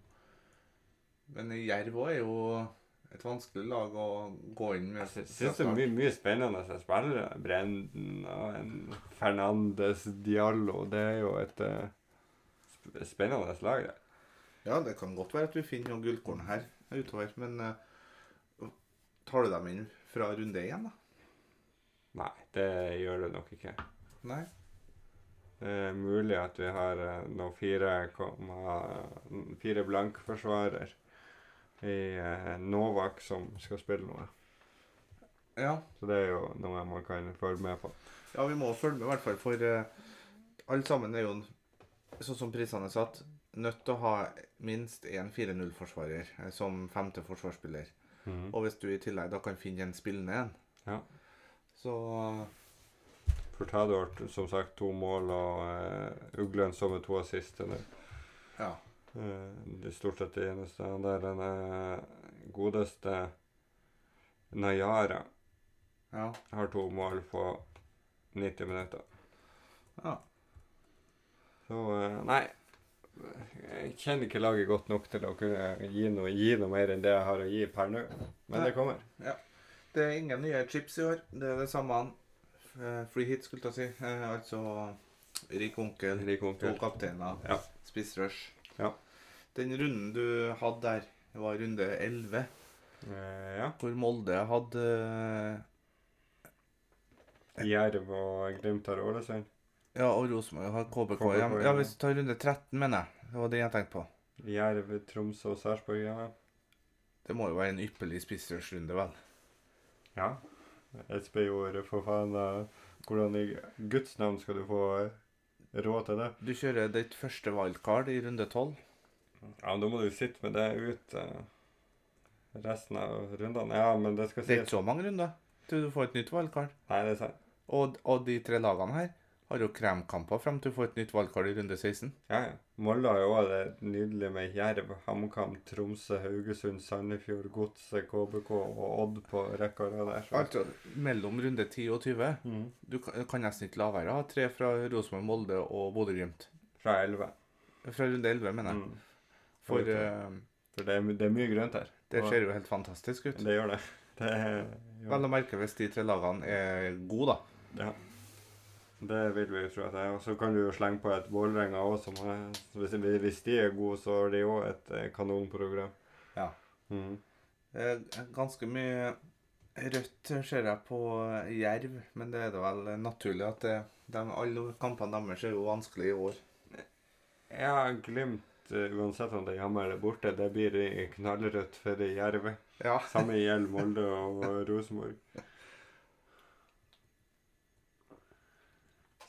Speaker 2: Men Jerv òg er jo et vanskelig lag å gå inn med.
Speaker 1: Jeg sy- syns det er mye, mye spennende spillere. Brenden og en Fernandes Diallo. Det er jo et eh, sp- spennende lag. det.
Speaker 2: Ja, det kan godt være at vi finner noen gullkorn her utover, men eh, tar du dem inn fra runde én, da?
Speaker 1: Nei, det gjør det nok ikke.
Speaker 2: Nei?
Speaker 1: Det er mulig at vi har eh, noen 4,4 fire blankforsvarer i eh, Novak som skal spille noe.
Speaker 2: Ja.
Speaker 1: Så det er jo noe man kan følge med på.
Speaker 2: ja, vi må følge med, i hvert fall, for eh, alle sammen er jo, sånn som prisene er satt, nødt til å ha minst én 4-0-forsvarer eh, som femte forsvarsspiller. Og hvis du i tillegg da kan finne en spillende en,
Speaker 1: Ja.
Speaker 2: så
Speaker 1: Furtado har som sagt to mål, og uh, Uglen som er to assist. Eller,
Speaker 2: Ja.
Speaker 1: eh, det er stort sett det eneste. Han der den godeste Nayara
Speaker 2: Ja.
Speaker 1: har to mål på 90 minutter.
Speaker 2: ja.
Speaker 1: Så eh, nei. Jeg kjenner ikke laget godt nok til å kunne gi noe, gi noe mer enn det jeg har å gi per nå. Men
Speaker 2: Nei.
Speaker 1: det kommer.
Speaker 2: Det er ingen nye chips i år. Det er det samme han. eh, Free hit, skulle jeg si. Eh, Altså rik onkel,
Speaker 1: Rik
Speaker 2: to
Speaker 1: onkel.
Speaker 2: kapteiner,
Speaker 1: Ja.
Speaker 2: spissrush.
Speaker 1: Ja.
Speaker 2: Den runden du hadde der, var runde 11,
Speaker 1: Eh, ja.
Speaker 2: hvor Molde hadde eh,
Speaker 1: Jerv og Glimt har Ålesund.
Speaker 2: Ja, og Rosenborg har KBK
Speaker 1: KBK,
Speaker 2: hjemme.
Speaker 1: ja.
Speaker 2: Ja, hvis du tar runde 13, mener jeg. Det var det jeg tenkte på.
Speaker 1: Jerv, Tromsø og Sarpsborg hjemme.
Speaker 2: Det må jo være en ypperlig spissrush-runde, vel.
Speaker 1: Ja. SB-ordet, for faen. da. Hvordan i Guds navn skal du få eh, råd til det?
Speaker 2: Du kjører ditt første wildcard i runde 12.
Speaker 1: Ja, men da må du sitte med det ut eh, resten av rundene. Ja, men det skal
Speaker 2: Det er ikke
Speaker 1: sies.
Speaker 2: så mange runder til du får et nytt wildcard.
Speaker 1: Nei, det er sant.
Speaker 2: Og, og de tre lagene her har jo kremkamper frem til å få et nytt valgkart i runde 16.
Speaker 1: Ja, ja. Molde har jo òg det nydelige med Jerv, HamKam, Tromsø, Haugesund, Sandefjord, Godset, KBK og Odd på rekke og rad der. så-
Speaker 2: Altså mellom runde 10 og 20.
Speaker 1: Mhm.
Speaker 2: Du kan kan nesten ikke la være å ha tre fra Rosenborg, Molde og Bodø-Glimt.
Speaker 1: Fra 11.
Speaker 2: Fra runde 11, mener jeg.
Speaker 1: Mm.
Speaker 2: For
Speaker 1: det er
Speaker 2: eh,
Speaker 1: For det er, my- det er mye grønt her.
Speaker 2: det
Speaker 1: Og-
Speaker 2: ser jo helt fantastisk ut.
Speaker 1: Det gjør det. Det er, jo,
Speaker 2: Vel å merke hvis de tre lagene er gode, da.
Speaker 1: ja. Det vil vi jo tro at det er. Og så kan du jo slenge på et Vålerenga òg, som har hvis, hvis de er gode, så har de òg et eh, kanonprogram.
Speaker 2: Ja.
Speaker 1: Mhm.
Speaker 2: Eh, Ganske mye rødt ser jeg på eh, Jerv, men det er det vel naturlig at det, de, alle kampene deres er jo vanskelig i år.
Speaker 1: Ja, Glimt, eh, uansett om det er hjemme eller borte, det blir i knallrødt for Jerv.
Speaker 2: Ja.
Speaker 1: Samme gjelder Molde og Rosenborg.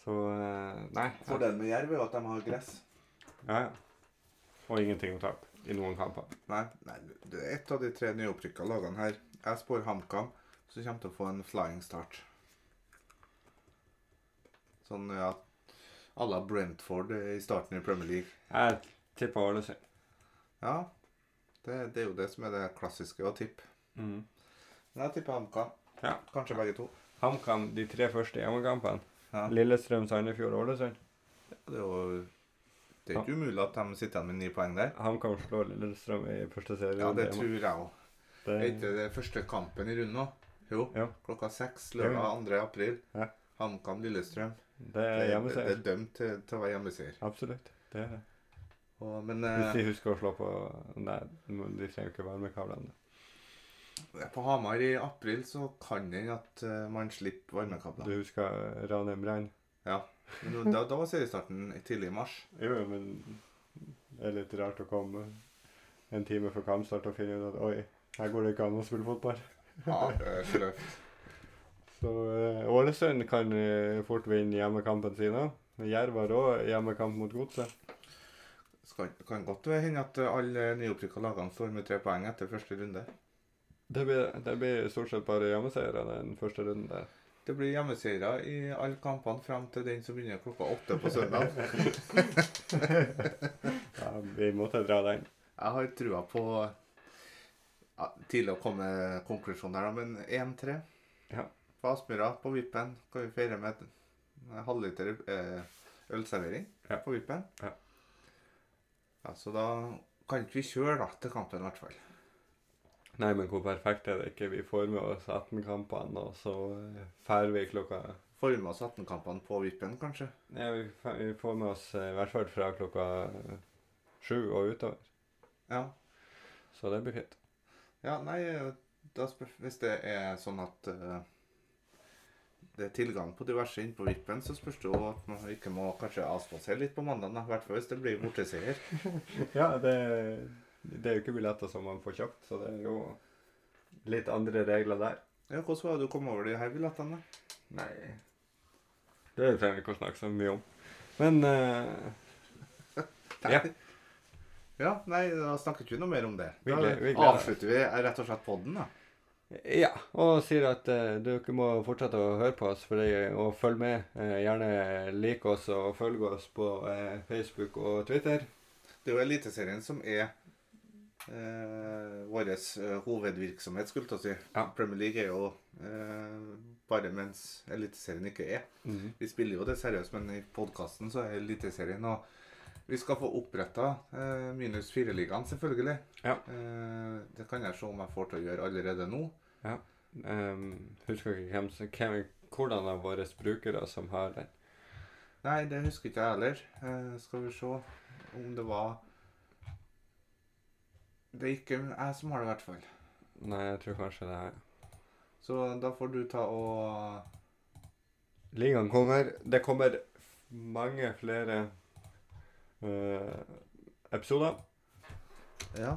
Speaker 1: Så eh, Nei. Ja,
Speaker 2: Fordelen med Jerv er jo at de har gress.
Speaker 1: ja. Og ingenting å tape i noen kamper.
Speaker 2: Nei, nei, det er ett av de tre nyopprykka lagene her. Jeg spår HamKam, som kommer til å få en flying start. Sånn ja, à la Brentford i starten i Premier League.
Speaker 1: Jeg tipper Ålesund.
Speaker 2: Ja, det, det er jo det som er det klassiske å tippe.
Speaker 1: Mm.
Speaker 2: Men jeg tipper HamKam.
Speaker 1: Ja.
Speaker 2: Kanskje begge to.
Speaker 1: HamKam de tre første hjemmekampene.
Speaker 2: Ja.
Speaker 1: Lillestrøm, Sandefjord og Ålesund.
Speaker 2: Det er jo det er ikke umulig at de sitter igjen med ni poeng der.
Speaker 1: HamKam slår Lillestrøm i første serie.
Speaker 2: Ja, det tror jeg òg.
Speaker 1: Det-
Speaker 2: Er ikke det første kampen i runden nå? Jo.
Speaker 1: Ja.
Speaker 2: Klokka seks lørdag 2. april.
Speaker 1: Ja.
Speaker 2: HamKam Lillestrøm.
Speaker 1: Det er
Speaker 2: Det, det
Speaker 1: hjemmeseier.
Speaker 2: er dømt til, til å være hjemmeseier.
Speaker 1: Absolutt. Det er det.
Speaker 2: Og- Men
Speaker 1: Hvis
Speaker 2: eh,
Speaker 1: de husker å slå på Nei, de trenger jo ikke varmekablene.
Speaker 2: på Hamar i april så kan det hende at eh, man slipper
Speaker 1: Du
Speaker 2: varmekabler.
Speaker 1: husker Ranheim Brann?
Speaker 2: Men da, da var seriestarten tidlig i mars.
Speaker 1: Jo, jo, men det er litt rart å komme en time før kampstart og finne ut at oi, her går det ikke an å spille fotball.
Speaker 2: Ja, det er sløvt.
Speaker 1: Så eh, Ålesund kan eh, fort vinne hjemmekampen sin òg. Jerv har òg hjemmekamp mot Godset.
Speaker 2: Skal, kan godt hende at alle nyopprykka lagene står med tre poeng etter første runde.
Speaker 1: Det blir, det blir stort sett bare hjemmeseiere den første runden der.
Speaker 2: Det blir hjemmeseiere i alle kampene frem til den som begynner klokka åtte på søndag.
Speaker 1: Ja, vi måtte dra den.
Speaker 2: Jeg har trua på ja, Tidlig å komme med konklusjon der, da, men 1-3.
Speaker 1: Ja.
Speaker 2: På Aspmyra, på Vippen, kan vi feire med en halvliter eh, ølservering
Speaker 1: Ja.
Speaker 2: på Vippen.
Speaker 1: Ja.
Speaker 2: Ja, Så da kan ikke vi kjøre da, til kampen, i hvert fall.
Speaker 1: Nei, men hvor perfekt er det ikke? Vi får med oss 18 kampene, og så eh, fær vi klokka
Speaker 2: Forme oss 18-kampene på Vippen, kanskje.
Speaker 1: Nei, vi fa- vi får med oss eh, i hvert fall fra klokka eh, sju og utover.
Speaker 2: Ja.
Speaker 1: Så det blir fint.
Speaker 2: Ja, nei, eh, da spør, hvis det er sånn at eh, det er tilgang på diverse inn på vippen, så spørs det jo at man ikke må kanskje avspasere litt på mandag, i hvert fall hvis det blir borteseier.
Speaker 1: Ja, det, det er jo ikke billetter som man får kjøpt, så det er jo litt andre regler der.
Speaker 2: Ja, hvordan var det du kom over de her billettene?
Speaker 1: Nei Det trenger vi ikke å snakke så mye om. Men eh, Ja.
Speaker 2: Ja, nei, da snakker vi ikke noe mer om det.
Speaker 1: Vi
Speaker 2: Da
Speaker 1: gleder- vi gleder oss.
Speaker 2: avslutter vi eh, rett og slett podden, da.
Speaker 1: Ja, og sier at eh, dere må fortsette å høre på oss for det, og følge med. Eh, gjerne lik oss og følg oss på eh, Facebook og Twitter.
Speaker 2: Det er jo Eliteserien som er eh, vår hovedvirksomhet, skulle jeg til å si.
Speaker 1: Ja.
Speaker 2: Premier League er jo eh, bare mens Eliteserien ikke er. Vi spiller jo det seriøst, men i podkasten så er Eliteserien og vi skal få oppretta eh, minus fire-ligaen, selvfølgelig.
Speaker 1: Ja.
Speaker 2: Eh, det kan jeg se om jeg får til å gjøre allerede nå.
Speaker 1: Em, Ehm, husker ikke hvem, som- hvem, hvordan av våre brukere som har den.
Speaker 2: Nei, det husker ikke jeg heller. Eh, skal vi se om det var Det er ikke jeg som har det, i hvert fall.
Speaker 1: Nei, jeg tror kanskje det er
Speaker 2: Så da får du ta og
Speaker 1: Ligaen kommer. Det kommer f- mange flere eh, episoder,
Speaker 2: Ja.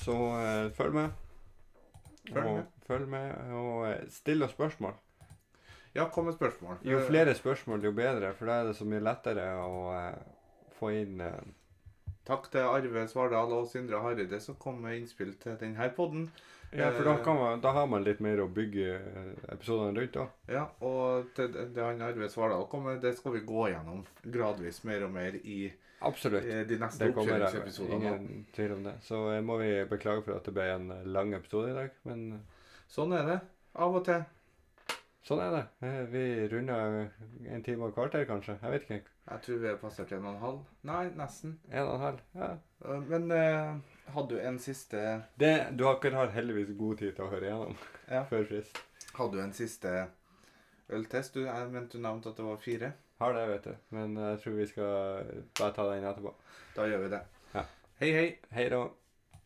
Speaker 1: så eh, følg med.
Speaker 2: Følg
Speaker 1: og,
Speaker 2: med.
Speaker 1: Følg med, og eh, still oss spørsmål.
Speaker 2: ja, kom med spørsmål.
Speaker 1: Jo flere spørsmål, jo bedre, for da er det så mye lettere å eh, få inn eh,
Speaker 2: Takk til Arve Svardal og Sindre Hareide som kom med innspill til denne podden.
Speaker 1: Ja, for da, kan man, da har man litt mer å bygge eh, episodene rundt òg.
Speaker 2: Ja, og det, det han Arve Svardal kom med, det skal vi gå gjennom gradvis mer og mer i
Speaker 1: Absolutt.
Speaker 2: eh, de neste
Speaker 1: Det kommer eh,
Speaker 2: oppkjøringsepisodene.
Speaker 1: ingen tvil om det. Så eh, må vi beklage for at det ble en eh, lang episode i dag, men eh,
Speaker 2: Sånn er det. Av og til.
Speaker 1: sånn er det. Eh, Vi runder eh, en time og et kvarter, kanskje. Jeg vet ikke.
Speaker 2: Jeg tror vi har passert en og en halv. Nei, nesten.
Speaker 1: En og en halv. Ja.
Speaker 2: Eh, Men eh, hadde du en siste
Speaker 1: Det, du har ikke har heldigvis god tid til å høre igjennom
Speaker 2: Ja.
Speaker 1: før frist.
Speaker 2: Hadde du en siste øltest? Du, jeg mente du nevnte at det var fire.
Speaker 1: Har det, vet eh, du. Men jeg tror vi skal eh, bare ta den etterpå.
Speaker 2: Da gjør vi det.
Speaker 1: Ja.
Speaker 2: Hei, hei.
Speaker 1: Hei da.